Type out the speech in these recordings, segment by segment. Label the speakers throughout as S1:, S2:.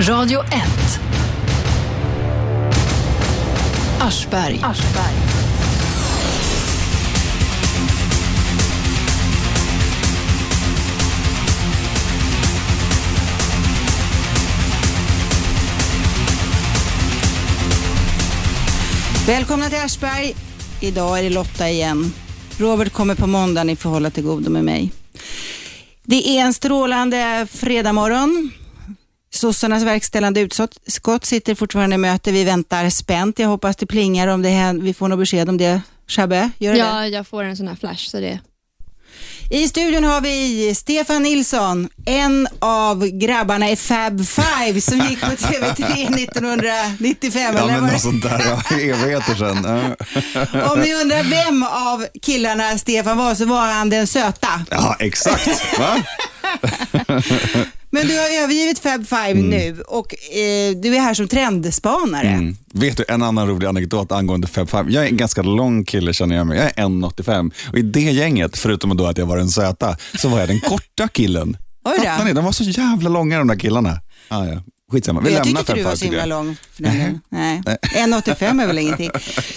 S1: Radio 1. Aschberg. Aschberg.
S2: Välkomna till Aschberg. Idag är det Lotta igen. Robert kommer på måndag, ni får hålla till godo med mig. Det är en strålande fredagmorgon. Sossarnas verkställande utskott sitter fortfarande i möte. Vi väntar spänt. Jag hoppas det plingar om det händer. vi får något besked om det. Shabbe, gör det det?
S3: Ja, jag får en sån här flash så det...
S2: I studion har vi Stefan Nilsson, en av grabbarna i Fab Five som gick på TV3 1995.
S4: Ja,
S2: eller
S4: men
S2: vad det-
S4: något sånt där, ja, evigheter sedan. Ja.
S2: Om ni undrar vem av killarna Stefan var så var han den söta.
S4: Ja, exakt. Va?
S2: Men du har övergivit Fab Five nu och eh, du är här som trendspanare.
S4: Mm. Vet du, en annan rolig anekdot angående Fab Five. Jag är en ganska lång kille känner jag mig. Jag är 1,85 och i det gänget, förutom då att jag var den söta, så var jag den korta killen.
S2: Oj då.
S4: Fattar ni? De var så jävla långa de där killarna. Ah, ja. Skitsamma, vi
S2: jag tycker
S4: lämnar
S2: inte
S4: Fab
S2: du
S4: Five.
S2: var så
S4: tycker
S2: himla
S4: jag. Mm.
S2: lång för den delen. Nej. 1,85 är väl ingenting.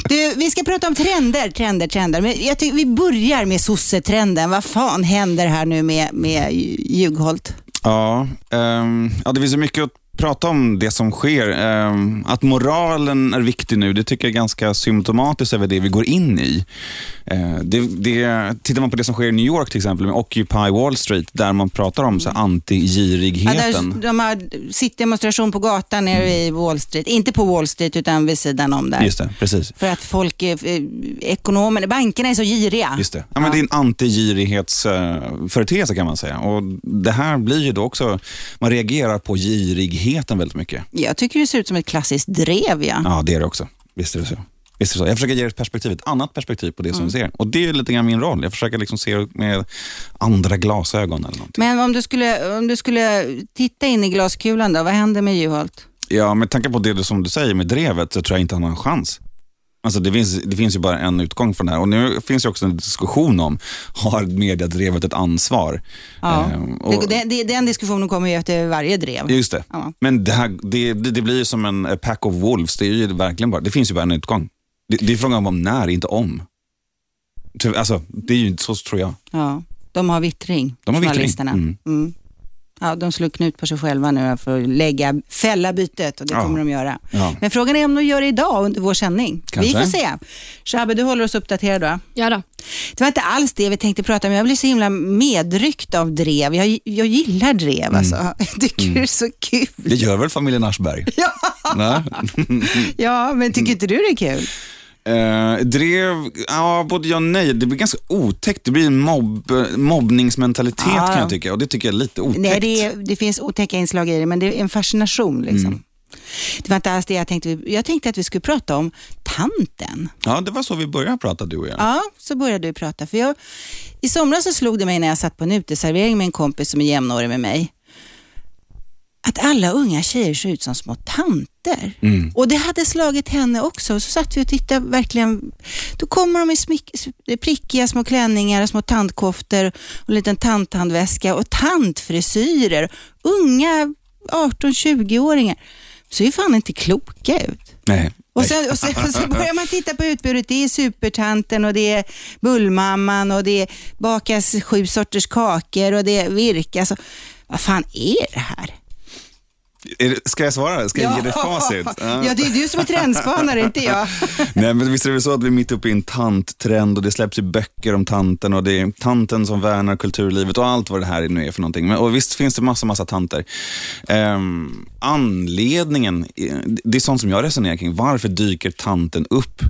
S2: Du, vi ska prata om trender, trender, trender. Men jag tycker vi börjar med sossetrenden. Vad fan händer här nu med, med Ljugholt?
S4: Ja, ehm, ja, det finns ju mycket att prata om det som sker. Ehm, att moralen är viktig nu, det tycker jag är ganska symptomatiskt över det vi går in i. Eh, det, det, tittar man på det som sker i New York till exempel med Occupy Wall Street, Mm. där man pratar om så här
S2: Ja, där,
S4: antigirigheten.
S2: de har sittdemonstration på gatan nere i Wall Street. Inte på Wall Street utan vid sidan om där.
S4: Mm. Just det, precis.
S2: För att folk, är, eh, ekonomerna, bankerna är så giriga.
S4: Just det. Ja, men Det är en antigirighetsföreteelse kan man säga. Och Det här blir ju då också, man reagerar på girigheten väldigt mycket.
S2: Jag tycker det ser ut som ett klassiskt drev. Ja.
S4: Ja, det är det också. Visst är det så. Visst är det så. Jag försöker ge er ett perspektiv, ett annat perspektiv på det
S2: Mm.
S4: som vi ser. Och Det är lite grann min roll. Jag försöker liksom se med andra glasögon eller någonting.
S2: Men om du, skulle, om du skulle titta in i glaskulan då, vad händer med Juholt?
S4: Ja, med tanke på det som du säger med drevet så tror jag inte han har en chans. Alltså det, finns, det finns ju bara en utgång från det här. Och nu finns ju också en diskussion om, har mediedrevet ett ansvar?
S2: Ja.
S4: Ehm, och-
S2: Det- det- den diskussionen kommer ju efter varje drev.
S4: Just det.
S2: Ja.
S4: Men det, här, det, det, det blir ju som en eh, pack of wolves. Det, är ju verkligen bara, det finns ju bara en utgång. Det, det är frågan om när, inte om. Ty- Alltså, det är ju, så tror jag.
S2: Ja. De har vittring,
S4: De har vittring.
S2: journalisterna.
S4: Mm.
S2: Mm. Ja, de slår knut på sig själva nu för att lägga, fälla bytet och det
S4: Ja.
S2: kommer de göra.
S4: Ja.
S2: Men frågan är om de gör det idag under vår sändning.
S4: Kanske.
S2: Vi får se. Shabbe, du håller oss uppdaterad va?
S3: Ja då.
S2: Det var inte alls det vi tänkte prata om. Jag blev så himla medryckt av drev. Jag, jag gillar drev alltså. Jag tycker det är så kul.
S4: Det gör väl familjen Aschberg?
S2: Ja,
S4: Nej.
S2: ja men tycker inte du det är kul?
S4: Eh, drev, ja både ja och nej. Det blir ganska otäckt. Det blir en mobb, mobbningsmentalitet
S2: Ja.
S4: kan jag tycka och det tycker jag är lite otäckt.
S2: Nej, det, är, det finns otäcka inslag i det, men det är en fascination
S4: Mm.
S2: liksom. Det var inte alls det jag tänkte. Jag tänkte att vi skulle prata om tanten.
S4: Ja, det var så vi började prata du och jag.
S2: Ja, så började du prata. För jag, I somras så slog det mig när jag satt på en uteservering med en kompis som är jämnårig med mig, att alla unga tjejer ser ut som små tanter.
S4: Mm.
S2: Och det hade slagit henne också. Och så satt vi och tittade verkligen. Då kommer de i smick, prickiga små klänningar, och små tantkoftor och en liten tanthandväska och tantfrisyrer. Unga 18-20-åringar ser ju fan inte kloka ut.
S4: Nej.
S2: Och sen, och sen så börjar man titta på utbudet. Det är supertanten och det är bullmamman och det bakas sju sorters kakor och det virkas. och- Vad fan är det här?
S4: Är det- Ska jag svara? Ska jag ge dig facit? Ja.
S2: Ja, det är du som är trendspanare, inte jag.
S4: Nej, men visst är det väl så att vi är mitt uppe i en tanttrend och det släpps ju böcker om tanten och det är tanten som värnar kulturlivet och allt vad det här nu är för någonting. Men, och visst finns det massa, massa tanter. Ehm, anledningen, eh, det är sånt som jag resonerar kring. Varför dyker tanten upp?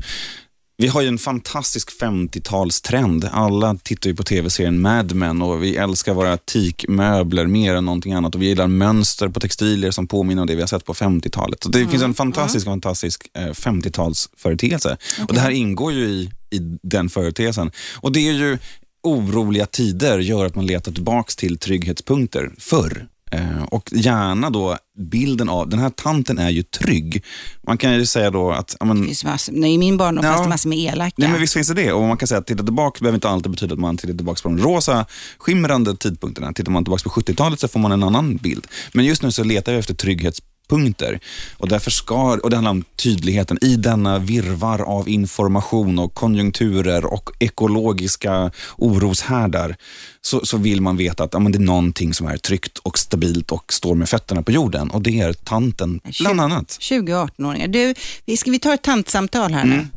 S4: Vi har ju en fantastisk 50-talstrend. Alla tittar ju på tv-serien Mad Men och vi älskar våra teakmöbler mer än någonting annat och vi gillar mönster på textilier som påminner om det vi har sett på 50-talet. Så det finns en fantastisk, fantastisk eh, 50-talsföreteelse. Och det här ingår ju i, i den företeelsen. Och det är ju oroliga tider gör att man letar tillbaks till trygghetspunkter förr. Eh, Och gärna då bilden av, den här tanten är ju trygg. Man kan ju säga då att... ja, men-
S2: Det finns massor- nej, I min barndom
S4: Ja.
S2: fanns det massor med elaka.
S4: Nej, men visst finns det det. Och man kan säga att titta tillbaka behöver inte alltid betyda att man tittar tillbaka på de rosa skimrande tidpunkterna. Tittar man tillbaka på 70-talet så får man en annan bild. Men just nu så letar vi efter trygghets kontaktpunkter. Och, därför ska, och det handlar om tydligheten i denna virvar av information och konjunkturer och ekologiska oroshärdar. Så, så vill man veta att ja, men det är någonting som är tryggt och stabilt och står med fötterna på jorden. Och det är tanten, bland annat.
S2: 20 och 18-åringar. Du, vi- ska vi ta ett tantsamtal här
S4: Mm.
S2: nu?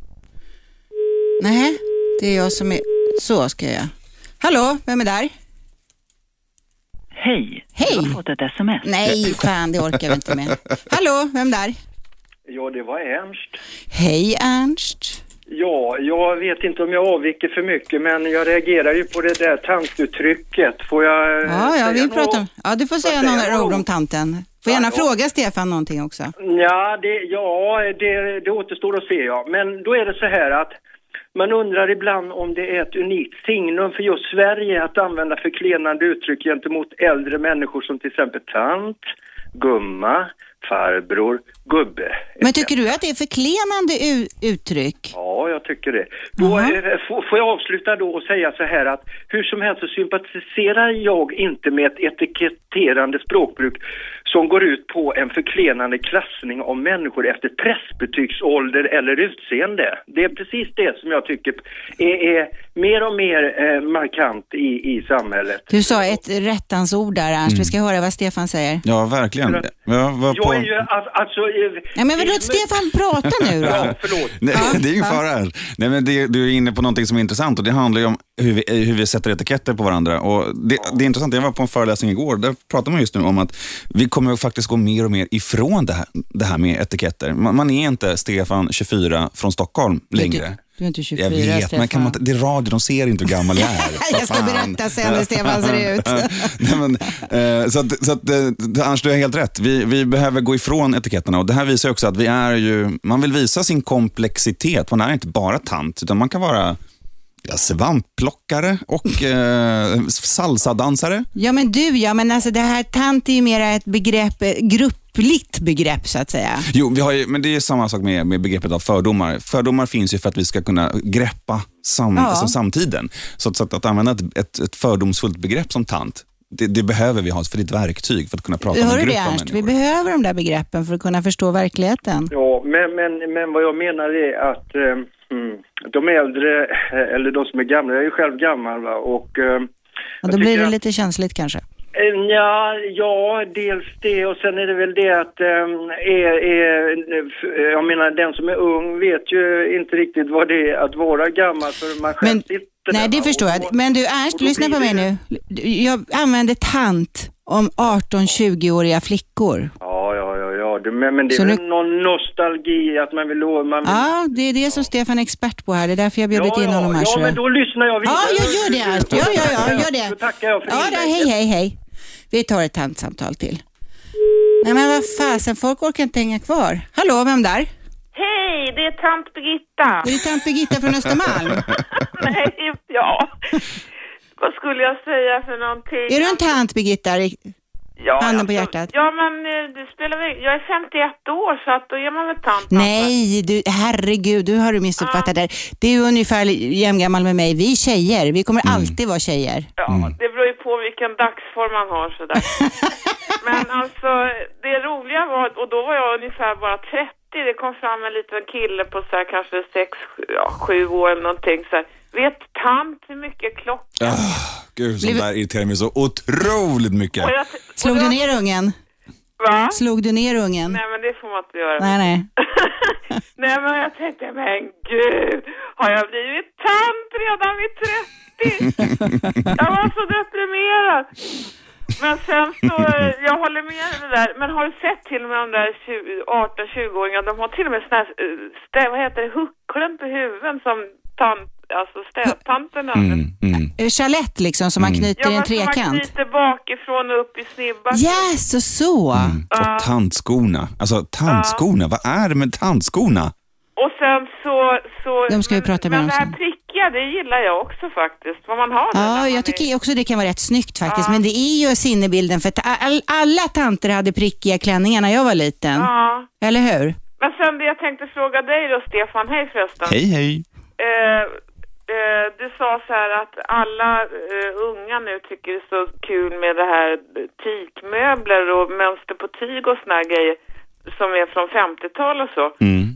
S2: Nej, det är jag som är... Så ska jag göra. Hallå, vem är där?
S5: Hej,
S2: Hej.
S5: du har fått ett sms.
S2: Nej, fan det orkar vi inte med. Hallå, vem där?
S6: Ja, det var Ernst.
S2: Hej Ernst.
S6: Ja, jag vet inte om jag avviker för mycket, men jag reagerar ju på det där tantuttrycket. Får jag eh,
S2: Ja, ja,
S6: säga
S2: vi
S6: några
S2: pratar om...
S6: ord?
S2: Ja, du får säga
S6: säga
S2: några
S6: några
S2: ord om
S6: ord?
S2: tanten. Får gärna
S6: Ja, ja.
S2: fråga Stefan någonting också.
S6: Ja, det, ja det, det återstår att se, ja. Men då är det så här att man undrar ibland om det är ett unikt signum för just Sverige att använda förklenande uttryck gentemot äldre människor som till exempel tant, gumma, farbror, gubbe.
S2: Men tycker du att det är förklenande u- uttryck?
S6: Ja, jag tycker det. Då,
S2: Jaha.
S6: eh, får får jag avsluta då och säga så här att hur som helst så sympatiserar jag inte med ett etiketterande språkbruk som går ut på en förklenande klassning av människor efter pressbetygsålder eller utseende. Det är precis det som jag tycker är, är mer och mer eh, markant i, i samhället.
S2: Du sa ett rättans ord där Ernst.
S4: Mm.
S2: Vi ska höra vad Stefan säger.
S4: Ja, verkligen. Jag var på...
S6: Jag är ju all- alltså... eh,
S2: Nej, men vadå, Stefan prata nu då.
S6: Ja, förlåt.
S4: Nej, det är ingen fara här. Nej, men det, du är inne på någonting som är intressant och det handlar ju om hur vi, hur vi sätter etiketter på varandra. Och det, det är intressant, jag var på en föreläsning igår, där pratade man just nu om att vi kommer att faktiskt gå mer och mer ifrån det här, det här med etiketter. Man, man är inte Stefan 24 från Stockholm längre.
S2: Du är inte 24
S4: Jag vet,
S2: Stefan.
S4: men kan man, inte- det är radio, de ser inte hur gammal jag är.
S2: Jag ska
S4: Vad fan.
S2: berätta sen hur Stefan ser ut.
S4: Nej, men, eh, så att, så att, eh, Ernst, du har helt rätt. Vi, vi behöver gå ifrån etiketterna. Och det här visar ju också att vi är ju, man vill visa sin komplexitet. Man är inte bara tant, utan man kan vara ja, svampplockare och eh, salsadansare.
S2: Ja men du ja, men alltså det här tant är ju mera ett begrepp, eh, gruppligt begrepp så att säga.
S4: Jo, vi har ju, men det är ju samma sak med, med begreppet av fördomar. Fördomar finns ju för att vi ska kunna greppa sam,
S2: Ja.
S4: alltså samtiden. Så, att- så att, att använda ett, ett, ett fördomsfullt begrepp som tant, det, det behöver vi ha för ditt verktyg för att kunna prata med
S2: Hör
S4: en
S2: du
S4: grupp
S2: det
S4: av
S2: Ernst? Vi
S4: människor.
S2: behöver de där begreppen för att kunna förstå verkligheten.
S6: Ja, men, men, men vad jag menar är att eh, mm, de äldre, eh, eller de som är gamla, jag är ju själv gammal va, och... Eh,
S2: Och
S6: jag
S2: då blir
S6: tycker
S2: det
S6: att-
S2: lite känsligt kanske.
S6: Eh, Ja, ja, dels det och sen är det väl det att ehm, är, är, f- jag menar den som är ung vet ju inte riktigt vad det är att vara gammal för man själv
S2: Men,
S6: sitter
S2: nej,
S6: där,
S2: det
S6: va,
S2: förstår
S6: och
S2: jag.
S6: då-
S2: Men du Ernst,
S6: och då
S2: lyssna på
S6: blir
S2: mig
S6: det-
S2: nu. Jag använder tant om 18-20-åriga flickor.
S6: Ja, ja, ja, ja. Det, men, men det
S2: Så
S6: är väl
S2: nu-
S6: någon nostalgi att man vill... å- Man vill
S2: Ja, det är det som Stefan är expert på här. Det är därför jag bjudit
S6: ja,
S2: in honom här.
S6: ja,
S2: ser
S6: ja,
S2: du.
S6: men då lyssnar jag vidare.
S2: Ja, jag gör det Ernst. Ja, ja, ja, gör det.
S6: Då tackar jag för
S2: ja, då,
S6: inlägget.
S2: hej, hej, hej. Vi tar ett tantsamtal till. Nej men vad fasen, folk orkar inte hänga kvar. Hallå, vem där?
S7: Hej, det är tant Birgitta.
S2: Är det tant Birgitta från Östermalm?
S7: Nej, ja. Vad skulle jag säga för någonting?
S2: Är du en tant Birgitta? Rik-
S7: ja,
S2: handen
S7: alltså,
S2: på hjärtat?
S7: Ja, men eh, det spelar väl... Jag är 51 år, så att då är man väl tant. antar
S2: Nej, du, herregud, du har du
S7: Ah.
S2: missuppfattat det. Du är ungefär jämngammal med mig. Vi är tjejer, vi kommer alltid vara tjejer.
S7: jag. Ja, det beror ju på vilken dagsform man har sådär. men alltså, det roliga var... Och då var jag ungefär bara 30. Det kom fram en liten kille på så här, kanske 6, ja, 7 år eller någonting så här. Vet tant hur mycket klockan...
S4: Ah, Gud, sånt där irriterar mig så otroligt mycket.
S7: Och jag- och
S2: Slog du
S7: då-
S2: ner ungen?
S7: Va?
S2: Slog du ner ungen?
S7: Nej, men det får man inte göra.
S2: Nej, nej.
S7: Nej men jag tänkte, men gud, har jag blivit tant redan vid 30? jag var så deprimerad. Men sen så, eh, jag håller med dig det där, men har du sett till och med de där 20 18-20-åringarna, de har till och med såna här, eh, stä, vad heter det, hucklen på huvudet som tant, alltså städtanterna.
S4: Mm, mm.
S2: Eh, Chalett liksom, som man
S7: Mm.
S2: knyter i en
S7: men som man
S2: trekant.
S7: knyter bakifrån och upp i snibbar.
S2: Yes, och så.
S4: Mm, Och tantskorna. Alltså tantskorna, vad är det med tantskorna?
S7: Och sen så... så
S2: De ska vi prata med
S7: men,
S2: om
S7: Men det här
S2: sen.
S7: prickiga, det gillar jag också faktiskt. Vad man har där när
S2: Ja,
S7: man
S2: jag
S7: är-
S2: tycker också det kan vara rätt snyggt faktiskt. Men det är ju sinnebilden för att all, alla tanter hade prickiga klänningar när jag var liten.
S7: Ja.
S2: Eller hur?
S7: Men sen det jag tänkte fråga dig då, Stefan. Hej förresten.
S4: Hej, hej.
S7: Eh, eh, du sa så här att alla eh, unga nu tycker det är så kul med det här eh, teakmöbler och mönster på tyg och såna här grejer. som är från 50-tal och så.
S4: Mm.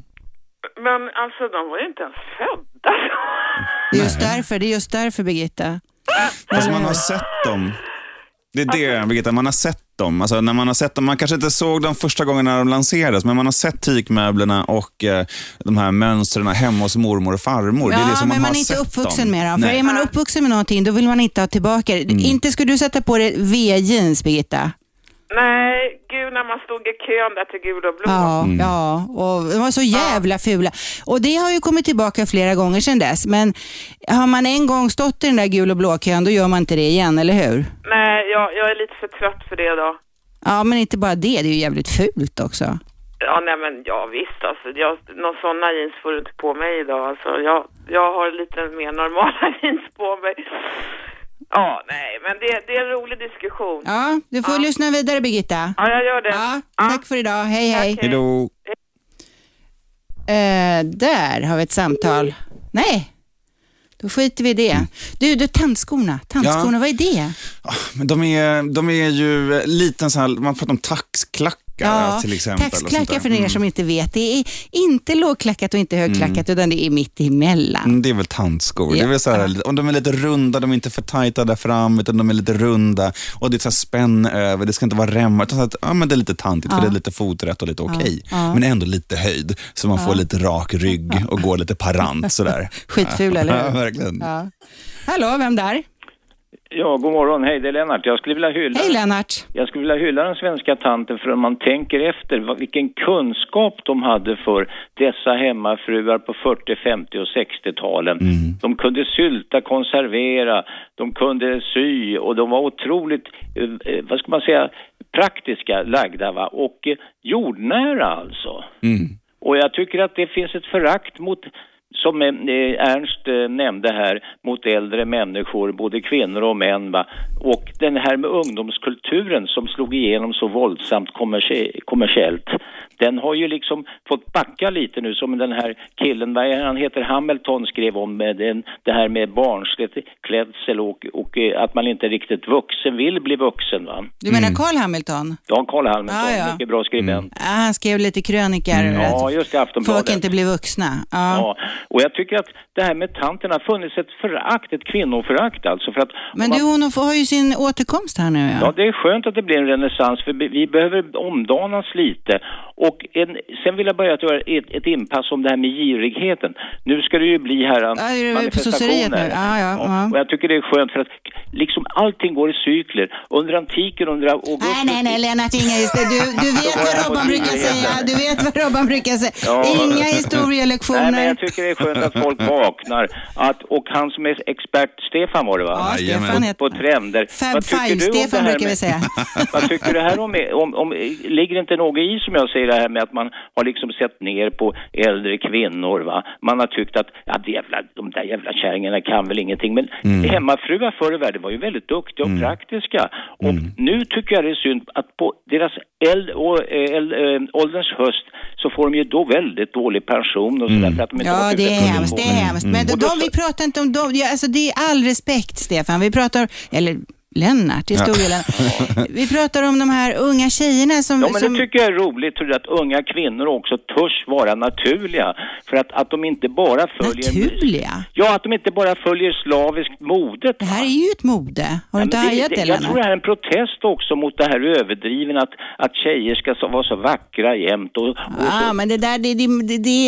S7: Men alltså de var ju inte ens födda.
S2: Det är just därför, det är just därför Birgitta.
S4: Fast man har sett dem. Det är det, Birgitta. Man har sett dem. Alltså, när man, har sett dem. man kanske inte såg dem första gången när de lanserades, men man har sett teakmöblerna och eh, de här mönstren hemma hos mormor och farmor. det är det
S2: Ja,
S4: som
S2: men
S4: man,
S2: man
S4: har
S2: är inte
S4: sett
S2: uppvuxen
S4: dem.
S2: med dem. För
S4: Nej. Mm.
S2: är man uppvuxen med någonting, då vill man inte ha tillbaka det. Inte skulle du sätta på dig V-jeans, Birgitta.
S7: Nej, gud när man stod i kön där till gul och blå.
S2: Ja,
S4: Mm.
S2: ja. Och de var så jävla fula. Och det har ju kommit tillbaka flera gånger sedan dess. Men har man en gång stått i den där gul och blåkön, då gör man inte det igen, eller hur?
S7: Nej, jag, jag är lite för trött för det då.
S2: Ja, men inte bara det. Det är ju jävligt fult också.
S7: Ja, nej men ja visst alltså. Jag, någon sådana jeans får du inte på mig idag alltså. Jag, jag har lite mer normala jeans på mig. Ja, nej, men det, det är en rolig diskussion. Ja,
S2: Ja, du får lyssna vidare, Birgitta.
S7: jag gör det.
S2: Ja, tack för idag. Hej, hej.
S7: Tack,
S4: Hej då.
S2: Eh, där har vi ett samtal. Nej, då skiter vi i det. Du, du tandskorna. Tandskorna,
S4: Mm. Ja.
S2: vad är det?
S4: Ah, Men de, är, de är ju eh, liten så här, man pratar om taxklackar till exempel. och sånt där.
S2: taxklackar för er
S4: Mm.
S2: som inte vet. Det är inte lågklackat och inte högklackat, utan det är mitt emellan.
S4: Mm, Det är väl tandskor. Det är väl så här, om de är lite runda, de är inte för tajta där fram, utan de är lite runda och det är så här spänn över, det ska inte vara remmar. Utan så att, ja, men det är lite tantigt, för det är lite foträtt och lite okej. Men ändå lite höjd, så man får lite rak rygg och går lite parant sådär.
S2: Skitful, eller
S4: Ja,
S2: hur?
S4: verkligen.
S2: Ja. Hallå, vem där?
S5: Ja, god morgon. Hej, det är Lennart. Jag skulle vilja hylla,
S2: Hej Lennart.
S5: jag skulle vilja hylla den svenska tanten för om man tänker efter vad- vilken kunskap de hade för dessa hemmafruar på 40-, 50 och 60-talen. De kunde sylta, konservera, de kunde sy och de var otroligt, eh, eh, vad ska man säga, praktiska lagda va? och eh, jordnära alltså. Och jag tycker att det finns ett förakt mot, som eh, Ernst eh, nämnde här, mot äldre människor, både kvinnor och män. Va? Och den här med ungdomskulturen som slog igenom så våldsamt kommersie- kommersiellt, den har ju liksom fått backa lite nu som den här killen, vad är han heter, Hamilton skrev om eh, den, det här med barnsligt klädsel och, och eh, att man inte riktigt vuxen vill bli vuxen. Va?
S2: Du
S4: Mm.
S2: menar Carl Hamilton?
S5: Ja, Carl Hamilton,
S2: Ja, ja. Mm.
S5: mycket bra skribent.
S2: Ja, han skrev lite krönikor
S4: Mm,
S2: över
S5: Ja,
S2: att
S5: just det, Aftonbladet.
S2: folk inte blir vuxna. Ja.
S5: Ja, och jag tycker att det här med tanten har funnits ett förakt, ett kvinnoförakt alltså. För att
S2: Men du, hon har ju sin återkomst här nu.
S5: Ja, det är skönt att det blir en renässans för vi behöver omdanas lite. Och en, sen vill jag börja att göra ett, ett inpass om det här med girigheten. Nu ska det ju bli här
S2: Ja, det är ju på
S5: manifestationer.
S2: sosseriet nu. Ja, ja, ja.
S5: Och jag tycker det är skönt för att liksom allting går i cykler. Under antiken, under augusti...
S2: Nej, nej, nej, Lennart, inga historier. Du, du vet vad Robban brukar säga. Du vet vad Robban brukar säga.
S5: Ja.
S2: Inga
S5: Nej, men
S2: historielektioner.
S5: jag tycker det är skönt att folk vaknar. Att, och han som är expert, Stefan var det va?
S2: Ja, Stefan
S4: Jajamän.
S2: heter
S5: på trender. Vad
S2: Fab
S5: tycker du om det
S2: Five-Stefan
S5: här
S2: brukar vi
S5: med-
S2: säga.
S5: Vad tycker du här om, om, om, ligger inte något i som jag säger det här med att man har liksom sett ner på äldre kvinnor va? Man har tyckt att, ja det jävla, de där jävla kärringarna kan väl ingenting. Men hemmafruar förr i världen var ju väldigt duktiga och praktiska. Och nu tycker jag det är synd att på deras äld, å, äld, äh, ålderns höst så får de ju då väldigt dålig pension och sådär för att de inte har
S2: Ja,
S5: varit
S2: det är
S5: ute på
S2: hemskt. Det är hemskt.
S5: Mm.
S2: Men de, vi pratar inte om dem. Ja, alltså, det är all respekt, Stefan. Vi pratar, eller Lennart, det är stor Lennart. Vi pratar om de här unga tjejerna som...
S5: Ja, men
S2: som
S5: det tycker jag är roligt tror jag, att unga kvinnor också törs vara naturliga. För att, att de inte bara följer...
S2: naturliga.
S5: Ja, att de inte bara följer slaviskt modet.
S2: Det här är ju ett mode. Har du
S5: Ja,
S2: inte
S5: men
S2: hajat
S5: det,
S2: det,
S5: det, Jag tror det
S2: Lennart?
S5: här är en protest också mot det här överdrivna att, att tjejer ska så, vara så vackra jämt och, och så.
S2: Ja, men det där, det, det, det, det,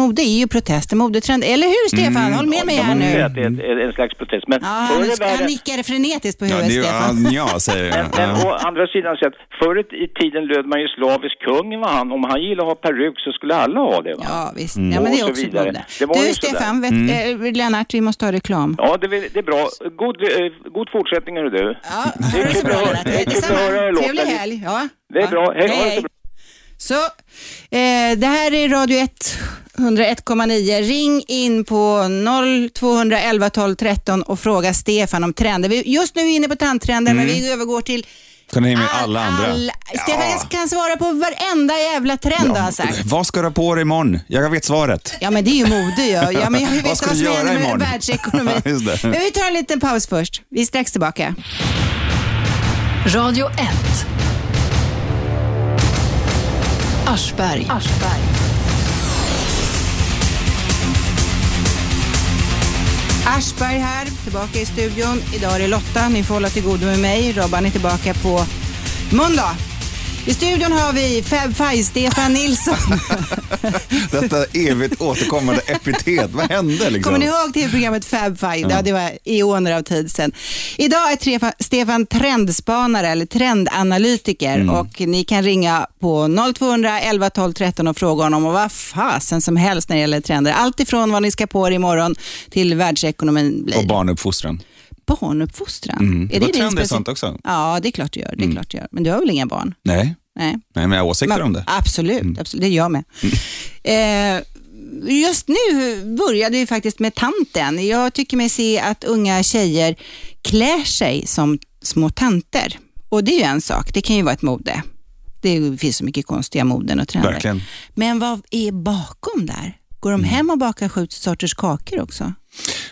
S2: mode är ju protester, modetrend. Eller hur, Stefan? Håll med mig
S5: Jag
S2: här
S5: måste säga
S2: nu.
S5: att det Mm. är en, en slags protest. Men
S2: Ja,
S5: förr i
S2: han, han
S5: världen...
S2: nickade frenetiskt på
S4: Ja,
S2: huvudet,
S4: det är ju
S2: Stefan.
S4: anja, säger jag.
S5: Men
S4: Ja.
S5: å andra sidan, så att förr i tiden löd man ju slavisk kungen var han. Om han gillade att ha peruk så skulle alla ha det. Va? Mm.
S2: Ja, visst. Ja, men det är
S5: Och så
S2: också ett
S5: vidare.
S2: mode.
S5: Det var
S2: Du,
S5: ju sådär. Mm.
S2: Stefan, vet, eh, Lennart, vi måste ha reklam.
S5: Ja, det, är- det är bra. God, eh, god fortsättning hörru du.
S2: Ja, ha det så bra Lennart.
S5: Det är kul att
S2: eh, Detsamma.
S5: höra er låta
S2: Trevlig
S5: lite.
S2: helg. Ja.
S5: Det är
S2: Ja.
S5: bra. Hej, ha det så bra.
S2: Så, eh, det här är Radio 1, 101,9. Ring in på 0211 12 13 och fråga Stefan om trender. Vi, just nu är vi inne på tandtrender,
S5: Mm.
S2: men vi övergår till
S4: Kan ni med alla andra?
S2: all- Stefan
S4: Ja.
S2: kan svara på varenda jävla trend har han sagt.
S4: Vad ska du ha på dig imorgon? Jag vet svaret.
S2: Ja, men det är ju mode ju. Ja, men jag vet
S4: Vad ska
S2: vad
S4: du
S2: som
S4: göra
S2: händer med
S4: imorgon?
S2: världsekonomin.
S4: Ja, just det.
S2: men vi tar en liten paus först. Vi är strax tillbaka.
S1: Radio 1. Aschberg. Aschberg.
S2: Aschberg här, tillbaka i studion. Idag är det Lotta, ni får hålla till godo med mig. Robban är tillbaka på måndag. I studion har vi Fab Five, Stefan Nilsson.
S4: Detta evigt återkommande epitet, vad hände liksom?
S2: Kommer ni ihåg tv-programmet Fab Five? Ja. det var eoner av tid sedan. Idag är Trefa- Stefan trendspanare eller trendanalytiker
S4: Mm.
S2: och ni kan ringa på 0200 11 12 13 och fråga honom om vad fasen som helst när det gäller trender. Allt ifrån vad ni ska på er imorgon till världsekonomin blir.
S4: Och barnuppfostran.
S2: Barnuppfostran?
S4: Mm. Är det trender
S2: speci-
S4: sånt också? Mm.
S2: Ja, det är klart du gör. Det är klart du gör. Men du har väl inga barn?
S4: Nej,
S2: Nej.
S4: nej men jag har åsikter om
S2: Ah.
S4: det. Mm.
S2: Absolut, absolut, det är jag med. Eh, just nu började vi faktiskt med tanten. Jag tycker mig se att unga tjejer klär sig som små tanter. Och det är ju en sak, det kan ju vara ett mode. Det finns så mycket konstiga moden och trender.
S4: Verkligen. Mm.
S2: Men vad är bakom där? Går de hem och bakar sju sorters kakor också?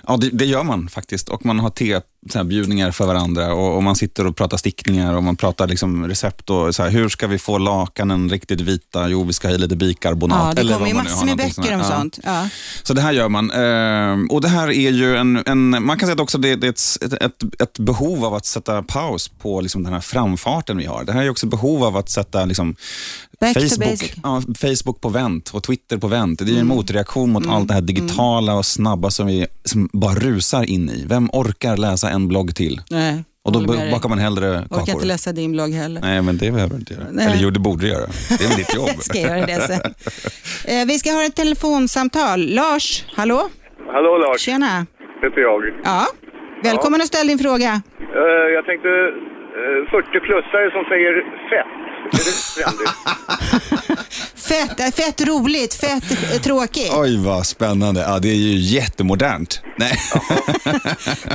S4: Ja, det, det gör man faktiskt. Och man har te, så här, bjudningar för varandra och, och man sitter och pratar stickningar och man pratar liksom recept och så här, hur ska vi få lakanen riktigt vita? Jo, vi ska ha i lite bikarbonat.
S2: Ja, det
S4: eller
S2: kommer ju
S4: vad man nu har,
S2: massor med
S4: någonting sånt
S2: böcker
S4: här.
S2: om
S4: Ja.
S2: sånt. Ja.
S4: Så det här gör man. Ehm, Och det här är ju en, en man kan säga att också det, det är ett, ett, ett behov av att sätta paus på liksom den här framfarten vi har. Det här är också ett behov av att sätta liksom
S2: Back to basic. Mm.
S4: Facebook, ja, Facebook på vänt och Twitter på vänt. Det är ju en motreaktion mot allt det här digitala och snabba som vi som bara rusar in i. Vem orkar läsa en blogg till?
S2: Nej,
S4: Och då
S2: håller med dig.
S4: bakar man hellre
S2: Orkar inte
S4: kakor.
S2: läsa din blogg heller.
S4: Nej, men det behöver du inte göra.
S2: Nej.
S4: Eller jo, det borde du göra. Det är väl ditt jobb.
S2: ska jag göra det sen. Eh, Vi ska ha ett telefonsamtal. Lars, hallå?
S8: Hallå Lars,
S2: Tjena.
S8: heter jag.
S2: Ja. Välkommen och ställ din fråga.
S8: Eh, jag tänkte eh, 40-plussare som säger fett. Är det trendigt?
S2: Fett, eh, fett roligt, fett eh, tråkigt.
S4: Oj, vad spännande. Ja, det är ju jättemodernt. Nej.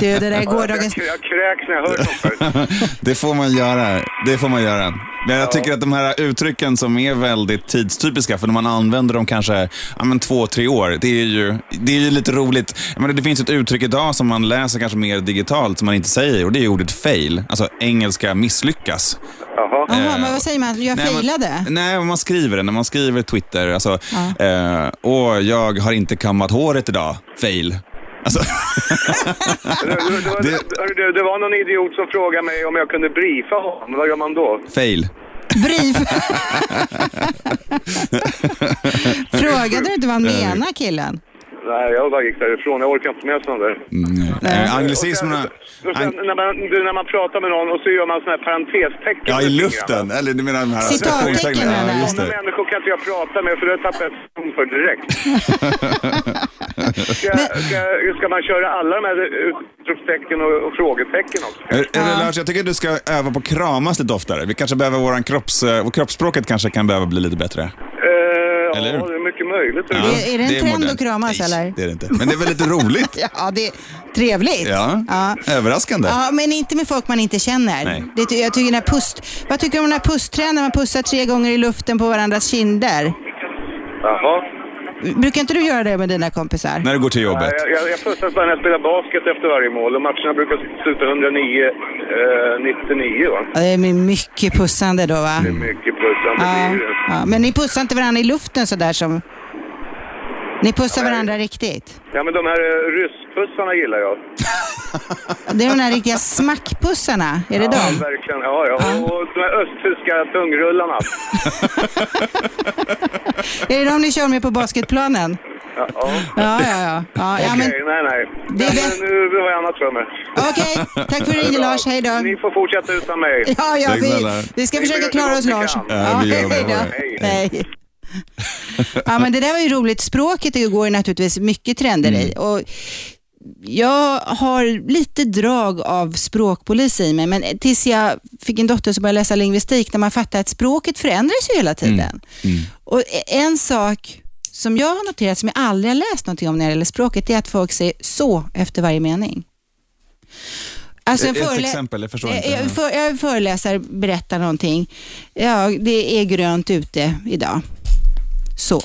S2: Du, det där är
S8: jag,
S2: gårdagens...
S8: jag, jag kräks när jag hör sånt här.
S4: Det får man göra. Det får man göra. Men jag tycker att de här uttrycken som är väldigt tidstypiska, för när man använder dem kanske ja, men två, tre år, det är ju, det är ju lite roligt. Jag menar, det finns ett uttryck idag som man läser kanske mer digitalt, som man inte säger, och det är ordet fail. Alltså engelska misslyckas.
S8: Jaha.
S2: Jaha, men vad säger man? Jag
S4: Eh, Nej, man-
S2: failade?
S4: Nej, man skriver det när man skriver Twitter. Alltså, eh, åh, jag har inte kammat håret idag. Fail. Alltså,
S8: Det, det, det, var- hörru du, det var någon idiot som frågade mig om jag kunde briefa honom. Vad gör man då?
S4: fail.
S2: Brief. Frågade du inte vad
S4: Eh,
S2: han menar, killen?
S8: Nej, jag bara gick därifrån. Jag orkar inte med sånt där.
S4: Mm. Eh, anglicismerna...
S8: Och sen, när, man, du, när man pratar med någon och så gör man såna här parentestecken.
S4: Ja, i
S8: med
S4: luften.
S8: fingrarna.
S4: Eller du menar de här...
S2: Citattecken,
S4: citationstecknen.
S2: menar
S4: Ja,
S2: jag.
S4: just
S8: Såna
S4: det.
S8: människor kan inte jag prata med för det tappar jag tron för direkt. ska, ska, ska man köra alla de här utropstecken och, och frågetecken också?
S4: Eller- Eller Eh, Lars, jag tycker att du ska öva på att kramas lite oftare. Vi kanske behöver våran kropps... eh, vår kroppsspråket kanske kan behöva bli lite bättre.
S8: Eh,
S4: Eller hur?
S8: ja, det är mycket möjligt.
S4: Ja,
S2: är det en trend
S4: modernt.
S2: att kramas,
S4: Nej,
S2: eller?
S4: det är det inte. Men det är väl lite roligt?
S2: Ja, det är trevligt.
S4: Ja.
S2: ja.
S4: Överraskande.
S2: Ja, men inte med folk man inte känner.
S4: Nej.
S2: Det, ty- jag tycker den här pust, vad tycker du om den här pusstrenden man pussar tre gånger i luften på varandras kinder?
S8: Jaha.
S2: Brukar inte du göra det med dina kompisar?
S4: När du går till jobbet.
S8: Jag, jag, jag pussas bara när jag spelar basket efter varje mål och matcherna brukar sluta 109, eh, 99 va?
S2: Ja, det är mycket pussande då va?
S8: Det är mycket pussande.
S2: Ja,
S8: blir det.
S2: ja. Men ni pussar inte varandra i luften sådär som... Ni pussar
S8: Nej.
S2: varandra riktigt?
S8: Ja, men de här eh, rysspussarna gillar jag.
S2: Det är de där riktiga smackpussarna, är det
S8: Ja,
S2: de?
S8: verkligen. Ja, ja. Och de här östtyska tungrullarna.
S2: Är det de ni kör med på basketplanen?
S8: Ja, ja.
S2: Ja, ja, ja. ja, ja
S8: Okej,
S2: men,
S8: nej, nej.
S2: Det är
S8: Men
S2: bäst-
S8: Nu har jag annat för mig.
S2: Okej, tack för ringen Lars, hej då.
S8: Ni får fortsätta utan mig.
S2: Ja, ja,
S4: Tack
S2: vi,
S4: snälla.
S2: vi ska
S8: Vi
S2: försöka
S8: gör så
S2: klara
S8: gott
S2: oss
S8: vi
S2: Lars.
S8: kan.
S4: Ja, vi gör
S2: hej
S4: vårt
S2: då.
S4: bästa.
S8: Hej.
S2: Nej. Ja, men det där var ju roligt. Språket det går ju naturligtvis mycket trender i.
S4: Mm.
S2: Och jag har lite drag av språkpolis i mig, men tills jag fick en dotter så började jag läsa lingvistik, där man fattar att språket förändras ju hela tiden.
S4: Mm.
S2: Och en sak som jag har noterat, som jag aldrig har läst någonting om när det gäller språket, det är att folk säger så efter varje mening. Alltså,
S4: Ett- ett
S2: förelä-
S4: exempel, jag förstår inte.
S2: Jag, jag, för, jag föreläsare berättar någonting. Ja, det är grönt ute idag. Så.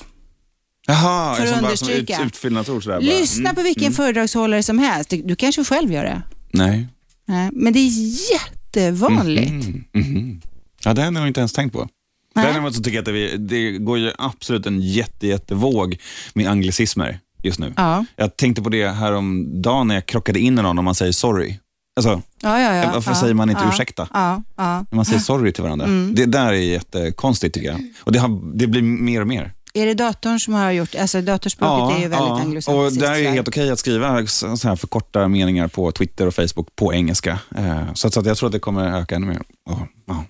S4: Jaha,
S2: För att
S4: som bara som ut,
S2: understryka.
S4: utfyllnadsord sådär bara. mm,
S2: Lyssna på vilken föredragshållare som helst. Du, du kanske själv gör det.
S4: Nej.
S2: Nej, men det är jättevanligt.
S4: Mm, Mhm. Ja, det har jag nog inte ens tänkt på.
S2: Nej.
S4: Däremot så tycker jag att det, vi- det går ju absolut en jätte, jättevåg med anglicismer just nu.
S2: Ja.
S4: Jag tänkte på det häromdagen när jag krockade in i någon och man säger sorry. Alltså,
S2: Ja, ja, ja.
S4: varför
S2: ja,
S4: säger man inte
S2: ja,
S4: ursäkta?
S2: Ja, ja. Mm.
S4: När man säger sorry till varandra. Det där är jättekonstigt tycker jag. Och det, har, det blir mer och mer.
S2: Är det datorn som har gjort, alltså datorspråket är ju väldigt
S4: Och
S2: anglosachsiskt.
S4: där är det
S2: tyvärr.
S4: helt okej att skriva så så här förkorta meningar på Twitter och Facebook på engelska. Eh, Så, att, så att jag tror att det kommer öka ännu mer. Ja, ja.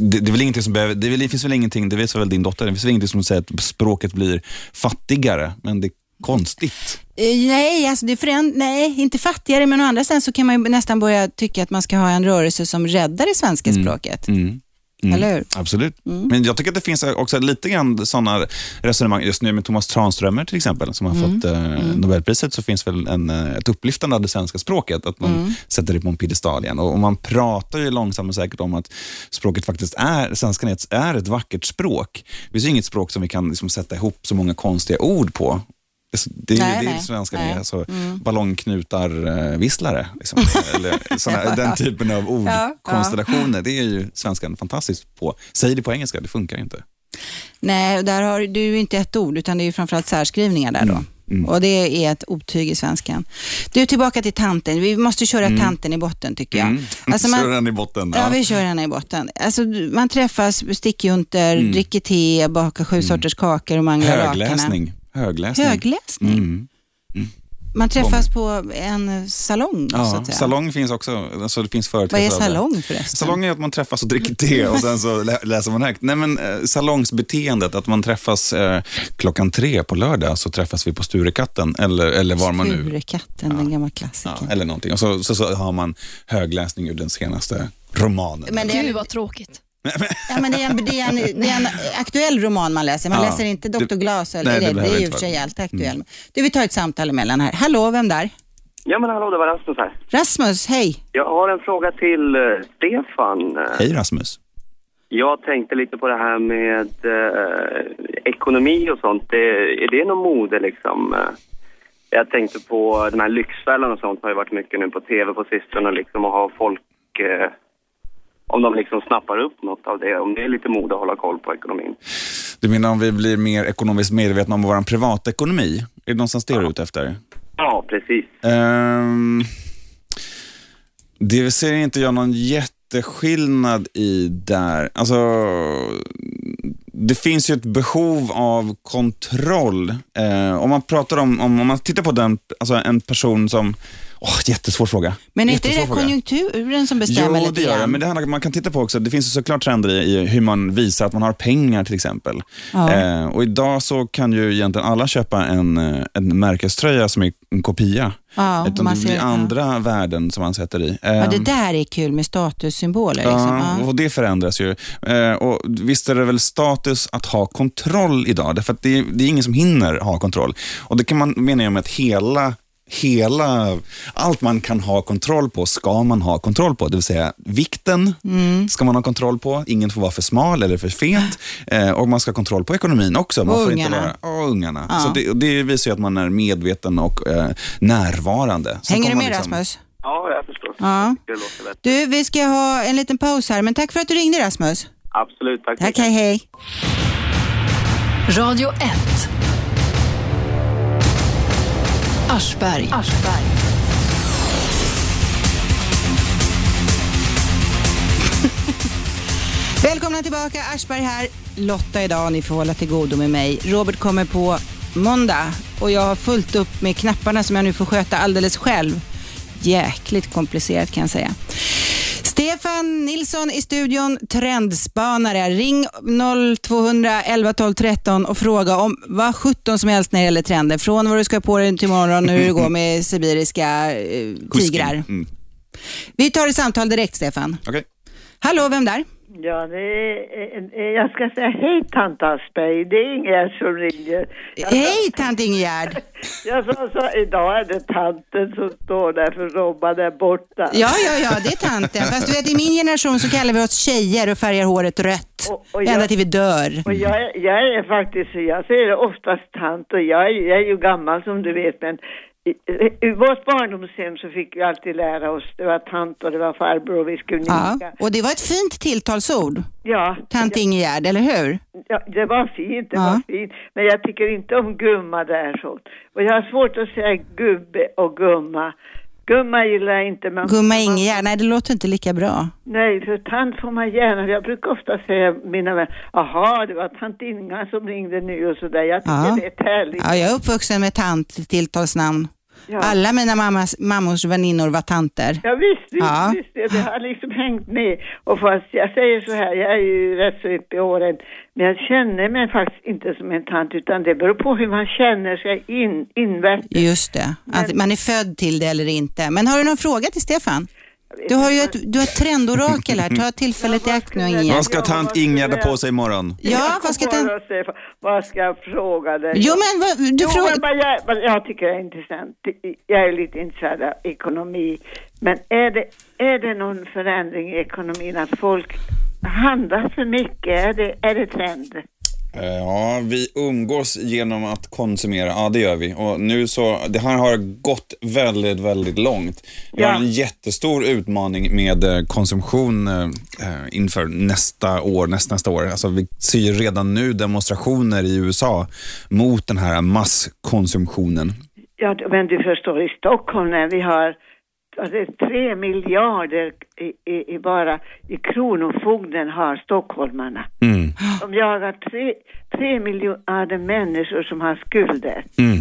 S4: Det, det, är väl ingenting som behöver, det, är väl, det finns väl ingenting, det visar väl din dotter, det finns väl ingenting som säger att språket blir fattigare, men det är konstigt.
S2: Eh, Nej, alltså det föränd- nej, inte fattigare, men å andra sidan så kan man ju nästan börja tycka att man ska ha en rörelse som räddar det svenska språket.
S4: Mm.
S2: Eller hur? Mm.
S4: Absolut. Men jag tycker att det finns också lite grann sådana resonemang. Just nu med Thomas Tranströmer till exempel, som har
S2: Mm.
S4: fått eh, Nobelpriset, så finns väl en, eh, ett upplyftande av det svenska språket, att man
S2: Mm.
S4: sätter det på en piedestal igen. Och, och man pratar ju långsamt och säkert om att språket faktiskt är, svenskan är ett, är ett vackert språk. Det finns ju inget språk som vi kan liksom sätta ihop så många konstiga ord på. Det- Det är ju
S2: Nej,
S4: det
S2: nej.
S4: svenskan
S2: Nej. Mm.
S4: är, alltså ballongknutar-visslare. Liksom. Eller såna, den typen av
S2: Ja,
S4: ordkonstellationer, det är ju svenskan fantastisk på. Säg det på engelska, det funkar inte.
S2: Nej, och där har du ju inte ett ord, utan det är ju framförallt särskrivningar där då.
S4: Mm,
S2: Och det är ett otyg i svenskan. Du, tillbaka till tanten. Vi måste köra tanten i botten tycker jag. Alltså,
S4: Mm.
S2: man-
S4: Kör Mm. den i botten.
S2: Ja, vi kör henne i botten. Alltså, du- man träffas, stickjunter, dricker te, bakar sju sorters kakor och manglar lakarna.
S4: Mm. Högläsning. Högläsning.
S2: Högläsning?
S4: Mm.
S2: Man träffas på en salong, så
S4: Ja,
S2: att säga.
S4: salong finns också. Alltså det finns
S2: Vad är
S4: företeelser av det.
S2: salong förresten?
S4: Salong är att man träffas och dricker te och sen så lä- läser man högt. Nej, men eh, salongsbeteendet, att man träffas eh, klockan tre på lördag, så träffas vi på Sturekatten eller, eller var man nu
S2: Sturekatten, den gamla
S4: Ja,
S2: klassikern.
S4: eller någonting. Och så, så, så har man högläsning ur den senaste romanen.
S2: Men det,
S3: Gud
S2: är,
S3: vad tråkigt.
S2: ja, men det, är en, det, är en, det är en aktuell roman man läser. Man
S4: Ja.
S2: läser inte
S4: Det-
S2: Dr. Glas. Eller,
S4: Nej, det
S2: det, det
S4: behöver
S2: är ju i
S4: inte
S2: och för
S4: vara.
S2: sig alltid aktuell. Du, vi tar ett samtal emellan här. Hallå, vem där?
S9: Ja men hallå, det var Rasmus här.
S2: Rasmus, hej.
S9: Jag har en fråga till eh, Stefan. Eh,
S4: Hej Rasmus.
S9: Jag tänkte lite på det här med eh, ekonomi och sånt. Det, är det någon mode liksom? Eh, Jag tänkte på den här Lyxfällan och sånt har ju varit mycket nu på tv på sistone liksom och ha folk, eh, om de liksom snappar upp något av det, om det är lite mode att hålla koll på ekonomin.
S4: Du menar om vi blir mer ekonomiskt medvetna om vår privatekonomi? Är det någonstans det du är ute efter?
S9: Ja, precis.
S4: Ehm, det ser inte jag någon jätteskillnad i där. Alltså, det finns ju ett behov av kontroll. Eh, om man pratar om, om, om man tittar på den, alltså en person som, åh, jättesvår fråga.
S2: Men är inte det
S4: Jättesvår
S2: där
S4: fråga.
S2: konjunkturen som bestämmer
S4: Jo,
S2: lite
S4: det gör det.
S2: grann?
S4: Men det handlar, man kan titta på också, det finns ju såklart trender i, i hur man visar att man har pengar till exempel.
S2: Ja.
S4: Eh, och idag så kan ju egentligen alla köpa en, eh, en märkeströja som är en kopia.
S2: Ja,
S4: Utan
S2: man
S4: det blir
S2: ser- ja.
S4: andra värden som man sätter i. Eh,
S2: Ja, det där är kul med statussymboler. Liksom.
S4: Ja,
S2: Ja.
S4: och det förändras ju. Eh, och visst är det väl status att ha kontroll idag, därför att det, det är ingen som hinner ha kontroll. Och det kan man mena med att hela Hela, allt man kan ha kontroll på ska man ha kontroll på. Det vill säga vikten
S2: Mm.
S4: ska man ha kontroll på. Ingen får vara för smal eller för fet. Eh, och man ska ha kontroll på ekonomin också. Man
S2: Och
S4: får
S2: ungarna.
S4: Inte vara, och ungarna.
S2: Ja.
S4: Så det, det visar ju att man är medveten och eh, närvarande. Sen
S2: Hänger du
S4: kommer
S2: med
S4: man liksom-
S2: Rasmus?
S9: Ja, jag förstår.
S2: Ja.
S9: Det låter väl.
S2: Du, vi ska ha en liten paus här, men tack för att du ringde Rasmus.
S9: Absolut, tack.
S2: Tack, hej hej.
S1: Radio 1. Aschberg. Aschberg.
S2: Välkomna tillbaka, Aschberg här. Lotta idag, ni får hålla till godo med mig. Robert kommer på måndag och jag har fullt upp med knapparna som jag nu får sköta alldeles själv. Jäkligt komplicerat kan jag säga. Stefan Nilsson i studion, trendspanare. Ring 0200 11 12 13 och fråga om vad 17 som helst när det gäller trender. Från vad du ska ha på dig till imorgon, hur det går med sibiriska eh,
S4: Kusken.
S2: tigrar.
S4: Mm.
S2: Vi tar ett samtal direkt, Stefan.
S4: Okej.
S2: Hallå, vem där?
S10: Ja, det är, eh, jag ska säga hej tant Aschberg, det är Ingegerd som ringer. Jag,
S2: Hej, tant Ingegerd.
S10: jag sa så, idag är det tanten som står där för Robban är borta.
S2: Ja, ja, ja, det är tanten. Fast du vet, i min generation så kallar vi oss tjejer och färgar håret rött.
S10: Och- och
S2: Ända
S10: jag-
S2: till vi dör.
S10: Och jag, är- jag är faktiskt, jag säger det oftast tant och jag, är- jag är ju gammal som du vet men I- I vårt barndomshem så fick vi alltid lära oss, det var tant och det var farbror och vi skulle
S2: Ja.
S10: nicka.
S2: Och det var ett fint tilltalsord,
S10: Ja,
S2: tant Ingegärd, eller hur?
S10: ja, det var fint, det
S2: Ja.
S10: var fint. Men jag tycker inte om gumma däremot. Och jag har svårt att säga gubbe och gumma. Gumma gillar jag inte. Man,
S2: Gumma Ingegärd, nej det låter inte lika bra.
S10: Nej, för tant får man gärna. Jag brukar ofta säga mina vänner, jaha, det var tant Inga som ringde nu och sådär. Jag tycker
S2: Ja.
S10: det är ett härligt.
S2: Ja, jag är uppvuxen med tant tilltalsnamn.
S10: Ja.
S2: Alla mina mammas, mammors väninnor var tanter.
S10: Ja, visst, visst,
S2: Ja.
S10: visst det, det har liksom hängt med. Och fast jag säger så här, jag är ju rätt så uppe i åren, men jag känner mig faktiskt inte som en tant, utan det beror på hur man känner sig in, invärtes.
S2: Just det, att man är född till det eller inte. Men har du någon fråga till Stefan? Du har ju ett, du har ett trendorakel här, ta tillfället i akt nu Ingegärd.
S4: Vad ska tant Ingegärd ha på sig imorgon?
S2: Ja,
S10: Jag
S2: vad ska
S10: kommer
S2: den...
S10: att säga, Vad ska jag fråga dig?
S2: Jo men vad, du
S10: Jo, men
S2: frågar...
S10: vad jag, vad jag tycker är intressant, jag är lite intresserad av ekonomi, men är det, är det någon förändring i ekonomin att folk handlar för mycket? Är det, är det trend?
S4: Eh, Ja, vi umgås genom att konsumera. Ja, det gör vi. Och nu så, det här har gått väldigt, väldigt långt. Vi har
S10: Ja.
S4: en jättestor utmaning med eh, konsumtion eh, eh, inför nästa år, näst, nästa år. Alltså, vi ser ju redan nu demonstrationer i USA mot den här masskonsumtionen.
S10: Ja, d- men du förstår, i Stockholm när vi har ja, det är tre miljarder i, i, i bara i Kronofogden har stockholmarna.
S4: Mm.
S10: De jagar tre, tre miljarder människor som har skulder.
S4: Mm.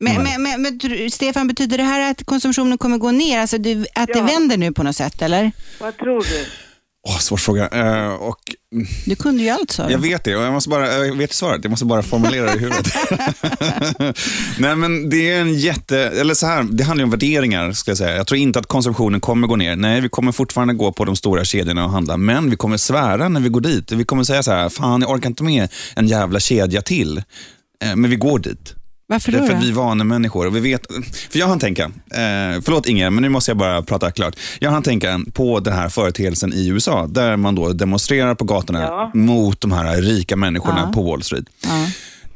S2: Men, men, men, men tr- Stefan, betyder det här att konsumtionen kommer gå ner? Alltså du, att det
S10: Ja.
S2: vänder nu på något sätt, eller?
S10: Vad tror du?
S4: Åh, svår fråga. Eh, och
S2: Du kunde ju allt sa du.
S4: Jag vet det och jag, måste bara, jag vet svaret. Jag måste bara formulera det i huvudet. Nej, men det är en jätte... Eller så här, det handlar ju om värderingar. Ska jag, säga. jag tror inte att konsumtionen kommer gå ner. Nej, vi kommer fortfarande gå på de stora kedjorna och handla, men vi kommer svära när vi går dit. Vi kommer säga så här, fan jag orkar inte med en jävla kedja till. Eh, Men vi går dit.
S2: Varför
S4: Det
S2: då?
S4: är för
S2: då?
S4: att vi är vanemänniskor och vi vet, för jag hann tänka, eh, förlåt Inge, men nu måste jag bara prata klart. Jag hann tänka på den här företeelsen i USA där man då demonstrerar på gatorna
S10: Ja.
S4: mot de här rika människorna
S2: Ja.
S4: på Wall Street.
S2: Ja.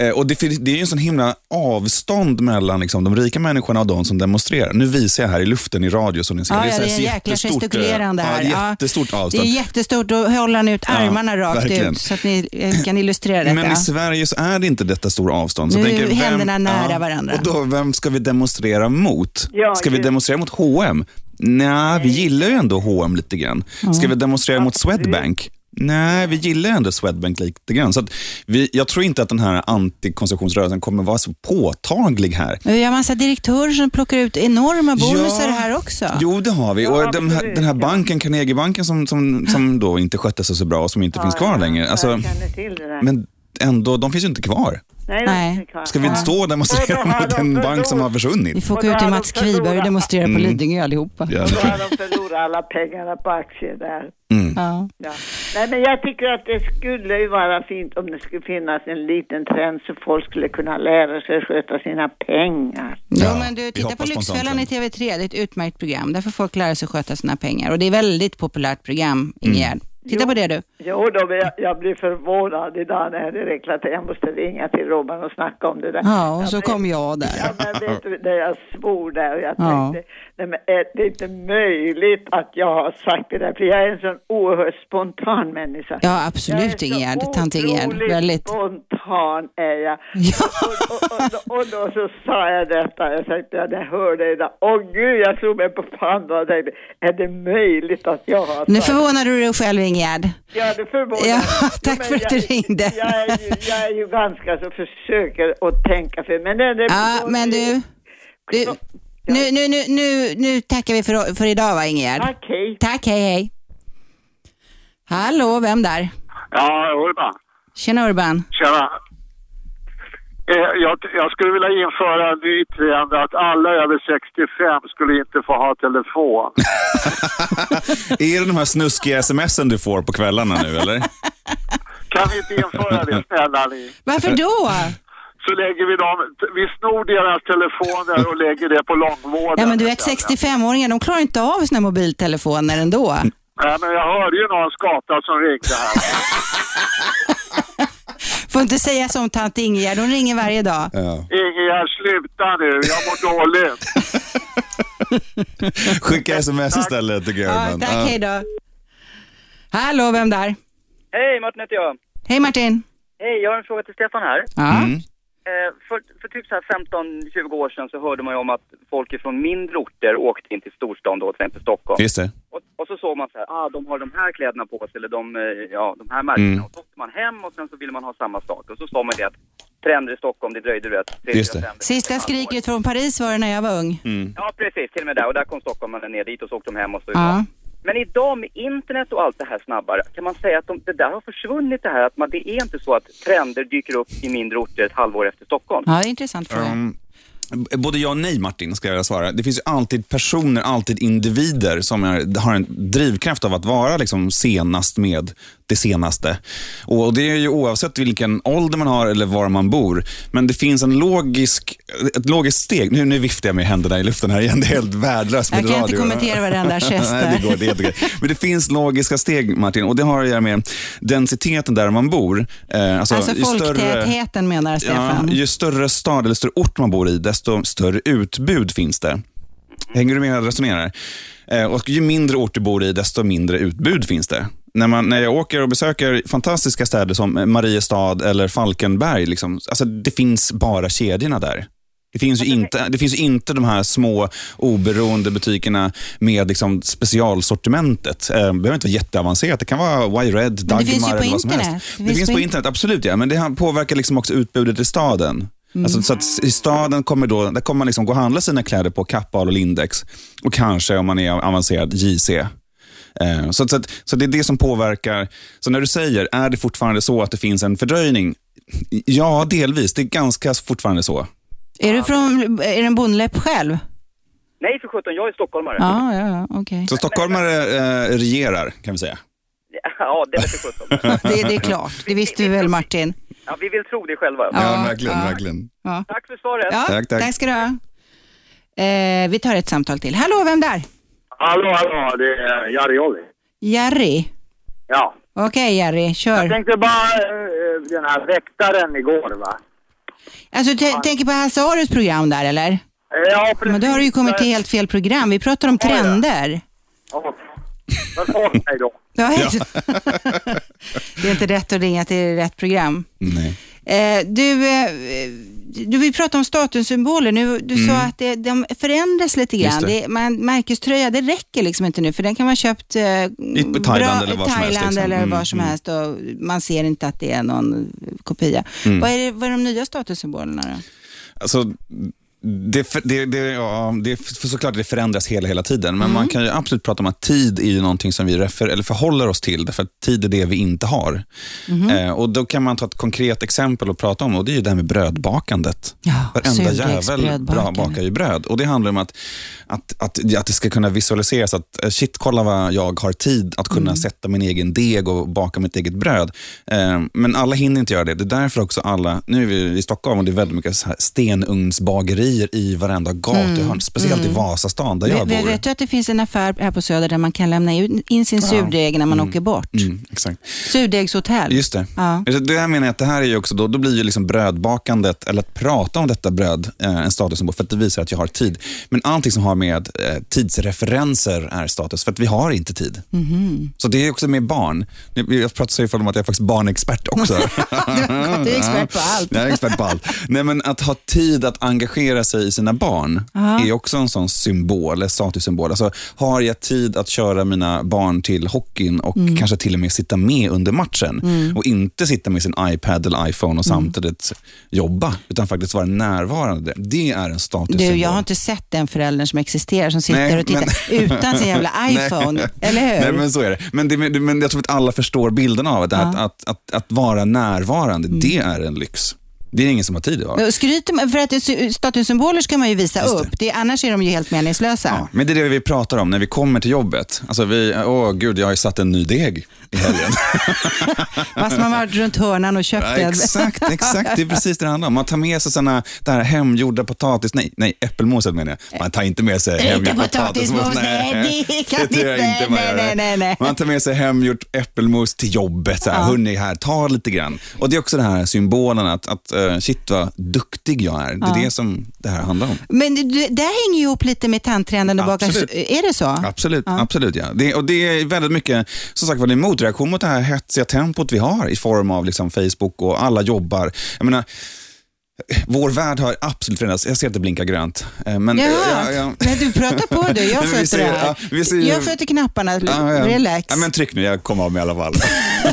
S4: Eh, och det, fin- det är ju en sån himla avstånd mellan liksom, de rika människorna och de som demonstrerar. Nu visar jag här i luften i radio som ni ser.
S2: Ja, ja,
S4: så
S2: det
S4: här
S2: är en jäkla
S4: jättestort, eh,
S2: gestikulerande här.
S4: Ja,
S2: Ja,
S4: jättestort
S2: Det är
S4: avstånd.
S2: jättestort, då håller han ut armarna rakt
S4: verkligen.
S2: ut så att ni eh, kan illustrera detta.
S4: Men i Sverige så är det inte detta stora avstånd. Så
S2: Nu
S4: jag tänker,
S2: är händerna nära varandra.
S4: Och då, vem ska vi demonstrera mot?
S10: Ja,
S4: ska vi
S10: det-
S4: demonstrera mot H&M? Nej, vi gillar ju ändå H&M lite grann. Ska vi demonstrera mot Swedbank? Nej, vi gillar ju ändå Swedbank lite grann. Så att vi, jag tror inte att den här antikonsumtionsrörelsen kommer vara så påtaglig här.
S2: Men Vi har massa direktörer som plockar ut enorma bonusar här också.
S4: Jo, det har vi. och de här,
S10: absolut,
S4: den här
S10: ja.
S4: banken, Carnegiebanken, som, som, som då inte skötte sig så bra och som inte finns kvar längre. Alltså,
S10: Jag känner till det där.
S4: men ändå, de finns ju inte kvar.
S10: Nej,
S2: Nej.
S10: det är klart.
S4: Ska vi inte stå och demonstrera mot en bank som har
S2: Ni
S4: försvunnit? Mm.
S2: får åka ut till Mats Kviberg och demonstrera på Lidingö allihopa.
S4: Ja.
S10: Och då har de förlorat alla pengarna på aktier där.
S4: Mm.
S2: Ja.
S10: Ja. Nej, men jag tycker att det skulle ju vara fint om det skulle finnas en liten trend så folk skulle kunna lära sig att sköta sina pengar.
S2: Jo,
S4: Ja,
S2: men du,
S4: vi
S2: titta på
S4: hoppas på en
S2: Lyxfällan
S4: sån
S2: i TV3, det är ett utmärkt program. Där får folk lära sig sköta sina pengar och det är ett väldigt populärt program, Ingegärd.
S4: Mm.
S2: Titta på det du.
S10: Jo då, men jag, jag blir förvånad idag när det räcker att jag måste ringa till Robban och snacka om det där.
S2: Ja, och så
S10: men-
S2: kom jag där.
S10: Ja, men vet du, när jag svor där och jag
S2: Ja.
S10: tänkte, nej men är det inte möjligt att jag har sagt det där? För jag är en sån oerhört spontan människa.
S2: Ja, absolut Ingegärd, tant Ingegärd. Väldigt.
S10: spontan är jag. Och, och, och, och då så sa jag detta, jag tänkte, ja, jag hörde idag, åh gud, jag slog mig på pannan och tänkte, är det möjligt att jag har
S2: Nu
S10: sagt
S2: förvånar du dig själv Ingegärd.
S10: Ja, det förvånar
S2: Ja,
S10: mig.
S2: tack
S10: men
S2: för att du
S10: jag-
S2: ringde.
S10: Jag är, ju, jag är ju ganska så försöker att tänka för men det, det
S2: Ja, men du. du nu, nu, nu, nu, nu tackar vi för, för idag va Ingegärd?
S10: Tack, hej.
S2: Tack, hej hej. Hallå, vem där?
S11: Ja, Urban.
S2: Tjena Urban.
S11: Tjena. Eh, Jag, jag skulle vilja införa en ny trend att alla över 65 skulle inte få ha telefon.
S4: Är det de här snuskiga smsen du får på kvällarna nu eller?
S11: Kan vi inte införa det, snälla ni?
S2: Varför då?
S11: Så lägger vi dem, vi snor deras telefoner och lägger det på långvården.
S2: Ja, men du vet 65-åringar, de klarar inte av sina mobiltelefoner ändå.
S11: Nej, men jag hörde ju någon skata som ringde här.
S2: Får inte säga som tant Ingegärd, hon ringer varje dag.
S4: Ja.
S11: Inge här, sluta nu, jag mår dåligt.
S4: Skicka sms istället tycker jag.
S2: Ja,
S4: ibland.
S2: tack,
S4: Ja.
S2: hej då. Hallå, vem där?
S12: Hej, Martin heter jag.
S2: Hej Martin.
S12: Hej, jag har en fråga till Stefan här.
S2: Ja.
S4: Mm.
S12: Eh, för, för typ så här 15-20 år sedan så hörde man ju om att folk från mindre orter åkte in till storstan då, till exempel Stockholm.
S4: Just det.
S12: Och, och så såg man så här, ah, de har de här kläderna på sig, eller de, eh, ja, de här märkena.
S4: Mm.
S12: Och så åkte man hem och sen så ville man ha samma sak. Och så sa man det att trender i Stockholm, det dröjde du vet. tre,
S4: Just det.
S12: fyra,
S4: Mm.
S12: fem veckor.
S2: Sista skriket från Paris var det när jag var ung.
S12: Ja, precis, till och med där. Och där kom stockholmarna ner dit och så åkte de hem och så
S2: Ja.
S12: Men idag med internet och allt det här snabbare, kan man säga att de, det där har försvunnit det här? Att man, det är inte så att trender dyker upp i mindre orter ett halvår efter Stockholm?
S2: Ja, det är intressant fråga.
S4: Ehm, b- både ja och nej, Martin, ska jag svara. Det finns ju alltid personer, alltid individer som är, har en drivkraft av att vara liksom senast med det senaste. Och och Det är ju oavsett vilken ålder man har eller var man bor. Men det finns en logisk, ett logiskt steg. Nu, nu viftar jag med händerna i luften här igen. Det är helt värdelöst med
S2: Jag kan inte
S4: radio.
S2: kommentera varenda gest där.
S4: Nej, det går, det är helt okej. Men det finns logiska steg, Martin. Och Det har att göra med densiteten där man bor. Eh, alltså,
S2: Alltså
S4: ju större-
S2: folktätheten menar Stefan.
S4: Ja, ju större stad eller större ort man bor i, desto större utbud finns det. Hänger du med hur jag resonerar? Eh, Och ju mindre ort du bor i, desto mindre utbud finns det. När, man, när jag åker och besöker fantastiska städer som Mariestad eller Falkenberg, liksom, alltså det finns bara kedjorna där. Det finns, ju inte, det finns ju inte de här små oberoende butikerna med liksom specialsortimentet. Eh, Det behöver inte vara jätteavancerat. Det kan vara Y-Red,
S2: det
S4: Dagmar
S2: finns ju på
S4: eller vad som
S2: internet.
S4: helst. Det, finns på internet, absolut. Ja. Men det här påverkar liksom också utbudet i staden. Alltså, så att I staden kommer, då, där kommer man liksom gå och handla sina kläder på Kappahl och Lindex. Och kanske, om man är avancerad, JC. Eh, Så, att- så, att, så det är det som påverkar. Så när du säger, är det fortfarande så att det finns en fördröjning? Ja, delvis. Det är ganska fortfarande så.
S2: Är du från, är du en bondläpp själv?
S12: Nej, för sjutton, jag är stockholmare.
S2: Ja, ja, ja okej.
S4: Så stockholmare eh, regerar, kan vi säga.
S12: Ja, det är för sjutton.
S2: Det, det är klart, det visste du väl Martin?
S12: Ja, vi vill tro det själva.
S2: Ja,
S4: verkligen. verkligen.
S2: Ja.
S12: Tack för svaret.
S2: Ja,
S4: Tack,
S2: tack,
S4: tack.
S2: ska du ha. Eh, vi tar ett samtal till. Hallå, vem där?
S11: Hallå, hallå, det är Jari Olli.
S2: Jerry.
S11: Ja.
S2: Okej Jerry,
S11: Jag
S2: kör.
S11: tänkte bara, eh, den här väktaren igår va?
S2: Alltså, du t- tänker på Hasse Aros program där eller?
S11: Ja, precis.
S2: Men då har du ju kommit till helt fel program. Vi pratar om trender.
S11: Ja. Men ta mig då.
S2: Ja, Det är inte rätt att ringa till rätt program.
S4: Nej.
S2: Eh, du, eh, du, vi pratade om statussymboler. Nu, du
S4: Mm.
S2: sa att det, de förändras lite grann.
S4: Just det.
S2: Det. man, märkeströja, det räcker liksom inte nu, för den kan man köpt eh,
S4: Thailand eller var som helst,
S2: Thailand
S4: liksom.
S2: eller
S4: Mm,
S2: var som
S4: mm.
S2: helst och man ser inte att det är någon kopia.
S4: Mm.
S2: Vad, är det, vad är de nya statussymbolerna då?
S4: Alltså, det, det, det, ja, det, för såklart det förändras hela, hela tiden, men man kan ju absolut prata om att tid är ju någonting som vi refer, eller förhåller oss till, därför att tid är det vi inte har. Eh, och Då kan man ta ett konkret exempel och prata om, och det är ju det här med brödbakandet. Varenda jävel bra
S2: surdegsbrödbakare.
S4: bakar ju bröd. Och Det handlar om att, att, att, att det ska kunna visualiseras att eh, shit, kolla vad jag har tid att
S2: Mm.
S4: kunna sätta min egen deg och baka mitt eget bröd. Eh, Men alla hinner inte göra det. Det är därför också alla, nu är vi i Stockholm och det är väldigt mycket så här stenugnsbagerier i varenda gatuhörn,
S2: Mm.
S4: speciellt i
S2: Mm.
S4: Vasastan där
S2: Vi-
S4: jag
S2: vi-
S4: bor.
S2: Vet du att det finns en affär här på Söder där man kan lämna in in sin surdeg när man åker bort?
S4: Mm, exakt.
S2: Surdegshotell.
S4: Just det.
S2: Ja.
S4: Det det här menar jag att det här är ju också, då, då blir ju liksom brödbakandet, eller att prata om detta bröd, eh, en statussymbol för att det visar att jag har tid. Men allting som har med eh, tidsreferenser är status, för att vi har inte tid.
S2: Mhm.
S4: Så det är också med barn. Nu- Jag pratar så ifall om att jag är faktiskt barnexpert också.
S2: Du är expert på allt.
S4: Jag är expert på allt. Nej, men att ha tid att engagera sig i sina barn
S2: Ja.
S4: är också en sån symbol, en statussymbol. Alltså, har jag tid att köra mina barn till hockeyn och
S2: Mm.
S4: kanske till och med sitta med under matchen
S2: Mm.
S4: och inte sitta med sin iPad eller iPhone och
S2: Mm.
S4: samtidigt jobba, utan faktiskt vara närvarande. Det är en statussymbol.
S2: Du, jag har inte sett den föräldern som existerar som sitter
S4: Nej,
S2: och tittar
S4: men-
S2: utan sin jävla iPhone.
S4: Nej.
S2: Eller hur?
S4: Nej, men så är det. Men, det, men jag tror att alla förstår bilden av att, att, att, att, att vara närvarande,
S2: Mm.
S4: det är en lyx. Det är ingen som har tid idag.
S2: Men Skryter man, för att det är sy- statussymboler ska man ju visa
S4: Just det.
S2: upp, det, annars är de ju helt meningslösa.
S4: Men det är det vi pratar om när vi kommer till jobbet. Alltså vi, åh gud, jag har ju satt en ny deg. i helgen.
S2: Fast man varit runt hörnan och köpt
S4: Ja, exakt, exakt. Det är precis det det handlar om. Man tar med sig såna det här hemgjorda potatis... Nej, nej äppelmoset menar jag. Man tar inte med sig
S2: Inte
S4: hemgjord
S2: potatismos,
S4: potatismos.
S2: nej, det kan
S4: tror jag
S2: inte.
S4: man gör.
S2: Nej, nej, nej, nej.
S4: Man tar med sig hemgjort äppelmos till jobbet. Så här, Hörni, här, ta lite grann. Och Det är också den här symbolen att, att eh, shit vad duktig jag är. Det är
S2: Ja.
S4: det som det här handlar om.
S2: Men det- det det hänger ju ihop lite med tandtrenden och bakar.
S4: Absolut.
S2: Är det så?
S4: Absolut,
S2: Ja.
S4: absolut ja. Det, och det är väldigt mycket, som sagt var, det är en motreaktion mot det här hetsiga tempot vi har i form av liksom Facebook och alla jobbar. Jag menar, vår värld har absolut förändrats. Jag ser att det blinkar grönt. eh, Men,
S2: Jaha,
S4: ja, ja.
S2: men du pratar på du.
S4: Men
S2: Jag
S4: vi
S2: sköter
S4: ser-
S2: det här.
S4: ja, vi ser ju-
S2: Jag sköter knapparna.
S4: Ja, ja.
S2: Relax.
S4: Ja, men tryck nu, jag kommer av mig i alla fall.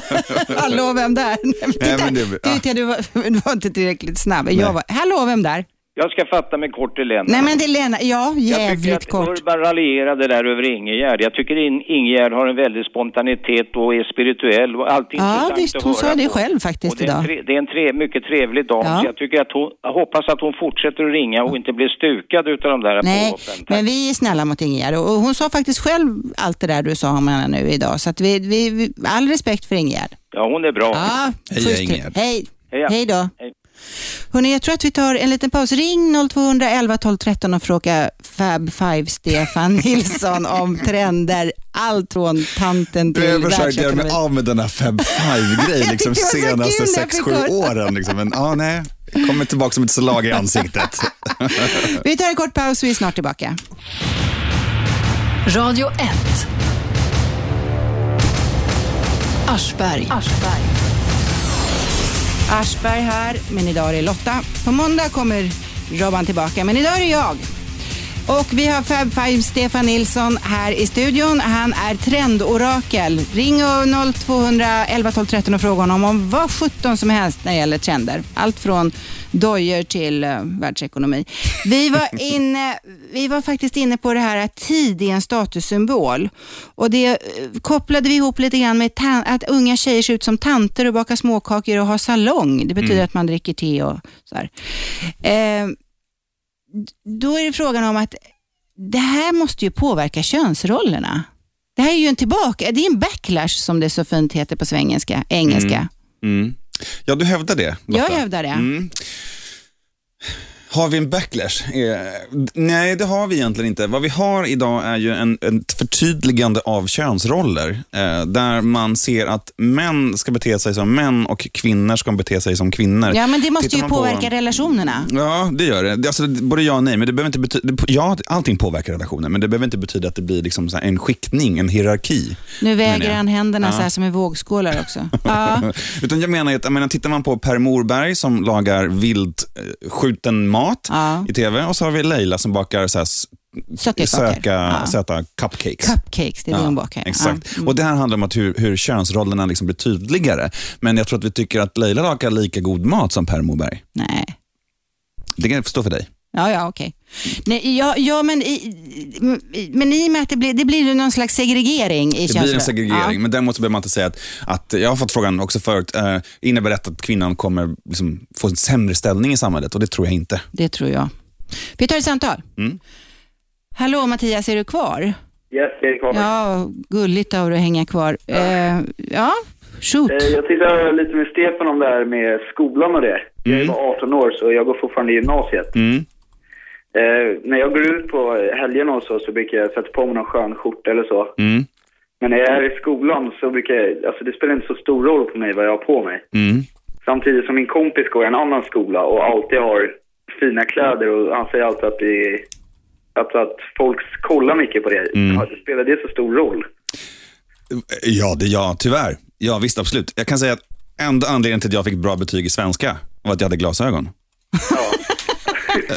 S2: Hallå, vem där? Nej, men
S4: Nej,
S2: Titta,
S4: men det-
S2: du vet jag, du var, du var inte tillräckligt snabb. Jag var, hallå, vem där?
S5: Jag ska fatta mig kort till Lennart.
S2: Nej, men det är Lena. Ja,
S5: Jag tycker
S2: jävligt
S5: att
S2: kort.
S5: Urban raljerade där över Ingegärd. Jag tycker in- Ingegärd har en väldig spontanitet och är spirituell och alltid
S2: Ja,
S5: intressant
S2: visst.
S5: att
S2: Hon
S5: höra
S2: sa det
S5: på.
S2: själv
S5: Och
S2: faktiskt
S5: det är en,
S2: idag.
S5: tre, det är en tre, mycket trevlig dam.
S2: Ja.
S5: Så jag, tycker att hon, jag hoppas att hon fortsätter att ringa och inte blir stukad utav de där
S2: Nej,
S5: påhoppen.
S2: men vi är snälla mot Ingegärd. Och hon sa faktiskt själv allt det där du sa om henne nu idag. Så att vi, vi, vi, all respekt för Ingegärd.
S5: Ja, hon är bra.
S2: Ja, puss till- Hej.
S5: Heja.
S2: Hej då.
S5: Hej.
S2: Hörrni, jag tror att vi tar en liten paus. Ring 0211 12 13 och fråga Fab Five Stefan Nilsson om trender. Allt från tanten till
S4: Du har försökt göra mig
S2: världsekonomin.
S4: av med den här Fab Five-grejen liksom,
S2: Det var så kul
S4: senaste
S2: när jag
S4: sex
S2: fick
S4: sju
S2: höra.
S4: åren. Liksom. Men ja, nej, kommer tillbaka som ett slag i ansiktet.
S2: Vi tar en kort paus, vi är snart tillbaka.
S1: Radio 1. Aschberg. Aschberg.
S2: Aschberg här, men idag är det Lotta. På måndag kommer Robban tillbaka, men idag är det jag. Och vi har Fab Five Stefan Nilsson här i studion. Han är trendorakel. Ring 0211 12 13 och fråga honom om vad 17 som helst när det gäller trender. Allt från dojor till uh, världsekonomi. Vi var, inne, vi var faktiskt inne på det här att tid är en statussymbol. Och det eh, kopplade vi ihop lite grann med tan- att unga tjejer ser ut som tanter och bakar småkakor och har salong. Det betyder
S1: Mm.
S2: att man dricker te och så här. Eh, d- då är det frågan om att det här måste ju påverka könsrollerna. Det här är ju en tillbaka, det är en backlash som det så fint heter på svengelska, engelska.
S4: Mm. Mm. Ja, du hävdar det.
S2: Jag
S4: Lotta.
S2: hävdar det.
S4: Mm. Har vi en backlash? Eh, nej, det har vi egentligen inte. Vad vi har idag är ju en, ett förtydligande av könsroller. Eh, där man ser att män ska bete sig som män och kvinnor ska bete sig som kvinnor.
S2: Ja, men det måste
S4: Tittar
S2: ju
S4: man på-
S2: påverka relationerna.
S4: Ja, det gör det. Det- Alltså, det- både ja och nej. Men det behöver inte betyda, det, ja, allting påverkar relationen, men det behöver inte betyda att det blir liksom så här en skiktning, en hierarki.
S2: Nu
S4: menar
S2: väger
S4: jag.
S2: han händerna så
S4: Ja.
S2: här som i vågskålar också. Ja.
S4: Utan jag menar ju att, jag menar, tittar man på Per Morberg som lagar vildskjuten mat i tv och så har vi Leila som bakar så här, s-
S2: Söttekakor.
S4: söka,
S2: Ja.
S4: söta cupcakes.
S2: Cupcakes, det är det hon bakar. Ja. Mm.
S4: Exakt. Och Det här handlar om att hur, hur könsrollerna liksom blir tydligare. Men jag tror att vi tycker att Leila lagar lika god mat som Per Morberg.
S2: Nej.
S4: Det kan stå för dig.
S2: Ja, ja, okej. Nej, ja, ja, men, i, i- men i och med att det blir, det blir ju någon slags segregering i
S4: Det blir en
S2: könsroll-
S4: segregering,
S2: Ja.
S4: men däremot så behöver man inte säga att, att jag har fått frågan också förut, eh, innebär detta att kvinnan kommer liksom få en sämre ställning i samhället? Och det tror jag inte.
S2: Det tror jag. Vi tar ett samtal.
S4: Mm.
S2: Hallå Mattias, är du kvar?
S13: Yes, jag är kvar.
S2: Ja, gulligt av dig att hänga kvar. Ja, eh, ja shoot.
S13: Eh, Jag tittar lite med Stefan om det här med skolan och det. Jag var 18 år så jag går fortfarande i gymnasiet.
S4: Mm.
S13: Eh, när jag går ut på helgerna och så, så brukar jag sätta på mig någon skön skjorta eller så.
S4: Mm.
S13: Men när jag är i skolan så brukar jag, alltså det spelar inte så stor roll för mig vad jag har på mig.
S4: Mm.
S13: Samtidigt som min kompis går i en annan skola och alltid har fina kläder och han säger alltid att det är, att, att folk kollar mycket på det.
S4: Mm.
S13: Ja, det spelar det så stor roll?
S4: Ja, det, ja, tyvärr. Ja, visst, absolut. Jag kan säga att enda anledningen till att jag fick bra betyg i svenska var att jag hade glasögon. Ja.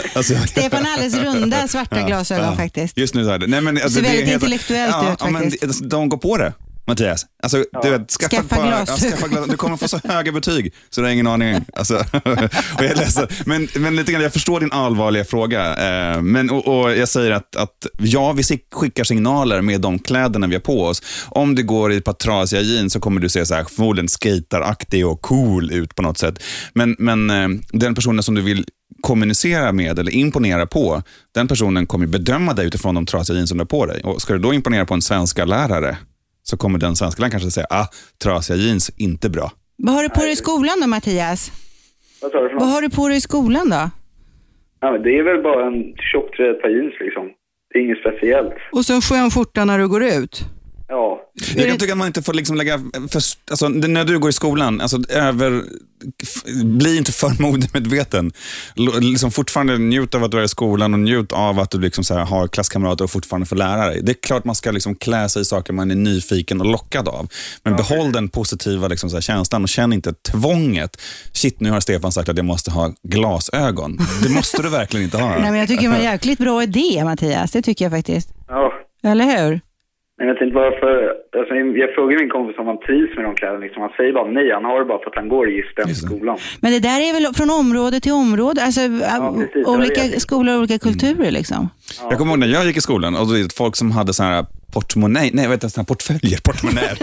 S4: alltså,
S2: Stefan har alldeles runda svarta glasögon faktiskt.
S4: Just nu så är det. Nej, men,
S2: Det ser
S4: är
S2: väldigt
S4: helt-
S2: intellektuellt
S4: ja,
S2: ut
S4: ja, men
S2: faktiskt.
S4: det- alltså, de går på det, Mattias. Alltså, du vet, skaffa,
S2: Skaffa
S4: ett par-
S2: glasögon.
S4: Ja, skaffa glasögon. Du kommer få så höga betyg så du har ingen aning. Alltså, och jag, är ledsen. men, men lite grann, jag förstår din allvarliga fråga. Eh, men, och, och jag säger att, att ja, vi sick- skickar signaler med de kläderna vi har på oss. Om du går i ett par trasiga jeans så kommer du se så här, förmodligen skejtaraktig och cool ut på något sätt. Men, men eh, den personen som du vill kommunicera med eller imponera på, den personen kommer bedöma dig utifrån de trasiga jeansen du har på dig. Och ska du då imponera på en svenska lärare så kommer den svenskan kanske säga, ah, trasiga jeans, inte bra.
S2: Vad har du på dig i skolan då Mattias?
S8: Vad sa du för
S2: Vad
S8: något?
S2: har du på dig i skolan då?
S8: Ja, men det är väl bara en tjockt ett par jeans liksom. Det är inget speciellt.
S2: Och så en skön skjorta när du går ut.
S8: Ja.
S4: Jag kan tycka att man inte får liksom lägga, för, alltså, när du går i skolan, alltså, över, f, bli inte för modemedveten. L- Liksom fortfarande njut av att du är i skolan och njut av att du liksom så här, har klasskamrater och fortfarande får lära dig. Det är klart man ska liksom klä sig i saker man är nyfiken och lockad av. Men behåll den positiva liksom så här, känslan och känn inte tvånget. Shit, nu har Stefan sagt att jag måste ha glasögon. Det måste du verkligen inte ha.
S2: Nej, men jag tycker det var en jäkligt bra idé Mattias, det tycker jag faktiskt.
S8: Ja.
S2: Eller hur?
S8: Men jag tänkte bara för, alltså, jag frågade min kompis om han trivs med de kläderna. Liksom. Han säger bara nej, han har det bara för att han går i just den skolan.
S2: Men det där är väl från område till område, alltså
S8: precis, det var det jag
S2: olika
S8: tänkte.
S2: skolor och olika kulturer liksom.
S4: Jag kommer ihåg när jag gick i skolan och då är det folk som hade såna här portmonnä, nej vad heter det, såna här portföljer, portmonnäer.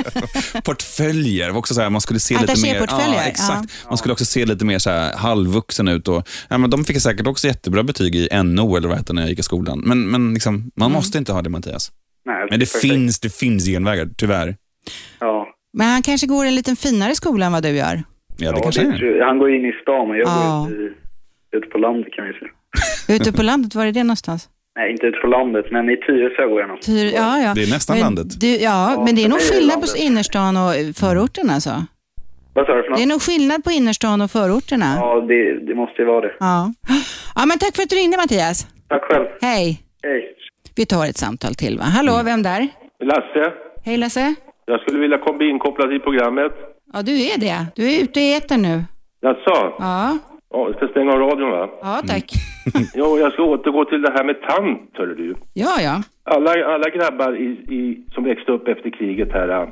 S4: portföljer, var också så här, man skulle se lite mer,
S2: Attachéportföljer,
S4: exakt. Man skulle också se lite mer så här halvvuxen ut och, ja, men de fick säkert också jättebra betyg i NO eller vad det hette när jag gick i skolan. Men, men liksom, man måste inte ha det Mattias.
S8: Nej,
S4: men det
S8: perfekt.
S4: finns, det finns genvägar, tyvärr.
S8: Ja.
S2: Men han kanske går i en liten finare skola än vad du gör.
S4: Ja, det kanske är.
S8: tror jag. Han går in i stan och jag
S2: Ja.
S8: går ut, i- ute på landet kan vi säga.
S2: Ute på landet, var är det någonstans?
S8: Nej, inte ute på landet, men i Tyresö går jag någonstans.
S2: Tyr, ja, ja.
S8: Det är nästan
S2: men,
S8: landet.
S2: Du, ja,
S8: Ja,
S2: men det är
S8: för
S2: nog
S8: mig är det
S2: skillnad på
S8: landet.
S2: innerstan och förorten alltså.
S8: Vad sa du för något?
S2: Det är nog skillnad på innerstan och förorterna.
S8: Ja, det, det måste ju vara det.
S2: Ja. ja, men tack för att du ringde Mattias.
S8: Tack själv.
S2: Hej.
S8: Hej.
S2: Vi tar ett samtal till va? Hallå,
S8: Mm.
S2: vem där?
S14: Lasse,
S2: Hej Lasse.
S14: jag skulle vilja komma bli inkopplad i programmet.
S2: Ja, du är det. Du är ute i etern nu.
S14: Jaså?
S2: Ja,
S14: Ja, jag ska stänga av radion va?
S2: ja
S8: Mm.
S2: tack.
S14: Jo, jag ska återgå till det här med tant, hör du.
S2: Ja, ja.
S14: Alla, alla grabbar i, i, som växte upp efter kriget här, eh,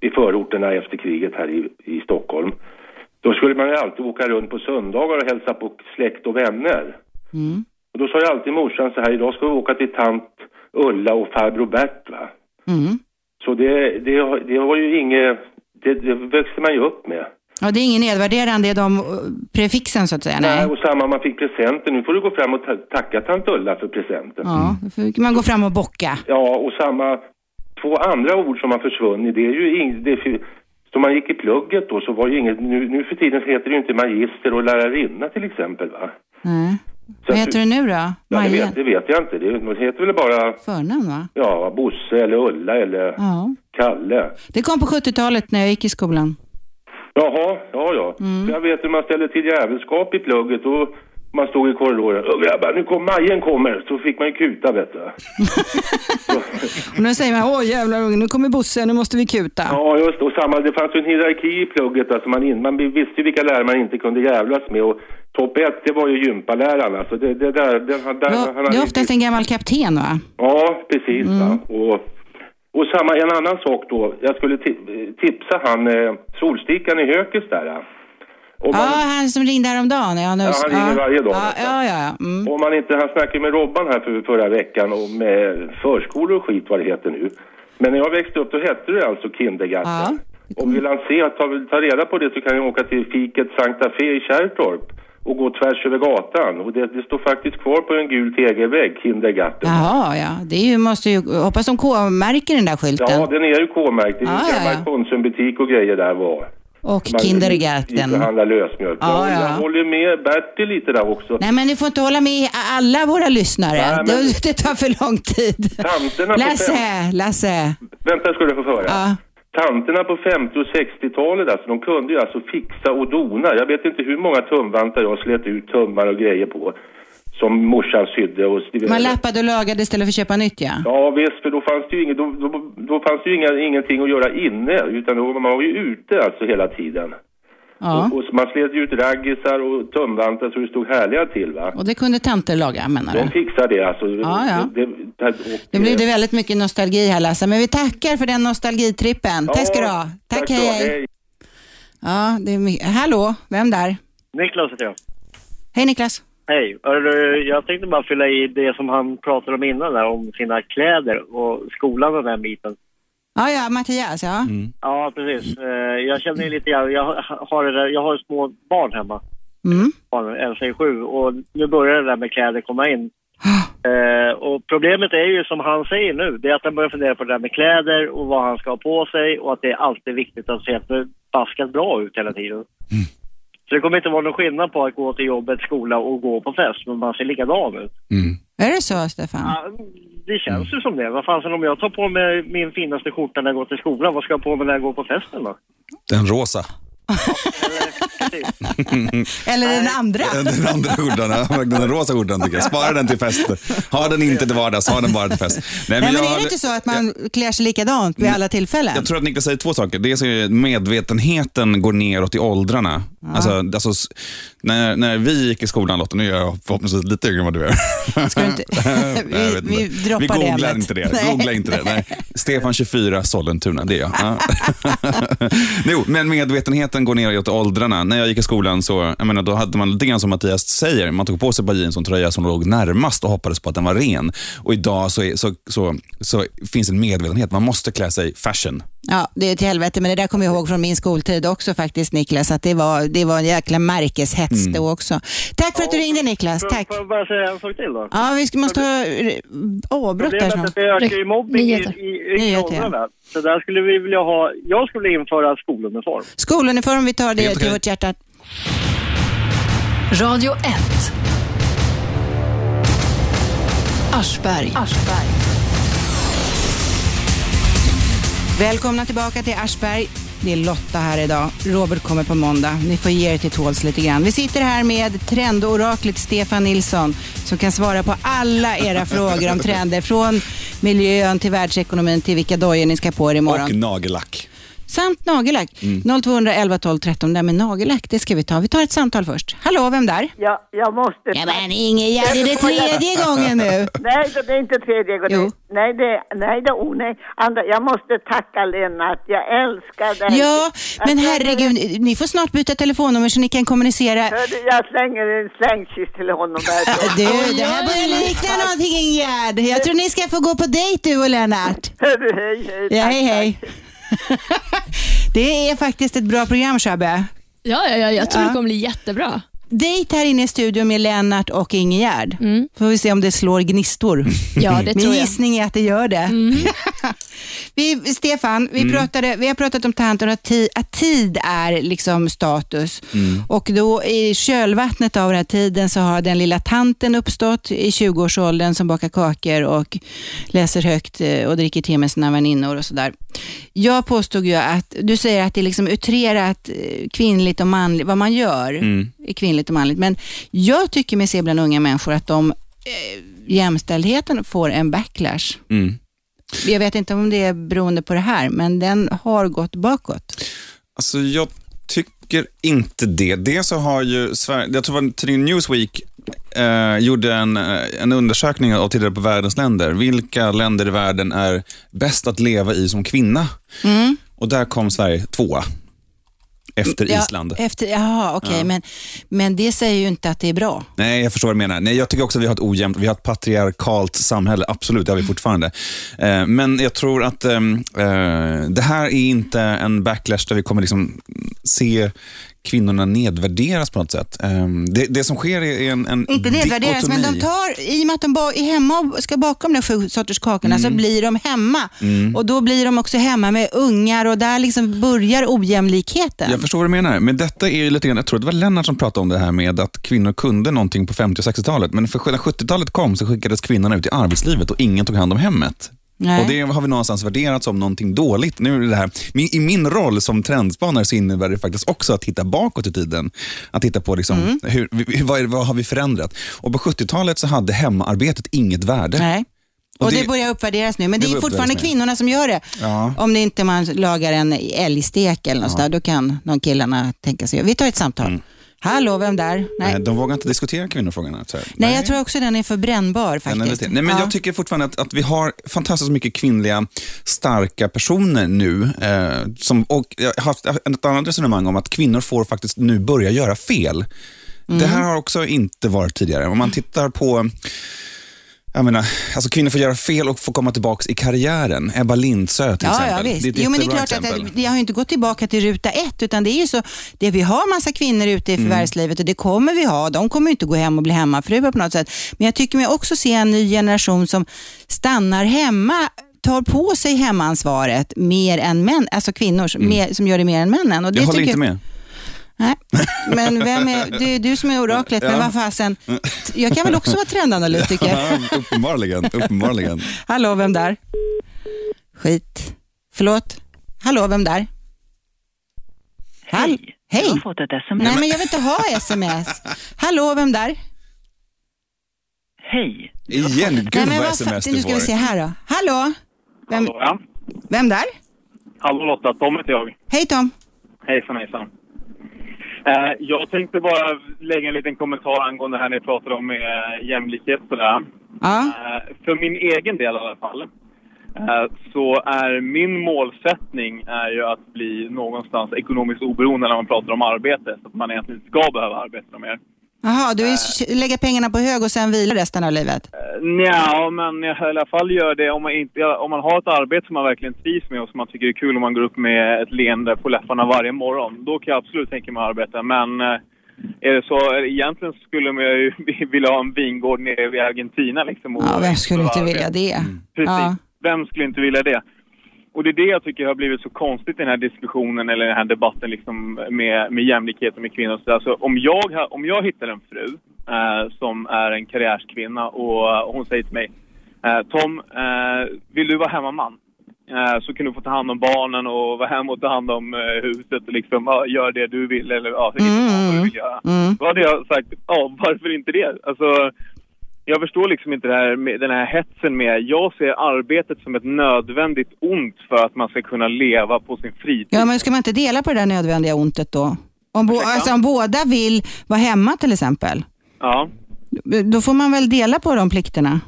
S14: i förorterna efter kriget här i, i Stockholm, då skulle man ju alltid åka runt på söndagar och hälsa på släkt och vänner.
S2: Mm.
S14: Och då sa ju alltid morsan så här, idag ska vi åka till tant Ulla och farbror Bert va?
S2: Mm.
S14: Så det, det, har- det var ju inget, det, det växte man ju upp med.
S2: Ja, det är ingen nedvärderande i de eh, prefixen så att säga. Nej.
S14: och samma man fick presenter. Nu får du gå fram och ta- tacka tant Ulla för presenten.
S2: Ja, då får man gå fram och bocka.
S14: Ja, och samma två andra ord som har försvunnit, det är ju inget... Det, är- som man gick i plugget då så var ju inget... Nu, nu för tiden heter det ju inte magister och lärarinna till exempel va?
S2: Nej. Vad heter du nu då?
S14: Ja, det, vet,
S2: Majen?
S14: det vet jag inte. Det, det heter väl bara
S2: Förnamn va?
S14: ja, Bosse eller Ulla eller
S2: Ja.
S14: Kalle.
S2: Det kom på 70-talet när jag gick i skolan.
S14: Jaha, ja ja.
S2: Mm.
S14: För Jag vet hur man ställde till djävulskap i plugget och man stod i korridoren. "Åh, Grabbar, nu kommer Majen kommer! Så fick man ju kuta vet du.
S2: Och nu säger man, åh jävlar ungen, nu kommer Bosse, nu måste vi kuta.
S14: Ja, just det. och samma, det fanns ju en hierarki i plugget. Alltså man, in, man visste ju vilka lärare man inte kunde jävlas med. Och topp ett, det var ju gympaläraren. Alltså det, det där, det, han- där, han
S2: Ja,
S14: hade
S2: det
S14: ju-
S2: är oftast en gammal kapten va?
S14: Ja, precis. Va?
S2: Mm.
S14: Och, och samma, en annan sak då. Jag skulle ti- tipsa han eh, solstickan i Hökes där. ja. Om
S2: Ja,
S14: man-
S2: han som ringde häromdagen. Ja, nu,
S14: Ja, han ringer varje dag.
S2: Ja, ja, ja. ja. Mm.
S14: Om man inte, han snackade med Robban här för, förra veckan om eh, förskolor och skit vad det heter nu. Men när jag växte upp då hette det alltså kindergarten. Om vill han se, ta, ta reda på det så kan jag åka till fiket Santa Fe i Kärrtorp och gå tvärs över gatan. Och det, det står faktiskt kvar på en gul tegelvägg, kindergarten.
S2: Jaha, ja. Det är ju, måste ju, hoppas de K-märker den där skylten.
S14: Ja, den är ju K-märkt. Det är ju
S2: Ja, ja,
S14: gammal Konsumbutik och grejer där var.
S2: Och
S14: Man
S2: Kindergarten.
S14: gick och handlade lösmjölk.
S2: Ja, ja.
S14: Jag håller med Bertil lite där också.
S2: Nej, men du får inte hålla med alla våra lyssnare.
S14: Nej, men-
S2: Det, det tar för lång tid.
S14: Tanterna på fem-
S2: Lasse, Lasse.
S14: Vänta ska du få höra.
S2: Ja.
S14: Tanterna på 50 och 60-talet alltså, de kunde ju alltså fixa och dona. Jag vet inte hur många tumvantar jag slet ut tummar och grejer på. Som morsan sydde och
S2: Man
S14: stiverade.
S2: lappade och lagade istället för att köpa nytt, ja.
S14: Ja visst, för då fanns det ju, inget, då, då, då fanns det ju inga, ingenting att göra inne. Utan då, man var ju ute alltså hela tiden.
S2: ja.
S14: Och, och man slet ju ut raggisar och tumvantar så det stod härliga till va.
S2: Och det kunde tanter laga, menar
S14: De
S2: du?
S14: fixar det alltså.
S2: Ja, ja.
S14: Det, det, och,
S2: Nu blev det väldigt mycket nostalgi här, Lasse, men vi tackar för den nostalgitrippen. Tack ska du ha. Tack,
S15: tack
S2: hej,
S15: då,
S2: hej.
S15: hej.
S2: Ja, det är mycket. Hallå, vem där?
S15: Niklas heter jag.
S2: Hej Niklas.
S15: Hej. Hörru, Jag tänkte bara fylla i det som han pratade om innan där, om sina kläder och skolan och den här biten.
S2: Ja, ja, Mattias, ja.
S15: Ja, precis. Eh, Jag känner ju lite grann, jag har, det där, jag har små barn hemma.
S2: Mm.
S15: Barn, en säger sju, och nu börjar det där med kläder komma in. Eh, och problemet är ju som han säger nu, det är att han börjar fundera på det där med kläder och vad han ska ha på sig och att det är alltid viktigt att se förbaskat bra ut hela tiden.
S2: Mm.
S15: Så det kommer inte vara någon skillnad på att gå till jobbet, skola och gå på fest, men man ser likadan ut.
S2: Är det så, Stefan?
S15: Ja, det känns
S2: Mm.
S15: ju som det. Vad fasen om jag tar på mig min finaste skjorta när jag går till skolan, vad ska jag ha på mig när jag går på festen då?
S4: Den rosa.
S2: Eller den andra.
S4: Den andra skjortan, ja, den rosa skjortan tycker jag. Spara den till fest. Ha den inte till vardags, ha den bara till fest.
S2: Nej, men, är det inte så att man klär sig likadant vid alla tillfällen?
S4: Jag tror att Niklas säger två saker. Dels är det medvetenheten går neråt i åldrarna. Alltså, alltså, s- när, när vi gick i skolan Lotta, nu är jag förhoppningsvis lite yngre än vad du är.
S2: Ska du inte-
S4: Nej, jag vet
S2: Vi-
S4: inte.
S2: vi droppar
S4: vi
S2: det
S4: googlar
S2: ämnet.
S4: inte det.
S2: Nej.
S4: Googla inte det. Nej. Stefan 24, Sollentuna, det är jag. Ja. jo, men medvetenheten går neråt i åldrarna. När jag gick i skolan så jag menar, då hade man lite grann som Mattias säger, man tog på sig ett par jeans och en tröja som låg närmast och hoppades på att den var ren. Och idag så, är, så, så, så finns en medvetenhet, man måste klä sig fashion.
S2: Ja, det är till helvete, men det där kommer jag ihåg från min skoltid också faktiskt Niklas, att det var, det var en jäkla märkeshets
S15: Mm.
S2: då också. Tack för att du ringde Niklas,
S15: Får-
S2: tack.
S15: Får jag bara säga en sak till då?
S2: Ja, vi ska- måste ha eh, avbrott där
S15: Problemet är att
S2: snart.
S15: det ökar ju mobbing i, i, i
S2: Nyheter, ja.
S15: åldrarna. Så där skulle vi vilja ha, jag skulle införa skoluniform.
S2: Skoluniform, vi tar det
S15: Helt
S2: till
S15: okej.
S2: vårt hjärta.
S1: Radio 1. Aschberg. Aschberg.
S2: Välkomna tillbaka till Aschberg. Det är Lotta här idag. Robert kommer på måndag. Ni får ge er till tåls lite grann. Vi sitter här med trendoraklet Stefan Nilsson som kan svara på alla era frågor om trender från miljön till världsekonomin till vilka dojor ni ska på er imorgon.
S4: Och nagellack.
S2: Samt nagellack.
S4: Mm.
S2: 0211 12 13. Det där med nagellack, det ska vi ta. Vi tar ett samtal först. Hallå, vem där?
S10: Ja, jag måste... Ja,
S2: men Ingegerd, är det tredje gången nu?
S10: Nej, då, det är inte tredje gången. Nej, det, nej, det, oh, nej. Andra, jag måste tacka Lennart. Jag älskar dig.
S2: Ja, men herregud, ni får snart byta telefonnummer så ni kan kommunicera.
S10: Hörde, Jag slänger en slängkyss till honom där.
S2: Du, det här börjar likna någonting Ingegerd. Jag tror ni ska få gå på dejt du och Lennart.
S10: Hörde, hej, hej.
S2: Ja, hej hej. Det är faktiskt ett bra program Shabbe.
S3: Ja, ja, ja, jag tror
S2: Ja.
S3: det kommer bli jättebra.
S2: Dejt här inne i studion med Lennart och Ingegerd. Får vi se om det slår gnistor.
S3: Mm. Ja, det
S2: Min
S3: tror jag.
S2: gissning är att det gör det.
S3: Mm.
S2: vi, Stefan, vi,
S1: Mm.
S2: pratade, vi har pratat om tanten och att, ti, att tid är liksom status.
S1: Mm.
S2: Och då i kölvattnet av den här tiden så har den lilla tanten uppstått i 20-årsåldern som bakar kakor och läser högt eh, och dricker te med sina väninnor och sådär. Jag påstod ju att, du säger att det är liksom utrerat eh, kvinnligt och manligt, vad man gör
S1: Mm.
S2: är kvinnligt och manligt, men jag tycker mig se bland unga människor att de, eh, jämställdheten får en backlash.
S4: Mm.
S2: Jag vet inte om det är beroende på det här, men den har gått bakåt.
S4: Alltså jag tycker inte det. Det så har ju Sverige, jag tror det var tidningen Newsweek eh, gjorde en, eh, en undersökning och tittade på världens länder. Vilka länder i världen är bäst att leva i som kvinna?
S2: Mm.
S4: Och där kom Sverige tvåa. Efter
S2: Ja, eh,
S4: Island.
S2: Efter, jaha, okej,
S4: Ja.
S2: men, men det säger ju inte att det är bra.
S4: Nej, jag förstår vad du menar. Nej, jag tycker också att vi har ett ojämnt, vi har ett patriarkalt samhälle. Absolut, det
S2: Mm.
S4: har vi fortfarande. Eh, men jag tror att ehm, eh, det här är inte en backlash där vi kommer liksom se kvinnorna nedvärderas på något sätt. Ehm, det, det som sker är en, en
S2: Inte nedvärderas, men de
S4: dikotomi.
S2: tar, i och med att de ba, är hemma och ska bakom de sju sorters kakorna så
S4: Mm.
S2: blir de hemma.
S4: Mm.
S2: Och då blir de också hemma med ungar och där liksom börjar ojämlikheten.
S4: Jag förstår vad du menar, men detta är ju lite grann, jag tror det var Lennart som pratade om det här med att kvinnor kunde någonting på 50 och 60-talet, men för när 70-talet kom så skickades kvinnorna ut i arbetslivet och ingen tog hand om hemmet.
S2: Nej.
S4: Och Det har vi någonstans värderat som någonting dåligt. Nu är det här, min, I min roll som trendspanare så innebär det faktiskt också att titta bakåt i tiden. Att titta på liksom,
S2: Mm.
S4: hur, hur, vad, är, det- vad har vi förändrat. Och På 70-talet så hade hemarbetet inget värde.
S2: Nej. Och, det,
S4: det-
S2: börjar uppvärderas nu, men
S4: det
S2: det, är
S4: börjar
S2: fortfarande
S4: uppvärderas nu.
S2: kvinnorna som gör det.
S4: Ja.
S2: Om det inte man lagar en älgstek eller något sådär, då kan någon killarna tänka sig. Vi tar ett samtal.
S4: Mm.
S2: Hallå, vem där? Nej.
S4: Nej. De vågar inte diskutera kvinnofrågan. här, så här.
S2: Nej, jag tror också den är för brännbar
S4: Den är
S2: faktiskt.
S4: lite- Nej, men
S2: Ja.
S4: Jag tycker fortfarande att, att vi har fantastiskt mycket kvinnliga, starka personer nu. Eh, som, och jag har haft ett annat resonemang om att kvinnor får faktiskt nu börja göra
S2: Mm.
S4: fel. Det här har också inte varit tidigare. Om man tittar på Jag menar, alltså kvinnor får göra fel och får komma tillbaka i karriären. Ebba Lindsö till
S2: Ja, ja,
S4: exempel.
S2: visst.
S4: Det är ett
S2: jo, men det är
S4: jättebra
S2: klart att
S4: exempel.
S2: det- det har ju inte gått tillbaka till ruta ett, utan det är ju så, det vi har massa kvinnor ute i
S4: Mm.
S2: förvärvslivet och det kommer vi ha. De kommer ju inte gå hem och bli hemmafruar på något sätt. Men jag tycker mig också se en ny generation som stannar hemma, tar på sig hemmaansvaret mer än män, alltså kvinnor som, mer, som gör det mer än männen. Och det
S4: Mm. jag håller
S2: tycker
S4: inte med.
S2: Nej, men vem är, det är du som är oraklet, men
S4: Ja.
S2: vad fasen, jag kan väl också vara trendanalytiker?
S4: Ja, uppenbarligen. uppenbarligen.
S2: Hallå, vem där? Skit. Förlåt? Hallå, vem där? Hall- Hej! Jag har fått ett sms. Nej, men jag vill inte ha sms. Hallå, vem där?
S16: Hej.
S4: Igen, gud
S2: Nej,
S4: vad
S2: men vad fa-
S4: sms
S2: Nu
S4: du
S2: ska vi se
S4: får.
S2: här då. Hallå? Vem,
S16: Hallå, ja.
S2: vem där?
S16: Hallå Lotta, Tom heter jag.
S2: Hej Tom.
S16: Hejsan hejsan. Eh, jag tänkte bara lägga en liten kommentar angående det här ni pratade om med eh, jämlikhet sådär.
S2: Ja.
S16: Eh, för min egen del i alla fall. eh, Så är min målsättning är ju att bli någonstans ekonomiskt oberoende när man pratar om arbete. Så att man egentligen inte ska behöva arbeta mer.
S2: Jaha, du vill lägga pengarna på hög och sen vila resten av livet?
S16: Nja, men jag i alla fall gör det om man, inte, om man har ett arbete som man verkligen trivs med och som man tycker är kul om man går upp med ett leende på läpparna varje morgon. Då kan jag absolut tänka mig att arbeta. Men eh, är det så, egentligen skulle man ju vilja ha en vingård nere i Argentina liksom. och-
S2: Ja, vem skulle
S16: och
S2: inte
S16: arbeta.
S2: vilja det?
S4: Mm.
S16: Precis.
S2: Ja.
S16: Vem skulle inte vilja det? Och det är det jag tycker har blivit så konstigt i den här diskussionen eller den här debatten liksom med, med jämlikhet och med kvinnor och så där. Så om jag, ha- om jag hittar en fru eh, som är en karriärskvinna och eh, hon säger till mig eh, Tom, eh, vill du vara hemmaman? Eh, så kan du få ta hand om barnen och vara hemma och ta hand om eh, huset och liksom ja, gör det du vill eller ja, hitta på vad du vill göra.
S17: Mm.
S16: Då hade jag sagt, ja varför inte det? Alltså, jag förstår liksom inte det här, med- den här hetsen med, jag ser arbetet som ett nödvändigt ont för att man ska kunna leva på sin fritid.
S2: Ja, men ska man inte dela på det där nödvändiga ontet då? Om, bo, alltså, om båda vill vara hemma till exempel,
S16: Ja.
S2: då får man väl dela på de plikterna?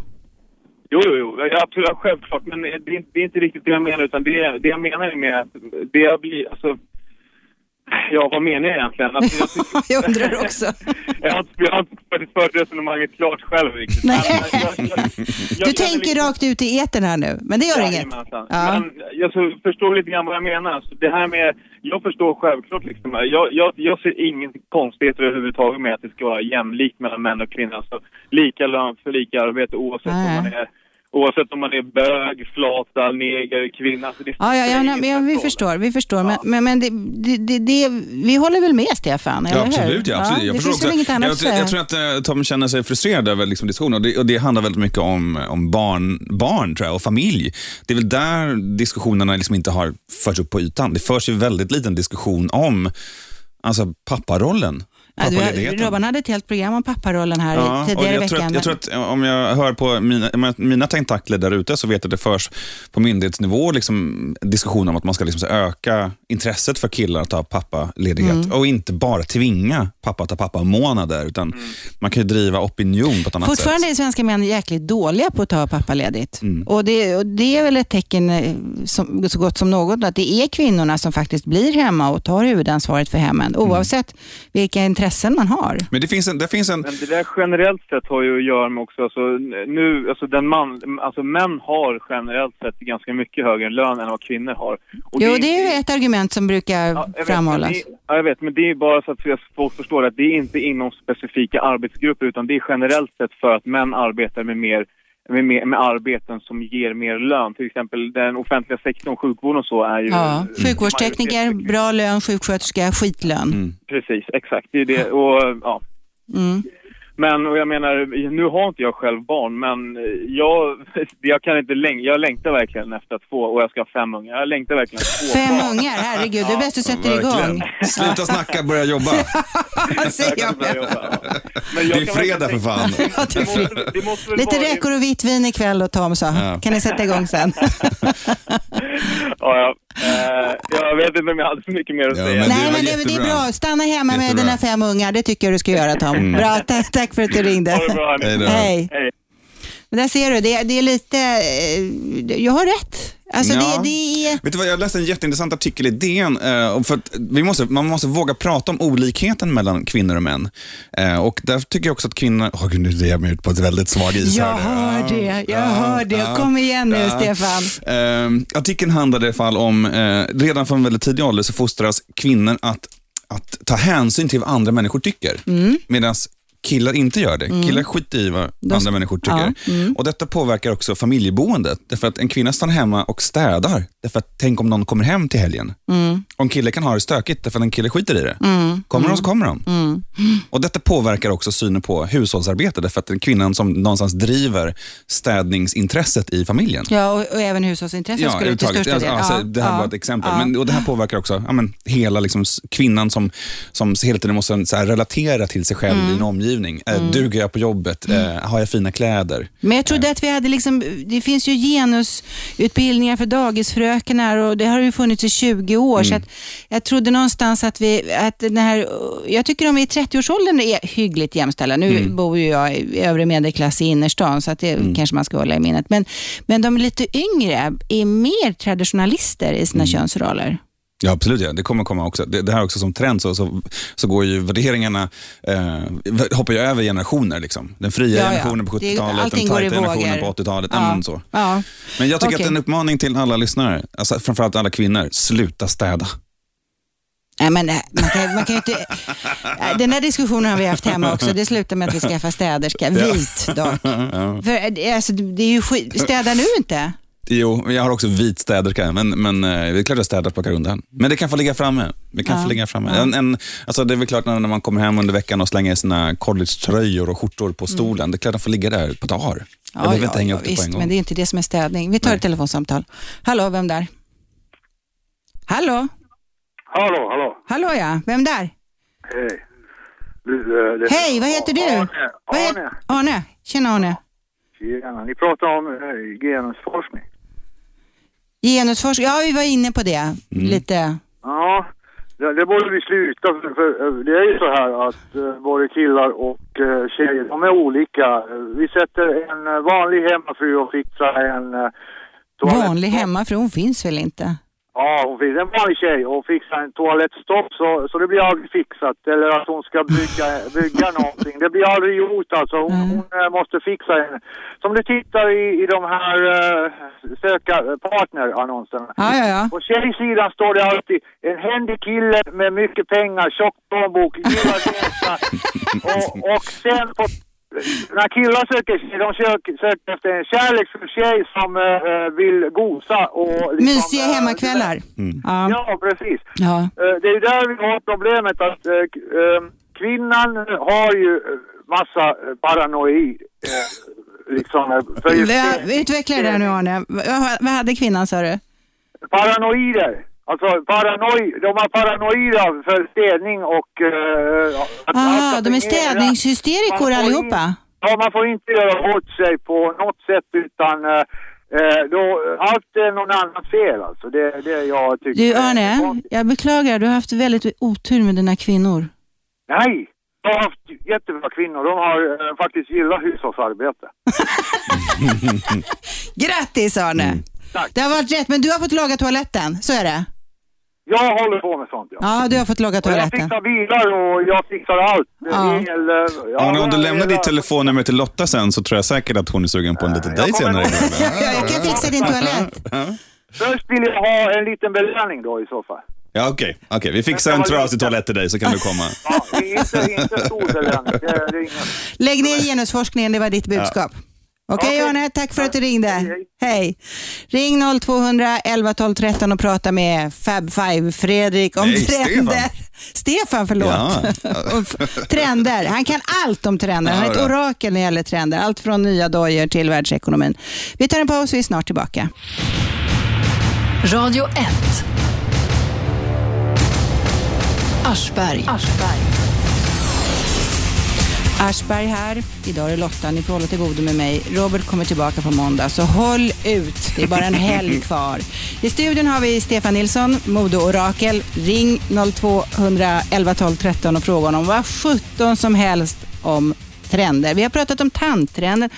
S16: Jo, jo, jo, ja, absolut, ja, självklart, men det är, inte- det är inte riktigt det jag menar, utan det, det jag menar är med att det jag blir, alltså, ja, vad menar jag egentligen? Alltså, jag, tycker,
S2: jag undrar också.
S16: jag har inte, jag har inte fört resonemanget klart själv riktigt.
S2: Nej.
S16: Men jag- jag-
S2: Du tänker rakt ut i etern här nu, men det gör inget.
S16: Jajamensan.
S2: Ja.
S16: Men jag så förstår lite grann vad jag menar. Så det här med, jag förstår självklart liksom, jag, jag, jag ser ingen konstigheter överhuvudtaget med att det ska vara jämlikt mellan män och kvinnor. Alltså lika lön för lika arbete oavsett om man är Oavsett om man är bög, flata, neger, kvinna. Alltså det
S2: Ja, ja, ja, nej, men ja, vi förstår. Vi, förstår. Men, men, men det, det, det, det, vi håller väl med Stefan? eller
S4: Ja,
S2: hur?
S4: absolut, ja, absolut.
S2: Ja,
S4: jag
S2: det
S4: förstår
S2: finns väl
S4: också.
S2: inget annat
S4: jag,
S2: att
S4: tror-
S2: säga.
S4: jag tror att eh, Tom känner sig frustrerad över liksom, diskussionen och det, och det handlar väldigt mycket om, om barn, barn tror jag, och familj. Det är väl där diskussionerna liksom inte har förts upp på ytan. Det förs ju väldigt liten diskussion om alltså, papparollen.
S2: Ja, du,
S4: Pappaledigheten.
S2: Robban hade ett helt program om papparollen här
S4: Ja, och
S2: tidigare i
S4: jag,
S2: veckan.
S4: tror att, jag tror att eh, om jag hör på mina, om jag- mina tentakler där ute så vet jag att det förs på myndighetsnivå liksom, diskussion om att man ska liksom, så här öka intresset för killar att ta pappaledighet
S2: Mm.
S4: och inte bara tvinga pappa att ta pappamånader utan man kan ju driva opinion på ett annat sätt. Mm.
S2: Fortfarande är svenska män jäkligt dåliga på att ta pappaledigt. Och, det, och det är väl ett tecken eh, som, så gott som något att det är kvinnorna som faktiskt blir hemma och tar huvudansvaret för hemmen
S4: Mm.
S2: oavsett vilka intressen man har.
S4: Men det finns en... Det finns en...
S16: Men det där generellt sett har ju att göra med också, alltså, nu, alltså, den man, alltså män har generellt sett ganska mycket högre lön än vad kvinnor har. Och
S2: jo,
S16: är
S2: det är ju ett argument som brukar
S16: jag vet,
S2: framhållas.
S16: men det- Ja, jag vet, men det är bara så att jag- folk förstår att det är inte inom specifika arbetsgrupper utan det är generellt sett för att män arbetar med mer med, med, med arbeten som ger mer lön. Till exempel den offentliga sektorn, sjukvården och så är ju...
S2: Ja, sjukvårdstekniker, bra lön, sjuksköterska, skitlön.
S4: Mm.
S16: Precis, exakt. Det är det. Och, ja.
S2: Mm.
S16: Men och jag menar, nu har inte jag själv barn, men eh, jag, jag kan inte läng- jag längtar verkligen efter att få, och jag ska ha fem ungar, jag längtar verkligen efter att få
S2: Fem
S16: barn.
S2: ungar, herregud, det är
S16: Ja,
S2: bäst du sätter igång. Alltså,
S4: Sluta snacka, börja jobba.
S16: Men jag
S4: det är
S16: kan
S4: fredag för
S16: verkligen
S4: fan.
S16: tänka- Det måste- det måste väl
S2: Lite
S16: vara-
S2: räkor och vitt vin ikväll och Tom sa.
S4: Ja.
S2: Kan ni sätta igång sen?
S16: Ja, ja. Eh, jag vet inte om jag hade så mycket mer att säga.
S2: Nej, men det, det är bra. Stanna hemma med
S16: Jättebra.
S2: dina fem ungar. Det tycker jag du ska göra Tom.
S16: Mm.
S2: Bra, ta- tack för att du ringde.
S16: Ha det bra, hörni.
S2: Hej. Men där ser du, det, det är lite... eh, Jag har rätt. Alltså
S4: Ja.
S2: det, det är...
S4: Vet du vad, jag läste en jätteintressant artikel i DN. eh, om- för att vi måste, man måste våga prata om olikheten mellan kvinnor och män. Eh, och där tycker jag också att kvinnor... Åh gud, nu drev jag mig ut på ett väldigt svag is.
S2: Jag
S4: här nu.
S2: hör
S4: Ja,
S2: det, jag
S4: ja,
S2: hör det.
S4: ja,
S2: Kom igen nu, Stefan.
S4: Eh, artikeln handlade i alla fall om, eh, redan från väldigt tidig ålder så fostras kvinnor att, att ta hänsyn till vad andra människor tycker.
S2: Mm.
S4: Medan killar inte gör det.
S2: Mm.
S4: Killar skiter i vad
S2: De-
S4: andra människor tycker.
S2: Ja, mm.
S4: Och Detta påverkar också familjeboendet. Därför att en kvinna stannar hemma och städar. Därför att tänk om någon kommer hem till helgen.
S2: Mm.
S4: Om killen kan ha det stökigt därför att en kille skiter i det.
S2: Mm.
S4: Kommer
S2: mm.
S4: de så kommer de.
S2: Mm.
S4: Och Detta påverkar också synen på hushållsarbete. Därför att det är kvinnan som någonstans driver städningsintresset i familjen.
S2: Ja, och, och även hushållsintressen skulle ut till
S4: överhuvudtaget.
S2: största delen.
S4: Alltså,
S2: Ja,
S4: det här
S2: ja,
S4: var ett exempel.
S2: ja.
S4: Men, och det här påverkar också ja, men, hela liksom, s- kvinnan som, som hela tiden måste så här, relatera till sig själv
S2: Mm.
S4: i en omgivning. Eh,
S2: Mm.
S4: Duger jag på jobbet? Eh, har jag fina kläder?
S2: Men jag trodde att vi hade liksom, det finns ju genusutbildningar för dagisfrökenar och det har ju funnits i 20 år.
S4: Mm.
S2: Så att jag trodde någonstans att vi, att den här, jag tycker de i 30-årsåldern är hyggligt jämställda. Nu
S1: Mm.
S2: bor ju jag i övre medelklass i innerstan så att det
S4: Mm.
S2: kanske man ska hålla i minnet. Men, men de lite yngre är mer traditionalister i
S4: Mm.
S2: sina könsroller.
S4: Ja, absolut. Ja. Det kommer komma också. Det, det här också som trend så, så, så går ju värderingarna, eh, hoppar ju över generationer. Liksom. Den fria
S2: Ja, ja.
S4: generationen på
S2: Det är-
S4: 70-talet, den
S2: allting går i
S4: tajta generationen
S2: vågor.
S4: på 80-talet.
S2: Ja.
S4: Ja. men så.
S2: Ja.
S4: Men jag tycker att
S2: Okej.
S4: det är en uppmaning till alla lyssnare, alltså, framförallt alla kvinnor, sluta städa.
S2: Nej, men eh, man kan, man kan ju inte, eh, den där diskussionen har vi haft hemma också. Det slutar med att vi skaffar städerska. Vit dock.
S4: Ja.
S2: För, eh, det- alltså, det är ju skit. Städa nu inte.
S4: Jo, men jag har också vit städerska, men, men eh, det är klart jag städar och plockar undan. Men det kan få ligga framme. Det kan
S2: Ja.
S4: få ligga framme. En, en, alltså det är väl klart när, när man kommer hem under veckan och slänger sina collegetröjor och skjortor
S2: Mm.
S4: på stolen. Det är klart de får ligga där på dagar. Jag behöver inte hänga upp det på
S2: visst,
S4: en
S2: men
S4: gång.
S2: det är inte det som är städning. Vi tar ett telefonsamtal. Hallå, vem där? Hallå?
S17: Hallå, hallå.
S2: Hallå ja, vem där?
S17: Hej. Du, eh, det-
S2: Hej, vad heter du?
S17: Arne.
S2: Vad het-
S17: Arne.
S2: Arne. Tjena Arne.
S17: Tjena. Ni pratar om eh, genusforskning.
S2: Genusforskning, ja vi var inne på det
S4: Mm.
S2: lite.
S17: Ja, det, det borde vi sluta för, för eh, det är ju så här att eh, både killar och eh, tjejer, de är olika. Eh, Vi sätter en eh, vanlig hemmafru och fixar en, eh,
S2: Vanlig hemmafru, hon finns väl inte?
S17: ja hon finns en vanlig tjej och fixar en toalettstopp så, så det blir aldrig fixat. Eller att hon ska bygga, bygga någonting, det blir aldrig gjort alltså. Hon, hon eh, måste fixa en. Som du tittar i, i de här eh, söka partner-annonserna.
S2: Ja, ja, ja.
S17: På tjejsidan står det alltid en händig kille med mycket pengar, tjock plånbok, gillar resa. och, och sen på, när killar söker tjej, de söker, söker efter en kärleksfull tjej som eh, vill gosa och... Liksom,
S2: Mysiga
S17: eh,
S2: hemmakvällar.
S4: Mm.
S2: Ja.
S17: Ja, precis.
S2: Ja.
S17: Eh, Det är ju där vi har problemet att eh, k- eh, kvinnan har ju eh, massa eh, paranoid. eh, Liksom, eh, för just,
S2: Vä- Utveckla det där nu Arne. V- vad- Vad hade kvinnan sa du?
S17: paranoider. Alltså paranoi, de har paranoida för städning och... eh, att allt
S2: Ah,
S17: ska
S2: de är
S17: fungera. Man
S2: städningshysterikor
S17: får
S2: allihopa.
S17: Ja, man får inte göra bort sig på något sätt utan eh, eh, då, allt är någon annans fel alltså. Det är det jag tycker.
S2: Du Arne, jag beklagar, du har haft väldigt otur med dina kvinnor.
S17: Nej! Jag har haft jättebra kvinnor. De har eh, faktiskt gillat hushållsarbete.
S2: Grattis Arne!
S17: Mm.
S2: Det har varit rätt, men du har fått laga toaletten, så är det.
S17: Jag håller på med sånt ja.
S2: Ja, du har fått laga
S17: Och jag
S2: toaletten.
S17: fixar bilar och jag fixar allt.
S2: Ja.
S17: El, eh, ja,
S4: Arne, om du lämnar
S17: hela-
S4: ditt telefonnummer till Lotta sen så tror jag säkert att hon är sugen på en liten dejt senare ikväll.
S2: Jag kan fixa din toalett.
S17: Först vill jag ha en liten belöning då i så fall.
S4: Ja, okej. Okay. vi fixar en trasig toalett till dig så kan du komma.
S17: Det är inte, inte stor belöning. Det är, det är inga...
S2: Lägg ner genusforskningen, det var ditt budskap. Okej Arne, tack för att du ringde. Hej. Ring 0200 11 12 13 och prata med Fab Five, Fredrik, om
S1: Nej,
S2: trender.
S1: Stefan.
S2: Stefan, förlåt.
S1: Ja.
S2: Om trender. Han kan allt om trender. Han är ett
S1: Ja, ja.
S2: orakel när det gäller trender. Allt från nya dojor till världsekonomin. Vi tar en paus, vi är snart tillbaka.
S1: Radio 1. Aschberg.
S2: Aschberg här. Idag är Lotta, ni får hålla till godo med mig. Robert kommer tillbaka på måndag, så håll ut. Det är bara en helg kvar. I studion har vi Stefan Nilsson, modeorakel. Ring 0200 11 12 13 och fråga honom vad sjutton som helst om trender. Vi har pratat om tandtrenden.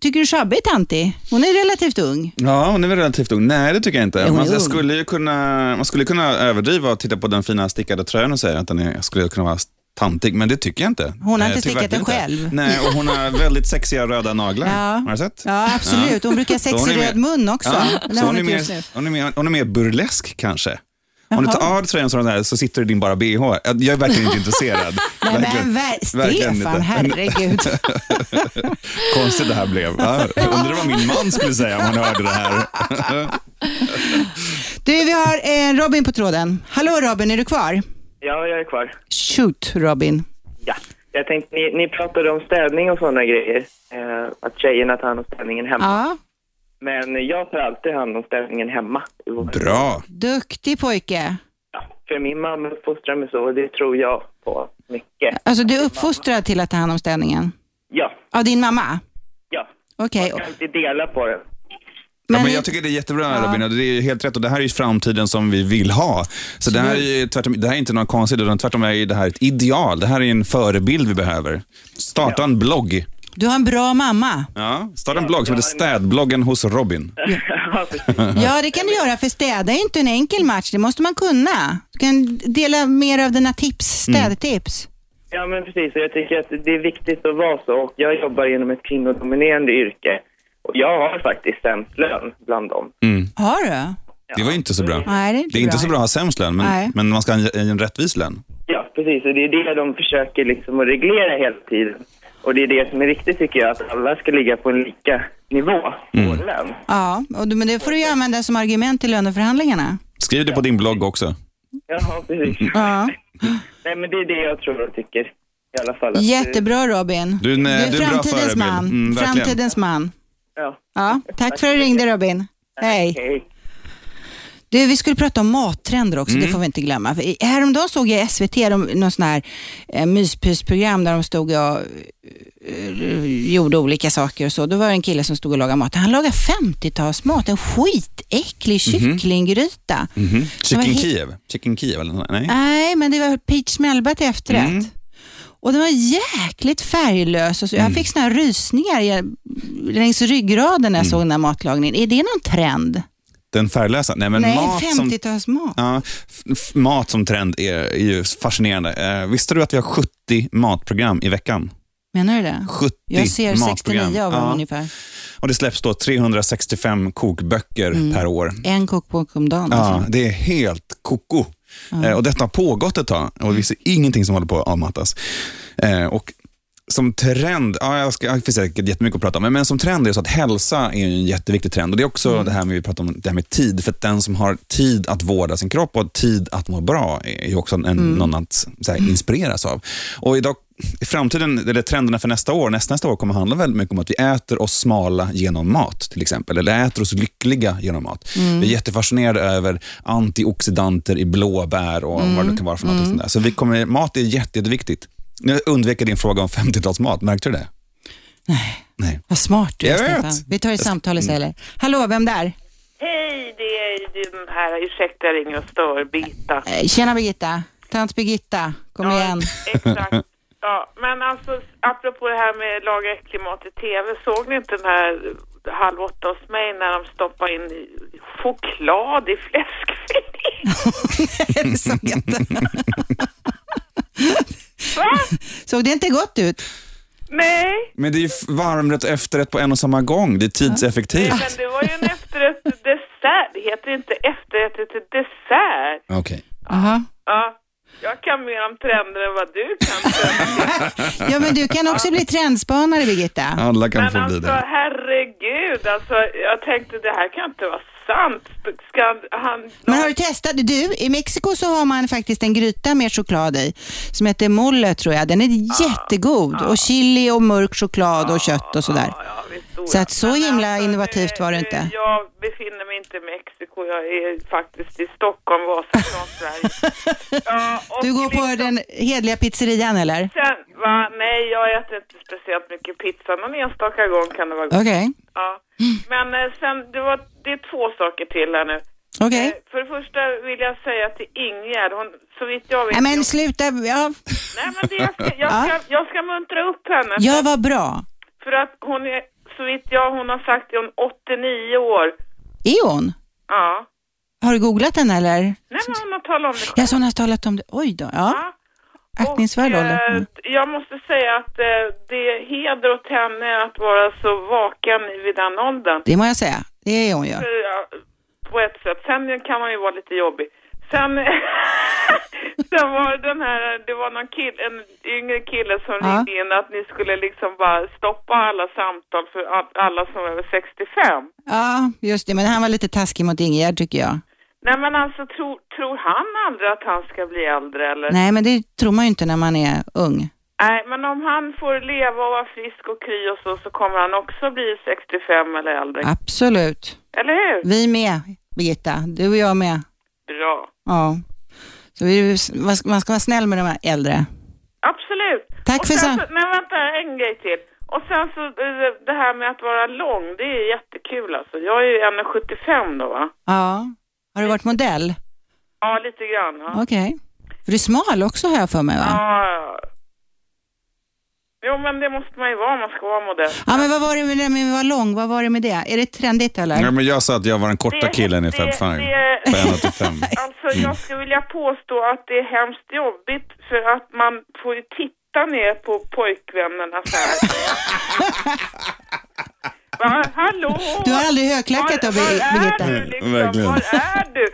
S2: tycker du Shabbe är tantig? Hon är relativt ung.
S4: Ja, hon är väl relativt ung. Nej, det tycker jag inte.
S2: Jo, hon är
S4: man, jag
S2: ung.
S4: skulle ju kunna, man skulle kunna överdriva och titta på den fina stickade tröjan och säga att den är, jag skulle kunna vara tantig, men det tycker jag inte.
S2: Hon har
S4: Nej,
S2: inte
S4: jag tycker
S2: stickat den
S4: verkligen inte.
S2: själv.
S4: Nej, och hon har väldigt sexiga röda naglar.
S2: Ja.
S4: Har du sett?
S2: Ja, absolut. Hon brukar ha
S4: Så hon
S2: sexig
S4: är mer-
S2: röd mun också.
S4: Ja,
S2: Det har
S4: så hon,
S2: hon
S4: är
S2: inte just nu.
S4: mer, hon, är mer, hon är mer burlesk kanske. Om du
S2: Jaha.
S4: tar av dig tröjan så, har den här, så sitter du i din bara bh. Jag är verkligen inte intresserad.
S2: Nej, men
S4: Verkligen-
S2: ver-
S4: verkligen inte.
S2: Stefan, herregud.
S4: Konstigt det här blev. Ja, undrar vad min man skulle säga om han hörde det här.
S2: Du, vi har eh, Robin på tråden. Hallå Robin, är du kvar?
S18: Ja, jag är kvar.
S2: Shoot Robin.
S18: Ja. Jag tänkte, ni, ni pratade om städning och sådana grejer. Eh, att tjejerna tar hand om städningen hemma.
S2: Ja,
S18: Men jag tar alltid hand om städningen hemma. i vår-
S4: Bra.
S2: duktig pojke.
S18: För min mamma uppfostrar mig så och det tror jag på mycket.
S2: Alltså du är uppfostrad till att ta hand om städningen?
S18: Ja,
S2: Av din mamma?
S18: ja.
S2: Okej.
S18: Man kan alltid dela på det.
S4: Ja, men jag tycker det är jättebra Robin och det är ju helt rätt och det här är ju framtiden som vi vill ha. Så det här är ju tvärtom, det här är inte något konstigt utan tvärtom är ju det här ett ideal. Det här är en förebild vi behöver. Starta en blogg.
S2: Du har en bra mamma.
S4: Ja, starta en blogg som heter Städbloggen hos Robin. Uh-huh.
S2: Ja, det kan du göra, för städa är inte en enkel match. Det måste man kunna. Du kan dela mer av dina tips, städtips.
S18: Ja, men precis. Och Jag tycker att det är viktigt att vara så. Och jag jobbar inom ett kvinnodominerande yrke. Och jag har faktiskt sämst lön bland dem.
S2: Har du?
S4: Mm. Det var ju inte så bra.
S2: Nej, det är inte
S4: det är inte
S2: bra.
S4: så bra att ha sämst lön,
S2: Nej.
S4: men, men man ska ha en, en rättvis lön.
S18: Ja, precis. Och det är det de försöker liksom att reglera hela tiden. Och det är det som är viktigt tycker jag, att alla ska ligga på en lika nivå på lön.
S2: Ja, och du, men det får du ju använda som argument i löneförhandlingarna.
S4: Skriv det på din blogg också.
S18: Ja, precis.
S2: Ja.
S18: Nej, men det är det jag tror och tycker i alla fall. Att-
S2: Jättebra Robin.
S4: Du är en- eh, du är en bra
S2: framtidens
S4: förebild.
S2: man.
S4: Mm, verkligen.
S2: framtidens man.
S18: Ja.
S2: tack för att du ringde Robin. Hej. Du, vi skulle prata om mattrender också, det
S1: Mm.
S2: får vi inte glömma. För i- Häromdagen såg jag i SVT de, någon sån här eh, myspysprogram där de stod och eh, gjorde olika saker och så. Då var det en kille som stod och lagade mat. Han lagade 50-talsmat, en skitäcklig
S4: Mhm.
S2: kycklinggryta.
S4: Mhm.
S2: Som är
S4: Chicken
S2: he-
S4: Kiev? Chicken Kiev eller nåt? Nej.
S2: Nej, men det var peach smälba till efterrätt.
S4: Mm.
S2: Och den var jäkligt färglös. Och så.
S4: Mm.
S2: Jag fick såna här rysningar i- längs ryggraden
S4: Mm.
S2: när jag såg den här matlagningen. Är det någon trend?
S4: Den färglösa? Nej, men
S2: Nej,
S4: mat som...
S2: 50-talsmat.
S4: Ja, f- f- mat som trend är, är ju fascinerande. Eh, visste du att vi har 70 matprogram i veckan?
S2: Menar du det?
S4: 70
S2: Jag ser 69
S4: matprogram.
S2: av dem
S4: Ja.
S2: ungefär.
S4: Och det släpps då 365 kokböcker
S2: Mm.
S4: per år.
S2: En kokbok om dagen.
S4: Ja,
S2: alltså.
S4: det är helt koko.
S2: Ja.
S4: Eh, och detta har pågått ett tag och vi ser ingenting som håller på att avmattas. Eh, och som trend, ja, jag ska, det finns säkert jättemycket att prata om, men, men som trend är det så att hälsa är ju en jätteviktig trend. Och Det är också
S2: Mm.
S4: det här med vi pratar om, det här med tid. För att den som har tid att vårda sin kropp och tid att må bra är ju också en,
S2: Mm.
S4: någon att så här, inspireras av. Och idag, i framtiden, eller trenderna för nästa år, nästa, nästa år kommer handla väldigt mycket om att vi äter oss smala genom mat till exempel. Eller äter oss lyckliga genom mat.
S19: Mm.
S4: Vi är jättefascinerade över antioxidanter i blåbär och
S19: Mm.
S4: vad det kan vara för något.
S19: Mm.
S4: Sånt där. Så vi kommer, mat är jätte, jätteviktigt. Nu undvek jag din fråga om 50-talsmat, märkte du det?
S2: Vad smart du är,
S4: Jag Mm. vet.
S2: Stefan. Vi tar ett samtal istället. Hallå, vem där?
S7: Hej, det är ju den här, ursäkta jag ringer och stör, Birgitta.
S2: Eh, Tjena Birgitta. Tant Birgitta, kom igen.
S7: Exakt. Ja, men alltså apropå det här med laga äcklig mat i TV, såg ni inte den här Halv åtta hos mig när de stoppade in choklad i fläskfilé?
S2: det såg jag inte. Såg det inte gott ut?
S7: Nej,
S4: Men det är ju f- varmrätt och efterrätt på en och samma gång. Det är
S7: nej,
S4: tidseffektivt.
S7: men det var ju en efterrätt till dessert. Det heter inte efterrätt till dessert.
S4: Okej.
S2: Aha.
S7: Ja, jag kan mer om trender än vad du kan.
S2: Ja, men du kan också bli trendspanare Birgitta.
S4: Alla kan
S7: Men
S4: få bli
S7: alltså
S4: det.
S7: herregud, alltså jag tänkte det här kan inte vara sant. Ska han...
S2: Men har du testat? Du, i Mexiko så har man faktiskt en gryta med choklad i som heter mole tror jag. Den är
S7: Ah.
S2: jättegod och chili och mörk choklad och kött och sådär. Så att så himla
S7: alltså,
S2: innovativt var det inte.
S7: Jag befinner mig inte i Mexiko, jag är faktiskt i Stockholm, Vasastan, Sverige. Ja, och liksom-
S2: Du går på den hedliga pizzerian eller?
S7: sen, va? Nej, jag äter inte speciellt mycket pizza. Någon enstaka gång kan det vara gott.
S2: Okej.
S7: Ja. Men eh, sen, det, var, det är två saker till här nu.
S2: Okej.
S7: Eh, För det första vill jag säga till Ingegärd, hon, så vitt jag vet...
S2: Nej men sluta. Ja,
S7: Nej, men det, jag, ska, jag, ska, jag ska muntra upp henne.
S2: ja vad bra.
S7: För att hon är så vitt jag hon har sagt är hon 89 år.
S2: Är hon?
S7: Ja.
S2: Har du googlat henne eller?
S7: Nej, men hon har talat om det själv.
S2: Ja, så hon har talat om det. Oj då. Ja. Aktningsvärd ålder.
S7: Eh,
S2: Mm.
S7: Jag måste säga att eh, det är heder åt henne att vara så vaken vid den åldern.
S2: Det må jag säga. Det är hon ju.
S7: För, ja, På ett sätt. Sen kan man ju vara lite jobbig. Sen, sen var det den här, det var någon kille, en yngre kille som
S2: Ja.
S7: ringde in att ni skulle liksom bara stoppa alla samtal för a- alla som är över 65.
S2: Ja, just det. Men han var lite taskig mot Ingegerd tycker jag.
S7: Nej men alltså tror, tror han aldrig att han ska bli äldre eller?
S2: Nej, men det tror man ju inte när man är ung.
S7: Nej, men om han får leva och vara frisk och kry och så, så kommer han också bli 65 eller äldre.
S2: Absolut.
S7: Eller hur?
S2: Vi med, Birgitta. Du och jag med.
S7: Bra.
S2: Ja. Så vi, man ska- man ska vara snäll med de här äldre.
S7: Absolut.
S2: Tack
S7: och
S2: för
S7: sen
S2: sam-
S7: så, Men vänta, en grej till. Och sen så eh, det här med att vara lång, det är jättekul alltså. Jag är ju 1,75 då va?
S2: Ja. Har du varit modell?
S7: Ja, lite grann. Ja.
S2: Okej. För du är smal också har jag för mig va?
S7: Ja, ja. Jo, men det måste man ju vara om man ska vara modell.
S2: Ja, men vad var det med det med att vara lång? Vad var det med det? Är det trendigt eller?
S4: Ja, men jag sa att jag var den korta
S7: Det-
S4: killen i
S7: det-
S4: Fab Five.
S7: det-
S4: På 1,85.
S7: Alltså
S4: Mm.
S7: jag skulle vilja påstå att det är hemskt jobbigt för att man får ju titta ner på pojkvännerna så här. Va, hallå?
S2: Du har aldrig högklackat då, Bir- Birgitta?
S7: Var är du liksom? Var är du?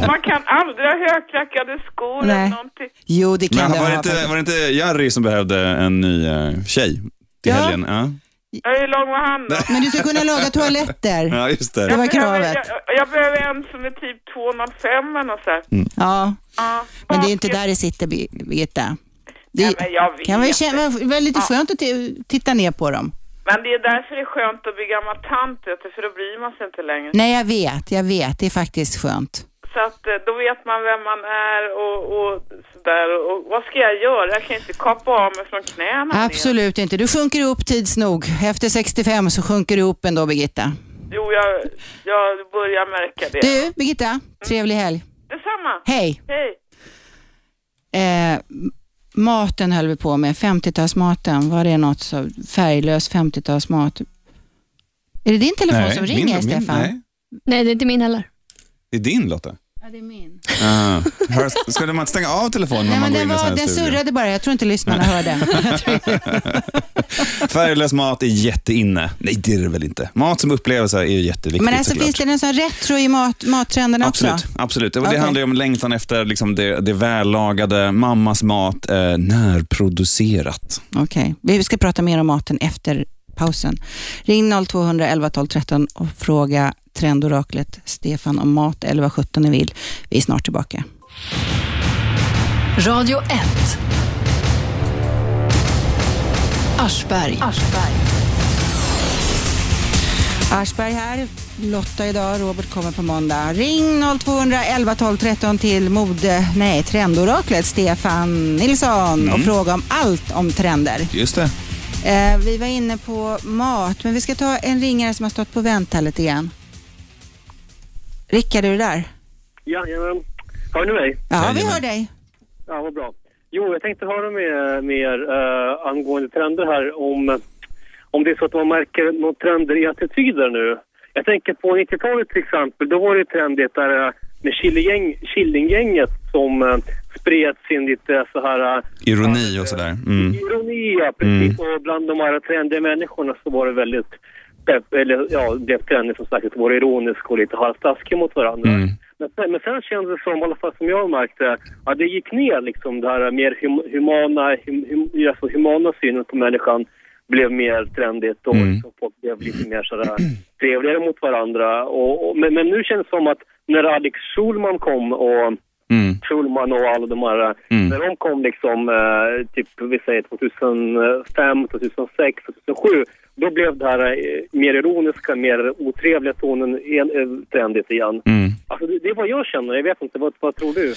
S7: Och man kan aldrig ha högklackade skor eller
S2: Nej.
S7: någonting.
S2: Jo, det kan
S4: Men
S2: det
S4: var det,
S2: vara.
S4: inte, var det inte Jerry som behövde en ny eh, tjej till helgen? Ja.
S7: Ja, Hur lång var han då?
S2: Men du ska kunna laga toaletter.
S4: Ja, just det.
S2: Det var
S7: Jag,
S2: kravet.
S7: jag, jag behöver en som är typ 205 eller något så här.
S2: Mm. Ja.
S7: Ja.
S2: Men det är inte där det sitter, Bir- Birgitta. Det
S7: Ja, men jag vet
S2: kan vara, känna,
S7: det.
S2: vara lite
S7: Ja.
S2: skönt att t- titta ner på dem.
S7: Men det är därför det är skönt att bli gammal tant, vet du, för då bryr man sig inte längre.
S2: Nej, jag vet. Jag vet. Det är faktiskt skönt.
S7: Så att eh, då vet man vem man är och, och sådär. Och, och vad ska jag göra? Jag kan inte kapa av mig från knäna.
S2: Absolut inte. Du sjunker ihop tids nog. Efter 65 så sjunker du ihop ändå, Birgitta.
S7: Jo, jag, jag börjar märka det.
S2: Du, Birgitta. Trevlig helg.
S7: Detsamma.
S2: Hej.
S7: Hej.
S2: Eh, maten höll vi på med, 50-talsmaten. Var det något så färglös 50-talsmat? Är det din telefon
S4: Nej,
S2: som
S4: min-
S2: ringer,
S4: min-
S2: Stefan?
S4: nej.
S3: Nej, det är inte min heller.
S4: Det är din Lotta?
S2: Ja, det är min.
S4: Ah. Hör- Ska man inte stänga av telefonen när
S2: Nej,
S4: man
S2: men
S4: går in i en sån
S2: den, var,
S4: här
S2: den
S4: studio?
S2: surrade bara. Jag tror inte lyssnarna hörde.
S4: Färglös mat är jätteinne. Nej, det är det väl inte. Mat som upplevelse är ju jätteviktigt
S2: men alltså,
S4: såklart.
S2: finns det någon sån retro i mat, mattrenderna
S4: Absolut,
S2: också?
S4: absolut. Och Det
S2: Okej.
S4: handlar ju om längtan efter liksom det, det vällagade, mammas mat, eh, närproducerat.
S2: Okej, vi ska prata mer om maten efter pausen. Ring 0200 11 12 13 och fråga trendoraklet Stefan om mat eller vad sjutton ni vill. Vi är snart tillbaka.
S1: Radio 1. Aschberg.
S2: Aschberg här, Lotta idag, Robert kommer på måndag. Ring 0200 11 12 13 till mode, nej, trendoraklet Stefan Nilsson och
S4: Mm.
S2: fråga om allt om trender.
S4: Just det.
S2: Eh, vi var inne på mat, men vi ska ta en ringare som har stått på vänt här lite grann. Rickard, är du där?
S19: Jajamän. Hör ni mig?
S2: Ja, vi hör dig.
S19: Ja, vad bra. Jo, jag tänkte höra med, med er eh, angående trender här om, om det är så att man märker några trender i attityder nu. Jag tänker på 90-talet till exempel, då var det trendigt där eh, med Killinggäng- Killinggänget som uh, spred sin lite så här eh,
S4: Ironi och sådär. Mm.
S19: ironi, ja, precis. Och bland de här trendiga människorna så var det väldigt pepp, eller ja, det trendigt som sagt att vara ironisk och lite halvtaskig mot varandra. Men sen, men sen kändes det som, i alla fall som jag märkte, att det gick ner liksom det här mer hum, humana, hum, hum, alltså humana synen på människan blev mer trendigt och liksom folk blev lite mer sådär trevligare mot varandra. Och, och, men, men nu känns det som att när Alex Schulman kom och Schulman och alla de här, när de kom liksom eh, typ vi säger 2005, 2006, 2007, då blev det här eh, mer ironiska, mer otrevliga tonen en, eh, trendigt igen.
S4: Mm.
S19: Alltså det, det är vad jag känner, jag vet inte, vad, vad tror du?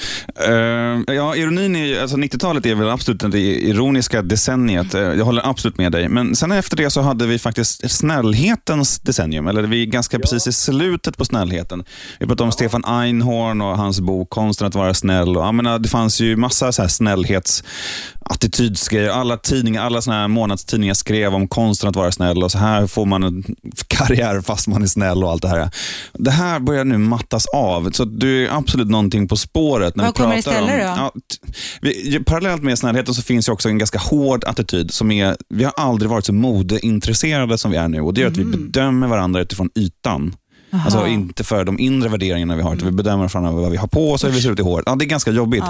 S4: Eh, ja, ironin är ju, alltså 90-talet är väl absolut det ironiska decenniet. Eh, jag håller absolut med dig. Men sen efter det så hade vi faktiskt snällhetens decennium. Eller vi är ganska precis i slutet på snällheten. Vi pratade om Stefan eh, Einhorn och hans bok Konsten att vara snäll. Och, jag menar, det fanns ju massa så här snällhets attitydsgrejer. Alla tidningar, alla såna här månadstidningar skrev om konsten att vara snäll och så här får man en karriär fast man är snäll och allt det här. Det här börjar nu mattas av, så att du är absolut någonting på spåret. När
S2: Vad
S4: vi
S2: kommer
S4: pratar
S2: istället
S4: om,
S2: då?
S4: Ja, t- vi, ju- parallellt med snällheten så finns ju också en ganska hård attityd. som är, Vi har aldrig varit så modeintresserade som vi är nu och det gör att vi bedömer varandra utifrån ytan.
S2: Mm. Aha.
S4: Alltså inte för de inre värderingarna vi har, utan vi bedömer framöver vad vi har på oss och hur vi ser ut i håret. Ja, det är ganska jobbigt.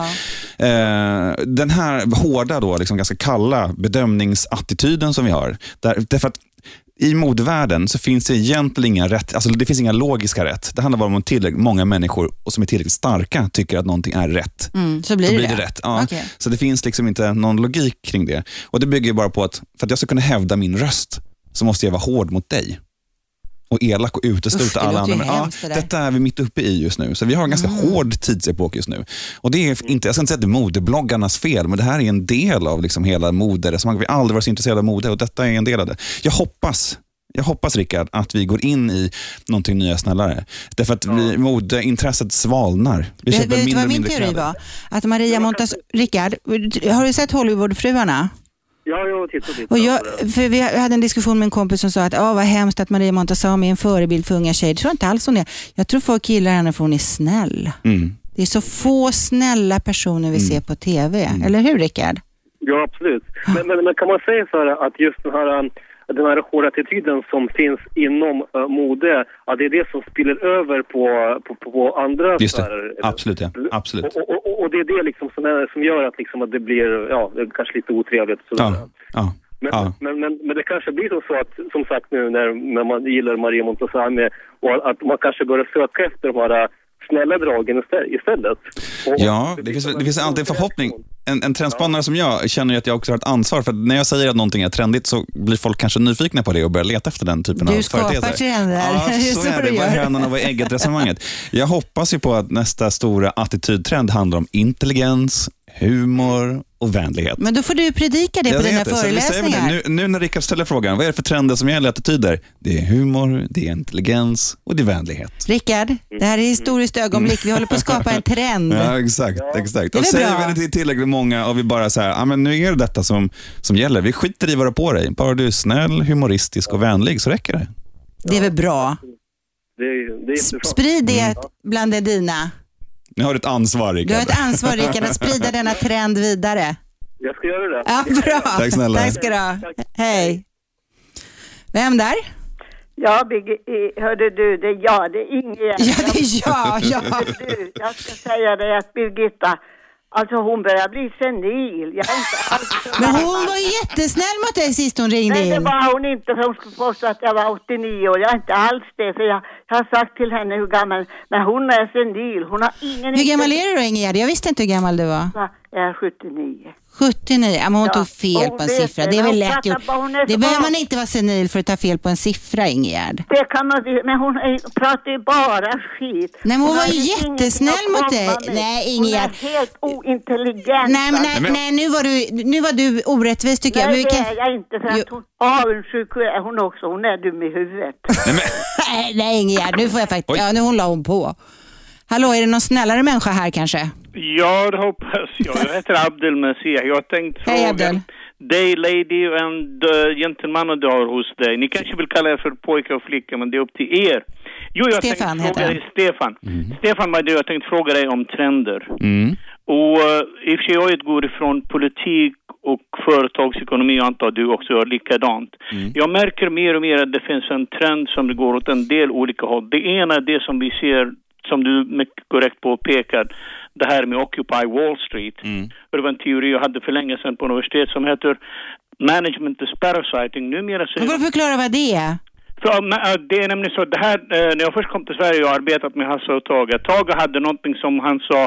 S4: Eh, den här hårda, då, liksom ganska kalla bedömningsattityden som vi har. Där, därför att i modevärlden så finns det egentligen inga rätt, alltså det finns inga logiska rätt. Det handlar bara om att tillräckligt många människor och som är tillräckligt starka tycker att någonting är rätt.
S2: Mm, så blir
S4: Då
S2: det
S4: blir det
S2: det.
S4: rätt. Ja.
S2: Okej.
S4: Så det finns liksom inte någon logik kring det. Och Det bygger ju bara på att för att jag ska kunna hävda min röst så måste jag vara hård mot dig och elak och utesluta
S20: Usch, det
S4: alla
S20: låter
S4: andra.
S20: ju
S4: Men, ja,
S20: hemskt det där.
S4: detta är vi mitt uppe i just nu. Så vi har en ganska
S2: Mm.
S4: hård tidsepok just nu. Och det är inte, jag ska inte säga att det är modebloggarnas fel, men det här är en del av liksom hela moderesonemanget. Vi har aldrig varit så intresserade av mode och detta är en del av det. Jag hoppas jag hoppas Rickard att vi går in i någonting nya snällare. Därför att vi, modeintresset svalnar. Vi
S2: Vet
S4: köper
S2: vet du
S4: mindre
S2: vad
S4: och
S2: min
S4: mindre
S2: teori
S4: kläder.
S2: var? Att Maria Montas... Rickard, har du sett Hollywoodfruarna?
S19: Ja, jag tittar lite.
S2: Och jag, för vi hade en diskussion med en kompis som sa att ah, vad hemskt att Maria Montazami är en förebild för unga tjejer. Det tror jag inte alls hon är. Jag tror folk gillar henne för hon är snäll.
S4: Mm.
S2: Det är så få snälla personer vi ser på TV.
S4: Mm.
S2: Eller hur Rickard?
S19: Ja, absolut. Men, men, men kan man säga så här att just den här, um, den här hårda attityden som finns inom uh, mode, att det är det som spiller över på, på, på, på andra
S4: Just
S19: sfärer?
S4: det, absolut. Ja. absolut.
S19: Och, och- och, och det är det liksom som, är, som gör att, liksom att det blir ja, det kanske lite otrevligt. Så.
S4: Ja, ja,
S19: Men,
S4: ja.
S19: men, men, men det kanske blir som så att, som sagt nu när, när man gillar Maria Montazami, och att man kanske börjar söka efter de här uh, snälla dragen istä- istället. Och,
S4: Ja, det finns, det finns alltid en förhoppning. En, en trendspanare som jag känner ju att jag också har ett ansvar. För att när jag säger att någonting är trendigt så blir folk kanske nyfikna på det och börjar leta efter den typen av
S2: Du skapar
S4: företeelser.
S2: trender.
S4: Ja,
S2: Det är
S4: så
S2: så
S4: är det.
S2: du
S4: Vad
S2: gör.
S4: hönan och vad ägget resonemanget. Jag hoppas ju på att nästa stora attitydtrend handlar om intelligens, humor och vänlighet.
S2: Men då får du predika det
S4: Jag
S2: på dina
S4: vet det, så vi säger väl det.
S2: föreläsningar.
S4: Nu, nu när Rickard ställer frågan, vad är det för trender som gäller attityder? Det är humor, det är intelligens och det är vänlighet.
S2: Rickard, det här är historiskt ögonblick. Vi håller på att skapa en trend.
S4: Mm. Ja, exakt. exakt.
S2: Det är
S4: Och
S2: väl
S4: säger
S2: bra.
S4: vi det till tillräckligt många och vi bara så här, ah, men nu är det detta som, som gäller. Vi skiter i vad du har på dig. Bara du är snäll, humoristisk och vänlig så räcker det.
S2: Det är väl bra.
S19: Det, är- det är intressant.
S2: Sprid det bland de dina.
S4: Nu har du ett ansvar, Mm. Rickard.
S2: Du har ett ansvar Rickard att sprida denna trend vidare.
S19: Jag ska göra det.
S2: Ja, bra.
S4: Tack snälla.
S2: Tack ska du ha. Hej. Vem där?
S10: Ja, Bigge, eh, hörde du, det är jag, det är Ingegärd. Ja,
S2: det är jag, ja.
S10: Du, jag ska säga dig att Birgitta, alltså hon börjar bli senil. Jag är inte alls så
S2: Men
S10: gammal.
S2: hon var ju jättesnäll mot dig sist hon ringde
S10: Nej, det
S2: in.
S10: var hon inte för hon skulle påstå att jag var 89 år. Jag är inte alls det, för jag, jag har sagt till henne hur gammal, men hon är senil. Hon har ingen...
S2: Hur gammal är du då Ingegerd? Jag visste inte hur gammal du var.
S10: Jag är 79.
S2: 79, ja, men hon
S10: Ja,
S2: tog fel
S10: hon
S2: på en
S10: vet
S2: siffra.
S10: det,
S2: Det är väl
S10: men hon
S2: lätt
S10: fattar
S2: gjort.
S10: bara, hon är
S2: Det
S10: så
S2: behöver man
S10: van.
S2: inte vara senil för att ta fel på en siffra Ingegerd.
S10: Det kan man men hon är- pratar ju bara skit.
S2: Nej, men hon
S10: har
S2: var ju
S10: ju ingenting
S2: jättesnäll
S10: att
S2: mot
S10: komma
S2: dig.
S10: med.
S2: Nej,
S10: Hon
S2: Ingegerd.
S10: är helt ointelligent.
S2: Nej, men, nej, nej nu, var du, nu var du orättvis tycker jag. Men
S10: Nej,
S2: vi
S10: det
S2: kan-
S10: är jag inte. För att hon avundsjuk är hon också. Hon är dum i huvudet.
S2: Nej, nej Ingegerd, nu får jag faktiskt... Ja, nu hon la hon på. Hallå, är det någon snällare människa här kanske?
S20: Ja, det hoppas jag. Jag heter Abdel Messiah. Jag tänkte fråga
S2: Hej Abdel.
S20: dig, lady and uh, gentleman och dagar hos dig. Ni kanske vill kalla er för pojke och flicka, men det är upp till er. Jo, jag
S2: Stefan
S20: tänkte
S2: heter
S20: fråga
S2: han.
S20: dig, Stefan.
S4: Mhm.
S20: Stefan, vad är det? jag tänkte fråga dig om trender.
S4: Mm.
S20: Och uh, i och för sig, jag utgår ifrån politik och företagsekonomi, jag antar du också gör likadant. Jag märker mer och mer att det finns en trend som det går åt en del olika håll. Det ena är det som vi ser, som du mycket korrekt påpekar, det här med Occupy Wall Street. Och Det var en teori jag hade för länge sedan på universitet som heter Management is Parasiting. Numera
S2: Nu
S20: säger
S2: får du förklara vad det är.
S20: för, ja, men, ja, det är nämligen så, det här, eh, när jag först kom till Sverige och arbetat med Hasse och Tage, Tage hade någonting som han sa,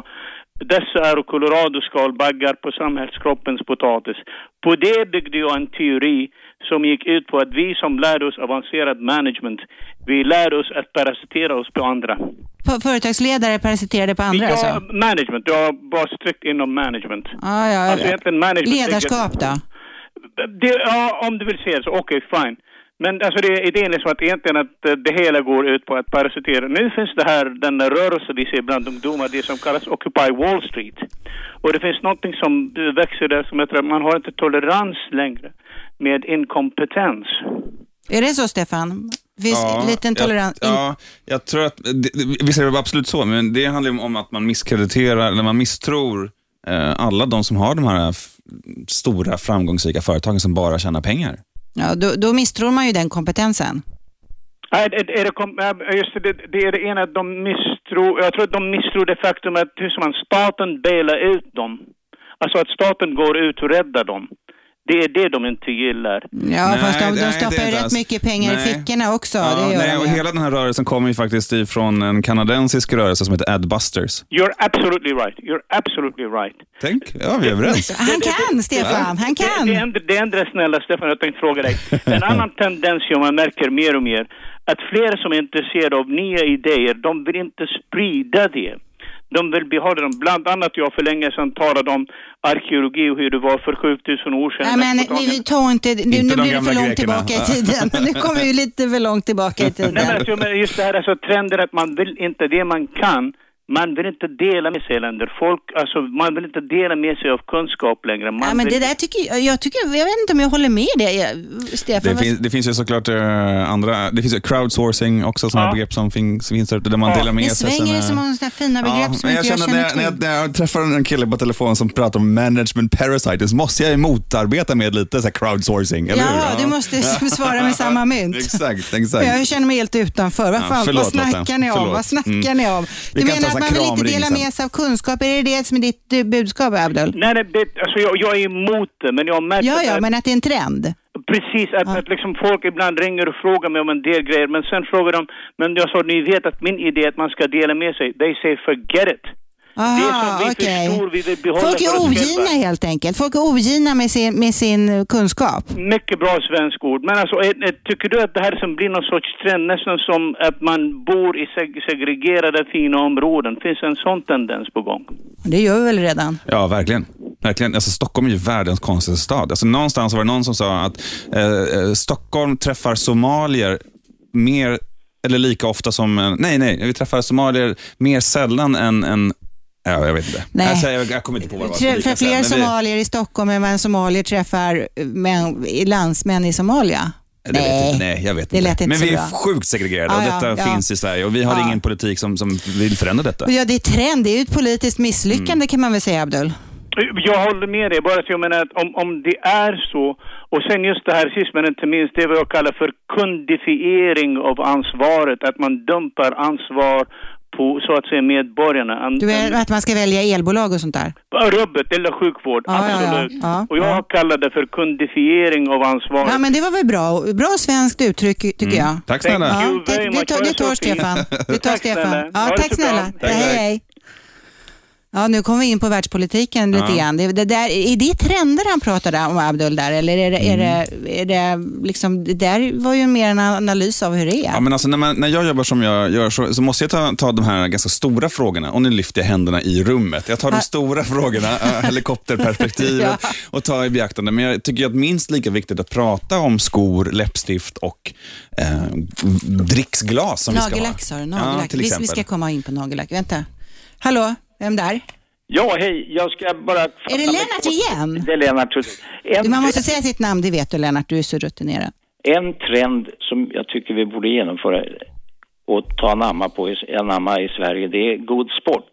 S20: dessa är coloradoskalbaggar på samhällskroppens potatis. På det byggde jag en teori som gick ut på att vi som lärde oss avancerad management, vi lärde oss att parasitera oss på andra.
S2: På- Företagsledare parasiterade på andra
S20: ja,
S2: alltså? Ah.
S20: management, jag var strikt inom management.
S2: Ja, ja,
S20: Alltså
S2: ja.
S20: egentligen management-
S2: Ledarskap då?
S20: Det, ja, om du vill se det så, okej, fine. Men alltså det, idén är som att egentligen att eh, det hela går ut på att parasitera. Nu finns det här, den där rörelse vi ser bland ungdomar, det som kallas Occupy Wall Street. Och det finns någonting som eh, växer där som heter att man har inte tolerans längre med inkompetens.
S2: Är det så, Stefan? Finns
S4: Ja,
S2: liten tolerans?
S4: Jag, ja, jag tror att, det- det- visst är det absolut så, men det handlar ju om att man misskrediterar, eller man misstror eh, alla de som har de här f- stora framgångsrika företagen som bara tjänar pengar.
S2: Ja, då, då misstror man ju den kompetensen.
S20: Nej, det- det- är det, kom- ja, just det, det är det ena att de misstror, jag tror att de misstror det faktum att hur ska man, staten bailar ut dem. Alltså att staten går ut och räddar dem. Det är det de inte gillar.
S2: Ja, fast de, de stoppar ju rätt
S4: alls.
S2: mycket pengar
S4: Nej.
S2: i fickorna också. det gör
S4: nej,
S2: de
S4: och
S2: ju.
S4: hela den här rörelsen kommer ju faktiskt ifrån en kanadensisk rörelse som heter Adbusters.
S20: You're absolutely right. You're absolutely right.
S4: Tänk, ja vi är överens.
S2: Han kan, Stefan. Han kan.
S20: Det, det, ändrar, det ändrar snälla Stefan, jag tänkte fråga dig. En annan tendens som man märker mer och mer, att fler som är intresserade av nya idéer, de vill inte sprida det. De vill behålla dem. Bland annat jag för länge sedan talade om arkeologi och hur det var för 7000 år
S2: Nej,
S20: sedan.
S2: men vi, vi tar inte... Nu, nu
S20: de
S2: blir det
S20: gamla
S2: för långt
S20: grekerna.
S2: tillbaka i tiden. Nu kommer vi lite för långt tillbaka i tiden.
S20: Nej, men alltså, men just det här alltså, trenden att man vill inte det man kan. Man vill inte dela med sig länder. Folk, alltså, man vill inte dela med sig av kunskap längre. Man
S2: Ja, men
S20: vill...
S2: det där tycker jag, jag, tycker, jag vet inte om jag håller med dig, eh, Stefan.
S4: Det,
S2: vad-
S4: finns, det finns ju såklart eh, andra, det finns ju crowdsourcing också, sådana begrepp som finns, finns där ute där man delar med
S2: Ni
S4: sig.
S2: svänger
S4: sina-
S2: så många sådana fina begrepp som
S4: men jag
S2: inte jag
S4: känner när,
S2: känner
S4: jag,
S2: till.
S4: när, jag, när jag träffar en kille på telefon som pratar om management parasites måste jag ju motarbeta med lite så här crowdsourcing, eller hur?
S2: ja, du måste svara med samma mynt.
S4: Exakt, exakt.
S2: Jag känner mig helt utanför. Vad,
S4: Ja,
S2: fan,
S4: förlåt,
S2: vad snackar
S4: Lotta.
S2: ni om?
S4: Förlåt.
S2: Vad snackar
S4: Mm.
S2: ni om?
S4: Vi
S2: Du
S4: kan ta
S2: menar
S4: så här
S2: att man vill inte
S4: kramring
S2: dela
S4: sen.
S2: med sig av kunskap? Är det det som är ditt eh, budskap, Abdul?
S20: Nej, nej det, alltså jag, jag är emot det, men jag märker
S2: Ja, ja,
S20: att,
S2: men att det är en trend.
S20: precis att, att liksom folk ibland ringer och frågar mig om en del grejer, men sen frågar de, men jag sa, ni vet att min idé är att man ska dela med sig. They say forget it. det är som
S2: Aha,
S20: vi
S2: Ah, okej.
S20: förstår, vi vill behålla
S2: Folk
S20: för
S2: är
S20: oss
S2: ogina
S20: själva.
S2: helt enkelt. Folk är ogina med sin, med sin eh, kunskap.
S20: Mycket bra svensk ord. Men alltså, är, är, tycker du att det här som blir någon sorts trend, nästan som att man bor i seg- segregerade fina områden, finns en sån tendens på gång?
S2: Det gör vi väl redan.
S4: Ja, verkligen. verkligen. Alltså, Stockholm är ju världens konstigaste stad. Alltså, någonstans var det någon som sa att eh, eh, Stockholm träffar somalier mer eller lika ofta som... En, nej, nej. Vi träffar somalier mer sällan än... än ja, jag vet inte.
S2: Nej.
S4: Alltså, jag, jag kommer inte på vad det var. som
S2: Trä-
S4: lika
S2: För
S4: sällan,
S2: fler
S4: men vi-
S2: somalier i Stockholm än vad en somalier träffar eh, män, i landsmän i Somalia.
S4: Eh, Det vet jag inte. Nej, jag vet
S2: det
S4: inte.
S2: lät inte
S4: Men
S2: så
S4: vi är
S2: bra.
S4: sjukt segregerade och
S2: Ja, ja,
S4: detta
S2: ja.
S4: finns i Sverige och vi har
S2: Ja.
S4: ingen politik som, som vill förändra detta.
S2: Ja, det är trend. Det är ju ett politiskt misslyckande
S4: Mm.
S2: kan man väl säga, Abdul.
S20: Jag håller med dig, bara att jag menar att om, om det är så, och sen just det här sist men inte minst, det är vad jag kallar för kundifiering av ansvaret, att man dumpar ansvar på så att säga medborgarna. An-
S2: Du vet att man ska välja elbolag och sånt där.
S20: an- Rubbet eller sjukvård,
S2: Ja, ja, ja.
S20: absolut.
S2: Ja,
S20: och jag kallar det för kundifiering av ansvaret.
S2: Ja, men det var väl bra. Bra svenskt uttryck tycker jag.
S4: Mm. Tack snälla.
S2: Ja,
S20: Thank you
S2: tack,
S20: very
S2: det,
S20: much.
S2: tar,
S20: Ha
S2: det
S20: det så
S2: tar
S20: fint.
S2: Stefan. Det tar
S20: Tack
S2: Stefan.
S20: snälla.
S2: Ja,
S20: Ha det
S2: tack
S20: så bra.
S2: snälla.
S20: Tack,
S2: hej,
S20: tack.
S2: hej. Ja, nu kommer vi in på världspolitiken
S4: Ja.
S2: lite grann. Det, det där, är det trender han pratade om, Abdul, där? Eller är det, är
S4: Mm.
S2: det, är det liksom, det där var ju mer en analys av hur det är.
S4: Ja, men alltså, när, man, när jag jobbar som jag gör så, så måste jag ta, ta de här ganska stora frågorna. Och nu lyfter jag händerna i rummet. Jag tar de
S2: Ah.
S4: stora frågorna, äh, helikopterperspektivet
S2: Ja.
S4: och tar i beaktande. Men jag tycker att minst lika viktigt att prata om skor, läppstift och eh, dricksglas som vi
S2: Nagellack
S4: ska
S2: sa
S4: ha.
S2: du,
S4: Ja,
S2: nagellack.
S4: till
S2: vi,
S4: exempel.
S2: vi ska komma in på nagellack. Vänta. Hallå, vem där?
S21: Ja, hej. Jag ska bara...
S2: Är det Lennart igen?
S21: Det är Lennart. En,
S2: Du, man måste säga sitt namn, det vet du Lennart, du är så rutinerad.
S21: en trend som jag tycker vi borde genomföra och ta namma på i, anamma i Sverige, det är god sport.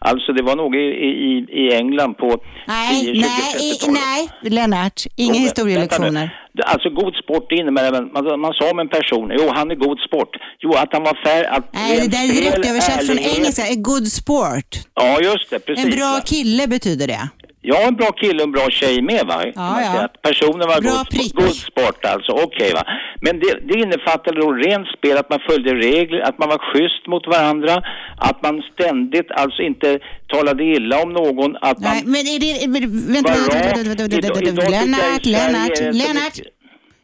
S21: Alltså det var nog i, i, i England på
S2: Nej,
S21: 10, 20,
S2: nej,
S21: 30-talet.
S2: i, nej, Lennart, inga
S21: Jo,
S2: historielektioner.
S21: vänta nu. Det- Alltså god sport det innebär även, man, man sa om en person, jo han är god sport. Jo att han var fair, att...
S2: Nej, det där är
S21: rent spel,
S2: direktöversatt från
S21: ärlighet.
S2: engelska. A good sport.
S21: Ja, just det, precis.
S2: En bra kille betyder det.
S21: Ja, en bra kille och en bra tjej med va? Kan man
S2: ja.
S21: säga att Personen var
S2: Bra
S21: god,
S2: prick.
S21: god sport alltså, okej va. Men det, det innefattade då rent spel, att man följde regler, att man var schysst mot varandra, att man ständigt alltså inte talade illa om någon, att man...
S2: Nej, men är det... men- Vänta,
S21: Vad
S2: vänta,
S21: rart.
S2: vänta, vänta, vänta,
S21: Idag-
S2: vänta,
S21: idag tycker
S2: vänta.
S21: jag i
S2: Lennart,
S21: Sverige är
S2: Lennart,
S21: det inte
S2: Lennart.
S21: mycket.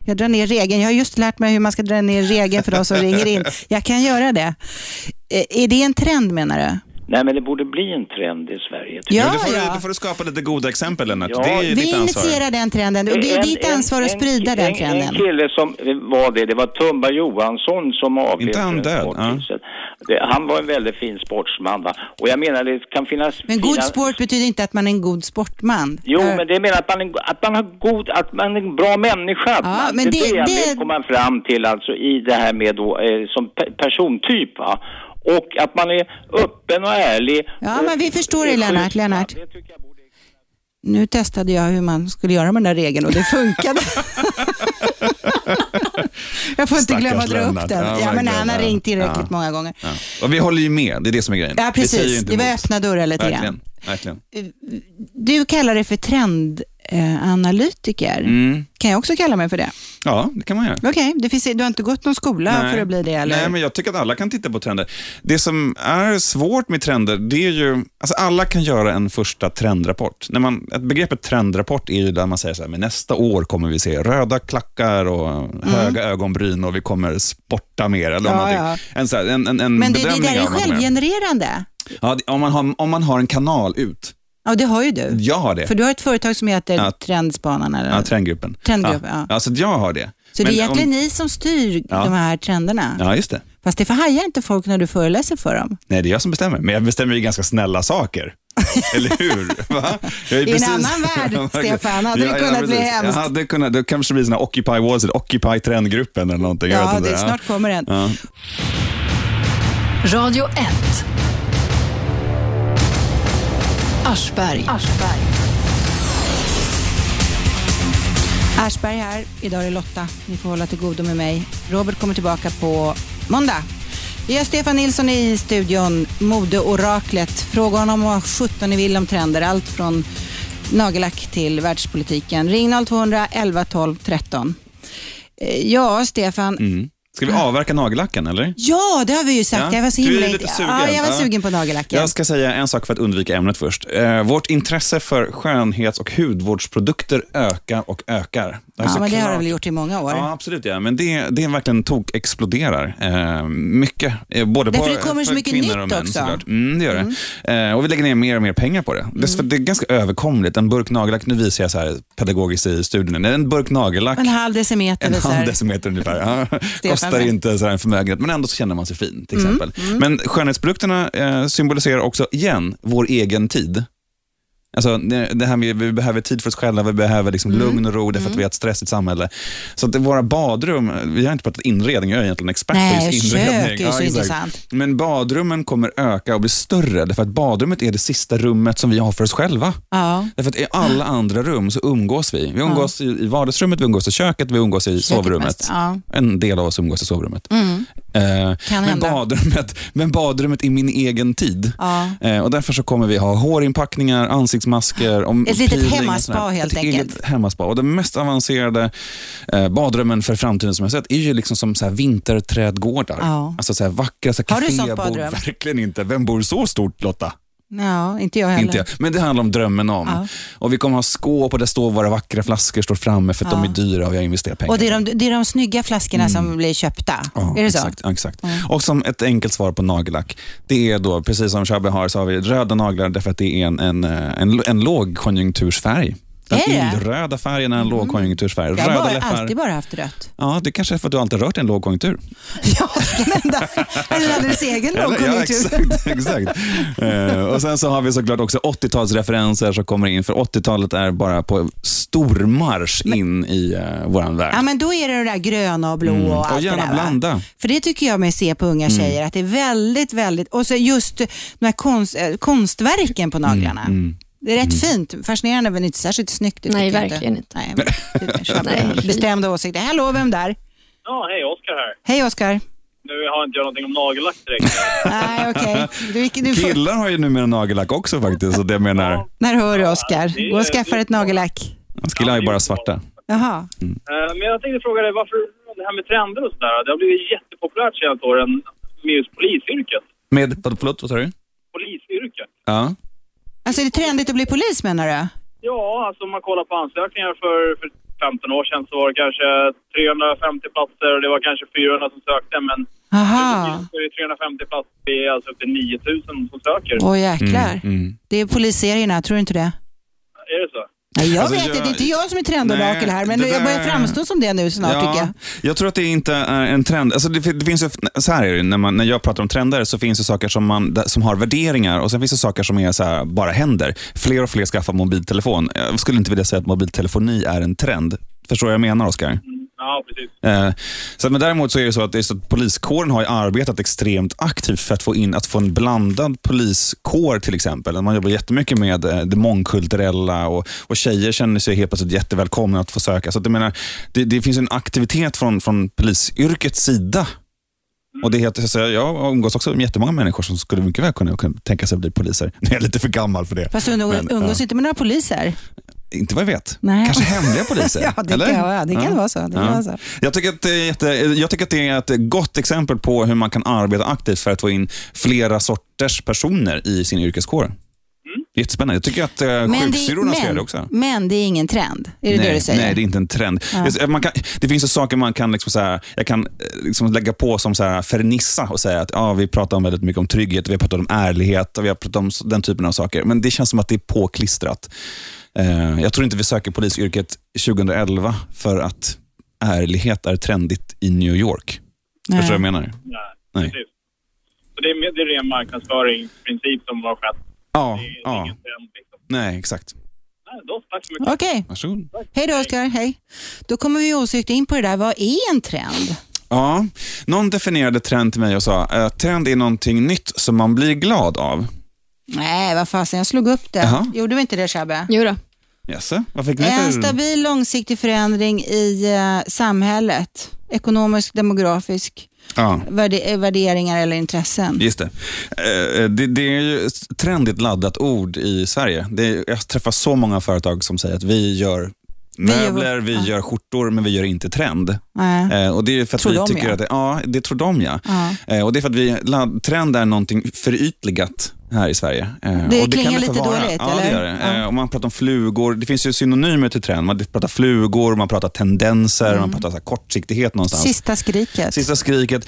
S2: Jag drar ner regeln. Jag har just lärt mig hur man ska dra ner regeln för de som ringer in. Jag kan göra det. Eh, Är det en trend menar du?
S21: Nej, men det borde bli en trend i Sverige.
S2: Ja,
S4: men då, får
S2: ja.
S4: du, då får du skapa lite goda exempel, Lennart.
S21: Ja.
S4: Det är ju
S2: Vi
S4: ditt ansvar.
S2: initierar den trenden och det är
S21: En-
S2: ditt ansvar att sprida den
S21: En
S2: trenden.
S21: kille som var det, det var Tumba Johansson som avled.
S4: Inte han
S21: för en
S4: död?
S21: kort tid sedan. Det- Han var en väldigt fin sportsman. Va? Och jag menar, det kan finnas...
S2: Men
S21: fina-
S2: god sport betyder inte att man är en god sportman.
S21: Jo, men det menar att man, är- att man har god, att man är en bra människa. att man,
S2: men
S21: det är
S2: det-
S21: det jag
S2: det-
S21: vill komma fram till alltså i det här med då, eh, som pe- persontyp. Va? Och att man är öppen och ärlig. Eh,
S2: Ja,
S21: och,
S2: men vi förstår dig Lennart. Lennart. Nu testade jag hur man skulle göra med den där regeln och det funkade. jag får inte
S4: Stackars
S2: glömma att dra upp
S4: Lennart.
S2: den. Ja, men
S4: verkligen.
S2: han har ringt tillräckligt
S4: Ja.
S2: många gånger.
S4: Ja. Och vi håller ju med, det är det som är grejen.
S2: Ja,
S4: Vi säger ju
S2: precis.
S4: inte
S2: Det var
S4: emot.
S2: öppna dörrar lite grann.
S4: Verkligen. Verkligen.
S2: Du kallar det för trendanalytiker.
S4: Mm.
S2: Kan jag också kalla mig för det?
S4: Ja, det kan man göra.
S2: Okej, det finns- du har inte gått någon skola
S4: Nej.
S2: för att bli det eller?
S4: Nej, men jag tycker att alla kan titta på trender. Det som är svårt med trender, det är ju... Alltså alla kan göra en första trendrapport. När man, ett begreppet trendrapport är ju där man säger så här, men nästa år kommer vi se röda klackar och höga ögonbryn och vi kommer sporta mer. Eller
S2: Mm. Ja,
S4: någonting. En, så här, en, en, en
S2: Men det, det
S4: bedömning
S2: där är
S4: av vad som
S2: självgenererande.
S4: Ja, det- om man, har, om man har en kanal ut.
S2: Ja, det har ju du.
S4: Jag har det.
S2: För du har ett företag som heter
S4: Ja.
S2: Trendspanarna. Eller?
S4: Ja, trendgruppen.
S2: Trendgruppen, ja.
S4: ja. så att jag har det.
S2: Så det
S4: Men
S2: är egentligen
S4: om,
S2: ni som styr
S4: Ja.
S2: de här trenderna.
S4: Ja, just det.
S2: Fast det förhajar inte folk när du föreläser för dem.
S4: Nej, det är jag som bestämmer. Men jag bestämmer ju ganska snälla saker. Eller hur? Va? Jag är
S2: I en annan värld,
S4: Ja, verkligen.
S2: Stefan, hade det kunnat bli
S4: precis.
S2: hemskt.
S4: Jag hade kunnat, det kanske blir såna här Occupy Wall Street, Occupy trendgruppen eller någonting. jag vet
S2: Ja,
S4: inte.
S2: det snart kommer en.
S4: Ja.
S1: Radio 1. Aschberg.
S2: Aschberg här. Idag är det Lotta. Ni får hålla till godo med mig. Robert kommer tillbaka på måndag. Vi har Stefan Nilsson i studion, modeoraklet. Fråga honom vad 17 ni vill om trender. Allt från nagellack till världspolitiken. Ring 0200 11 12 13. Eh, Ja, Stefan.
S4: Mm. Ska vi avverka nagellacken eller?
S2: Ja, det har vi ju sagt.
S4: Ja,
S2: Jag var så
S4: du är
S2: himla
S4: lite
S2: int-
S4: sugen.
S2: Ja, jag var
S4: Ja.
S2: sugen på nagellacken.
S4: Jag ska säga en sak för att undvika ämnet först. Eh, vårt intresse för skönhets och hudvårdsprodukter ökar och ökar. Det
S2: Ja, men det har
S4: såklart-
S2: jag väl gjort i många år.
S4: Ja, absolut. Ja. Men det, det är verkligen tok exploderar eh, mycket. Eh, både
S2: Därför
S4: på,
S2: det kommer så
S4: för
S2: mycket
S4: kvinnor
S2: nytt
S4: och män,
S2: också.
S4: Såklart. Mm, det gör det. Eh, och vi lägger ner mer och mer pengar på det.
S2: Mm.
S4: Det, är- för det är ganska överkomligt. En burk nagellack, nu visar jag så här pedagogiskt i studien, en burk nagellack
S2: En halv decimeter.
S4: en
S2: visar.
S4: halv decimeter ungefär. Ja, kostar inte så här en förmögenhet, men ändå så känner man sig fin. till
S2: Mm,
S4: exempel.
S2: mm.
S4: Men skönhetsprodukterna eh, symboliserar också, igen, vår egen tid. Alltså det det här med vi behöver tid för oss själva, vi behöver liksom
S2: Mm.
S4: lugn och ro därför att vi har ett stressigt samhälle. Så att våra badrum, vi har inte pratat inredning, jag är egentligen expert på
S2: Nej,
S4: just
S2: kök
S4: inredning.
S2: är ju så
S4: exakt.
S2: intressant.
S4: Men badrummen kommer öka och bli större därför att badrummet är det sista rummet som vi har för oss själva.
S2: Ja.
S4: Därför att i alla
S2: Ah.
S4: andra rum så umgås vi. Vi umgås i- i vardagsrummet, vi umgås i köket, vi umgås i sovrummet.
S2: mest, ja.
S4: En del av oss umgås i sovrummet.
S2: Mm.
S4: Eh,
S2: Kan
S4: men,
S2: hända.
S4: badrummet, men badrummet är min egen tid.
S2: Ja.
S4: Eh, och Därför så kommer vi ha hårinpackningar, ansiktsmasker, om
S2: Ett litet
S4: peeling och
S2: hemmaspa
S4: sånt här.
S2: helt
S4: Ett
S2: enkelt.
S4: Eget hemmaspa. Och den mest avancerade eh, badrummen för framtiden som jag sett är ju liksom som så här vinterträdgårdar.
S2: Ja.
S4: Alltså så här vackra så här
S2: Har du sånt
S4: kafébord.
S2: badrum?
S4: Verkligen inte. Vem bor så stort Lotta?
S2: Ja, inte jag heller.
S4: Inte jag. Men det handlar om drömmen om.
S2: Ja.
S4: Och Vi kommer ha skåp och där står våra vackra flaskor står framme för att de
S2: Ja.
S4: är dyra och jag investerar pengar. Mm.
S2: Och det är, de, det är de snygga flaskorna som blir köpta.
S4: Ja,
S2: är det så?
S4: exakt, exakt. Och som ett enkelt svar på nagellack. Det är då, precis som Shabbe har, så har vi röda naglar därför att det är en, en, eh, en, en lågkonjunktursfärg. Den
S2: Är det? Mm.
S4: illröda färgen är en lågkonjunktursfärg.
S2: Jag har
S4: Röda
S2: bara,
S4: läppar.
S2: alltid bara haft rött.
S4: Ja, det kanske är för att du alltid rört i en lågkonjunktur.
S2: Eller alldeles egen
S4: Eller-
S2: lågkonjunktur.
S4: Ja, exakt. exakt. Eh, och Sen så har vi såklart också 80-talsreferenser som kommer in, för 80-talet är bara på stormarsch in i uh, vår värld.
S2: Ja, men då är det det där gröna och blå
S4: Mm.
S2: och allt
S4: Och
S2: det
S4: gärna
S2: där. va?
S4: blanda.
S2: För det tycker jag mig se på unga
S4: Mm.
S2: tjejer, att det är väldigt, väldigt... Och så just de här konst, eh, konstverken på naglarna.
S4: Mm,
S2: Det är rätt fint, fascinerande men inte särskilt snyggt. det
S3: Nej,
S2: tycker jag
S3: verkligen inte.
S2: Nej, men det är Nej. Bestämda åsikter. Hallå, vem där?
S6: Ja, hej, Oskar här.
S2: Hej Oskar.
S6: Nu har inte jag någonting om nagellack direkt.
S2: Nej, okej. Du- du får-
S4: Killar har ju numera nagellack också faktiskt. Så det jag menar,
S2: När hör du Oskar? Gå och skaffa ett nagellack.
S4: Alltså, killar har ju bara svarta.
S2: Jaha.
S6: Eh, Men jag tänkte fråga dig, varför det här med trender och sådär? Det har blivit jättepopulärt senaste åren med just polisyrket.
S4: Med, vad- förlåt, vad sa du?
S6: Polisyrket?
S4: Ja.
S2: Alltså är det trendigt att bli polis menar du?
S6: Ja, alltså om man kollar på ansökningar för, för 15 år sedan så var det kanske 350 platser och det var kanske 400 som sökte, men
S2: Aha.
S6: Så är det 350 platser, det är alltså upp till 9000 som söker.
S2: Åh jäklar. Det är poliserierna, tror du inte det?
S6: Är det så?
S2: Nej, jag
S4: Alltså,
S2: vet
S4: jag-
S2: inte, det är inte jag som är trendorakel
S4: Nej,
S2: här, men
S4: det
S2: jag börjar
S4: där-
S2: framstå som det nu snart tycker jag.
S4: Jag tror att det inte är en trend. Alltså det, det finns ju, så här är det, ju, när, man, när jag pratar om trender så finns det saker som, man, som har värderingar och sen finns det saker som är så här, bara händer. Fler och fler skaffar mobiltelefon. Jag skulle inte vilja säga att mobiltelefoni är en trend. Förstår du vad jag menar, Oskar?
S6: Ja, precis.
S4: Eh, så, att- men däremot så är det så att, det är så att poliskåren har ju arbetat extremt aktivt för att få in att få en blandad poliskår till exempel. Man jobbar jättemycket med eh, det mångkulturella och, och tjejer känner sig helt plötsligt jättevälkomna att få söka. Så att, jag menar, det, det finns en aktivitet från, från polisyrkets sida. Och det är helt, så jag- jag umgås också med jättemånga människor som skulle mycket väl kunna, kunna tänka sig att bli poliser. Jag är lite för gammal för det.
S2: Fast du umgås
S4: Men, ja.
S2: inte med några poliser?
S4: Inte vad jag vet.
S2: Nej.
S4: Kanske hemliga poliser?
S2: Ja, det
S4: eller?
S2: kan vara- det kan vara så, det kan vara så.
S4: Jag, tycker att det är jätte, jag tycker att det är ett gott exempel på hur man kan arbeta aktivt för att få in flera sorters personer i sin yrkeskår. Jättespännande. Jag tycker att eh, sjuksyrrorna ska göra det också.
S2: men det är ingen trend, är det
S4: nej,
S2: det du säger?
S4: Nej, det är inte en trend.
S2: Ja.
S4: Det, är- man kan, det finns ju saker man kan, liksom så här, jag kan eh, liksom lägga på som så här fernissa och säga att ja, vi pratar om väldigt mycket om trygghet, vi har pratat om ärlighet och vi har pratat om så- den typen av saker. Men det känns som att det är påklistrat. Eh, jag tror inte vi söker polisyrket 2011 för att ärlighet är trendigt i New York.
S6: Nej.
S4: Förstår du vad jag menar?
S6: Nej,
S4: Nej.
S6: precis. Så det är, det är ren marknadsföringsprincip som har skett.
S4: Ja,
S6: Det är
S4: ja.
S6: ingen trend. liksom.
S4: Nej, exakt.
S6: Nej, då, tack så mycket.
S2: Okej.
S4: Varsågod.
S2: Hej då Oskar, hej. Då kommer vi osökt in på det där, vad är en trend?
S4: Ja, någon definierade trend till mig och sa att trend är någonting nytt som man blir glad av.
S2: Nej, vad fasen, jag slog upp det.
S4: Jaha.
S2: Gjorde vi inte det Shabbe? Jodå.
S4: Jaså, vad fick ni
S2: En
S4: för...
S2: stabil långsiktig förändring i eh, samhället, ekonomisk, demografisk,
S4: Ja.
S2: värde- eh, värderingar eller intressen.
S4: Just det. Eh, det. Det är ju ett trendigt laddat ord i Sverige. Det är, jag träffar så många företag som säger att vi gör möbler, vi gör skjortor, men vi gör inte trend.
S2: Nej.
S4: Eh, Och det är ju för att
S2: Tror
S4: vi
S2: de,
S4: tycker
S2: ja.
S4: att det, ja, det tror de ja.
S2: Ja.
S4: Eh, Och det är för att vi, ladd- trend är någonting förytligat här i Sverige. Eh, och
S2: Det
S4: kan
S2: klingar
S4: få
S2: lite
S4: vara.
S2: dåligt,
S4: ja,
S2: eller?
S4: Det gör det. Eh, Och man pratar om flugor. Det finns ju synonymer till trend. Man pratar flugor, man pratar tendenser, man pratar så här kortsiktighet någonstans.
S2: Mm. Sista skriket.
S4: Sista skriket.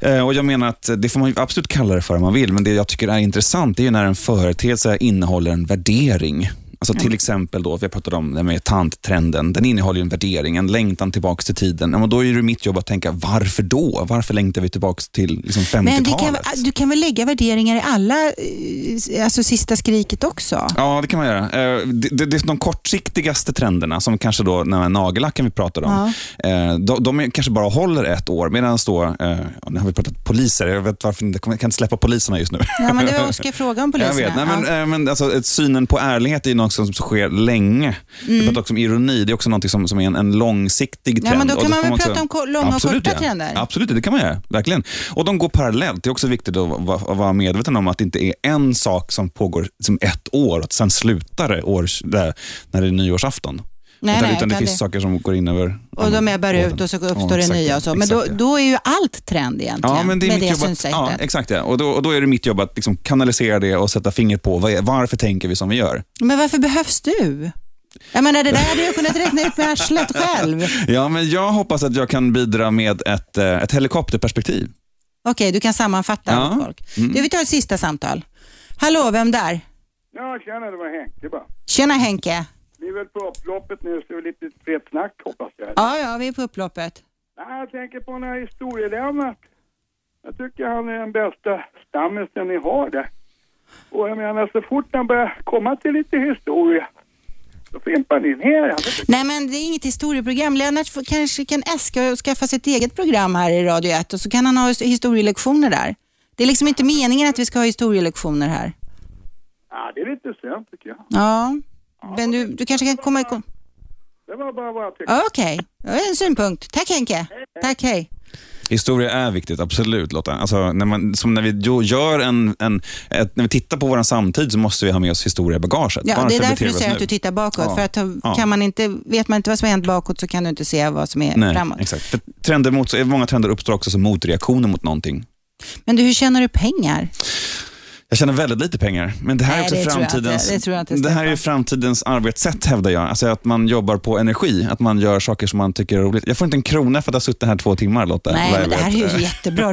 S4: Eh, Och jag menar att det får man ju absolut kalla det för om man vill, men det jag tycker är intressant är ju när en företeelse innehåller en värdering. Alltså till exempel då, vi pratade om det med tanttrenden, den innehåller ju en värdering, en längtan tillbaka till tiden. Ja, men då är det mitt jobb att tänka, varför då? Varför längtar vi tillbaka till liksom 50-talet?
S2: Men det kan, du kan väl lägga värderingar i alla, eh, alltså sista skriket också?
S4: Ja, det kan man göra. Eh, Det, det, det är de kortsiktigaste trenderna, som kanske då den här nagellacken vi pratade om, eh, de, de är- kanske bara håller ett år. Medan då, eh, ja, nu har vi pratat poliser, jag vet varför jag kan inte släppa poliserna just nu.
S2: Ja, men det var Oskar fråga om poliserna.
S4: Jag vet, nej, men, eh, men alltså, ett- synen på ärlighet är ju något som sker länge.
S2: Mm.
S4: Vi pratar också om ironi, det är också något som, som är en, en långsiktig
S2: Ja,
S4: trend.
S2: men då
S4: Och
S2: kan man
S4: får
S2: väl
S4: också-
S2: prata om ko- långa och
S4: Absolut,
S2: korta
S4: ja.
S2: trender?
S4: Absolut, det kan man göra. Verkligen. Och de går parallellt. Det är också viktigt att va- va- vara medveten om att det inte är en sak som pågår som ett år och sen slutar det år, där, när det är nyårsafton.
S2: Nej,
S4: utan,
S2: nej,
S4: utan det
S2: utan
S4: finns
S2: det-
S4: saker som går in över...
S2: Och de är bara ut och så
S4: Ja,
S2: uppstår det
S4: exakt,
S2: nya och så. Men då,
S4: exakt,
S2: då är ju allt trend egentligen,
S4: Ja, men det är mitt
S2: med det
S4: jobb att,
S2: synsättet.
S4: ja, exakt det. Och då, och då är det mitt jobb att liksom kanalisera det och sätta fingret på vad är, varför tänker vi som vi gör.
S2: Men varför behövs du? Jag menar, det där hade jag kunnat räkna ut med arslet själv. Okej,
S4: Ja, men jag hoppas att jag kan bidra med ett, eh, ett helikopterperspektiv.
S2: du kan sammanfatta
S4: Ja.
S2: åt folk.
S4: Mm.
S2: Du, vi tar ett sista samtal. Hallå, vem där?
S9: Ja, tjena, det var Henke bara.
S2: Tjena Henke.
S9: Vi är väl på upploppet nu, så det är lite fett snack hoppas jag.
S2: Ja, ja, vi är på upploppet.
S9: Nej, jag tänker på den här historielämnat. Jag tycker han är den bästa stammisen ni har där. Och jag menar, så fort han börjar komma till lite historia, då fimpar ni ner han.
S2: Nej, men det är inget historieprogram. Lennart får- kanske kan äska och skaffa sig ett eget program här i Radio 1 och så kan han ha his- historielektioner där. Det är liksom inte meningen att vi ska ha historielektioner här.
S9: Ja, det är lite sent tycker jag.
S2: Ja, men du, du kanske kan komma igång.
S9: Det var bara vad jag tyckte.
S2: Ja, Okej, det var en synpunkt. Tack Henke. Tack, hej.
S4: Historia är viktigt, absolut Lotta. Alltså, när man, som när vi jo- gör en, en, ett, när vi tittar på vår samtid så måste vi ha med oss historia i bagaget.
S2: Ja, det
S4: Varför
S2: är
S4: beter
S2: därför
S4: vi
S2: du
S4: oss
S2: säger
S4: nu?
S2: att du tittar bakåt.
S4: Ja.
S2: För att
S4: Ja.
S2: kan man inte, vet man inte vad som har hänt bakåt så kan du inte se vad som är
S4: Nej,
S2: framåt.
S4: exakt. För trender mot, så- många trender uppstår också som motreaktioner mot någonting.
S2: Men du, hur tjänar du pengar?
S4: Jag tjänar väldigt lite pengar, men det här
S2: Nej,
S4: är också
S2: det tror jag inte.
S4: framtidens,
S2: Det tror jag inte,
S4: det här är ju framtidens arbetssätt hävdar jag. Alltså att man jobbar på energi, att man gör saker som man tycker är roligt. Jag får inte en krona för att jag har suttit här två timmar Lotta.
S2: Nej,
S4: vad jag
S2: men det här
S4: vet.
S2: är ju jättebra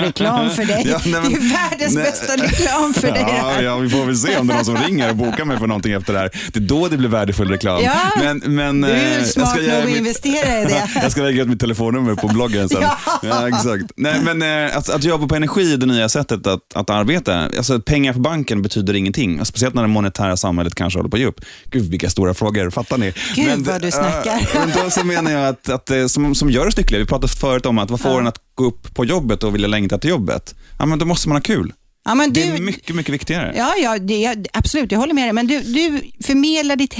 S2: reklam för dig.
S4: Ja, nej, men-
S2: det är världens
S4: nej.
S2: bästa reklam för dig. det
S4: Ja,
S2: här.
S4: ja, vi får väl se om det är någon som ringer och bokar mig för någonting efter det här. Det är då det blir värdefull reklam.
S2: Ja,
S4: men, men,
S2: Du är
S4: eh,
S2: ju
S4: jag
S2: smart
S4: ska
S2: nog
S4: göra
S2: att
S4: mitt-
S2: investera i det.
S4: jag ska lägga ut mitt telefonnummer på bloggen sen.
S2: Ja.
S4: ja. exakt. Nej, men eh, att, att jobba på energi är det nya sättet att, att arbeta. Alltså, att pengar på banken betyder ingenting. Speciellt när det monetära samhället kanske håller på att ge upp. Gud, vilka stora frågor. Fattar ni?
S2: Gud, vad du snackar.
S4: eh, men då så menar jag att, att eh, som, som gör oss lyckliga. Vi pratade förut om att vad får en att gå upp på jobbet och vilja längta till jobbet? Ja, men då måste man ha kul.
S2: Ja, men
S4: Det
S2: du,
S4: är mycket, mycket viktigare.
S2: Ja, ja det, jag- absolut. Jag håller med dig. Men du, du förmedlar ditt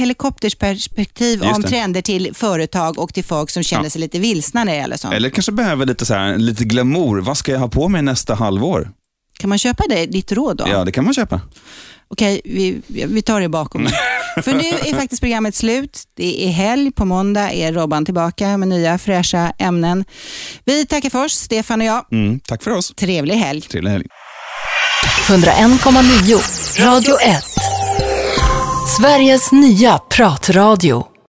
S2: helikoptersperspektiv
S4: Just
S2: om
S4: det.
S2: trender till företag och till folk som känner
S4: Ja.
S2: sig lite vilsna när det gäller sånt.
S4: Eller kanske behöver lite, så här, lite glamour. Vad ska jag ha på mig nästa halvår?
S2: Kan man köpa det, ditt råd då?
S4: Ja, det kan man köpa.
S2: Okej, vi, vi tar det bakom. För nu är faktiskt programmet slut. Det är helg. På måndag är Robban tillbaka med nya fräscha ämnen. Vi tackar för oss, Stefan och jag.
S4: Mm, tack för oss.
S2: Trevlig helg.
S4: Trevlig helg.
S1: 101,9 Radio 1. Sveriges nya pratradio.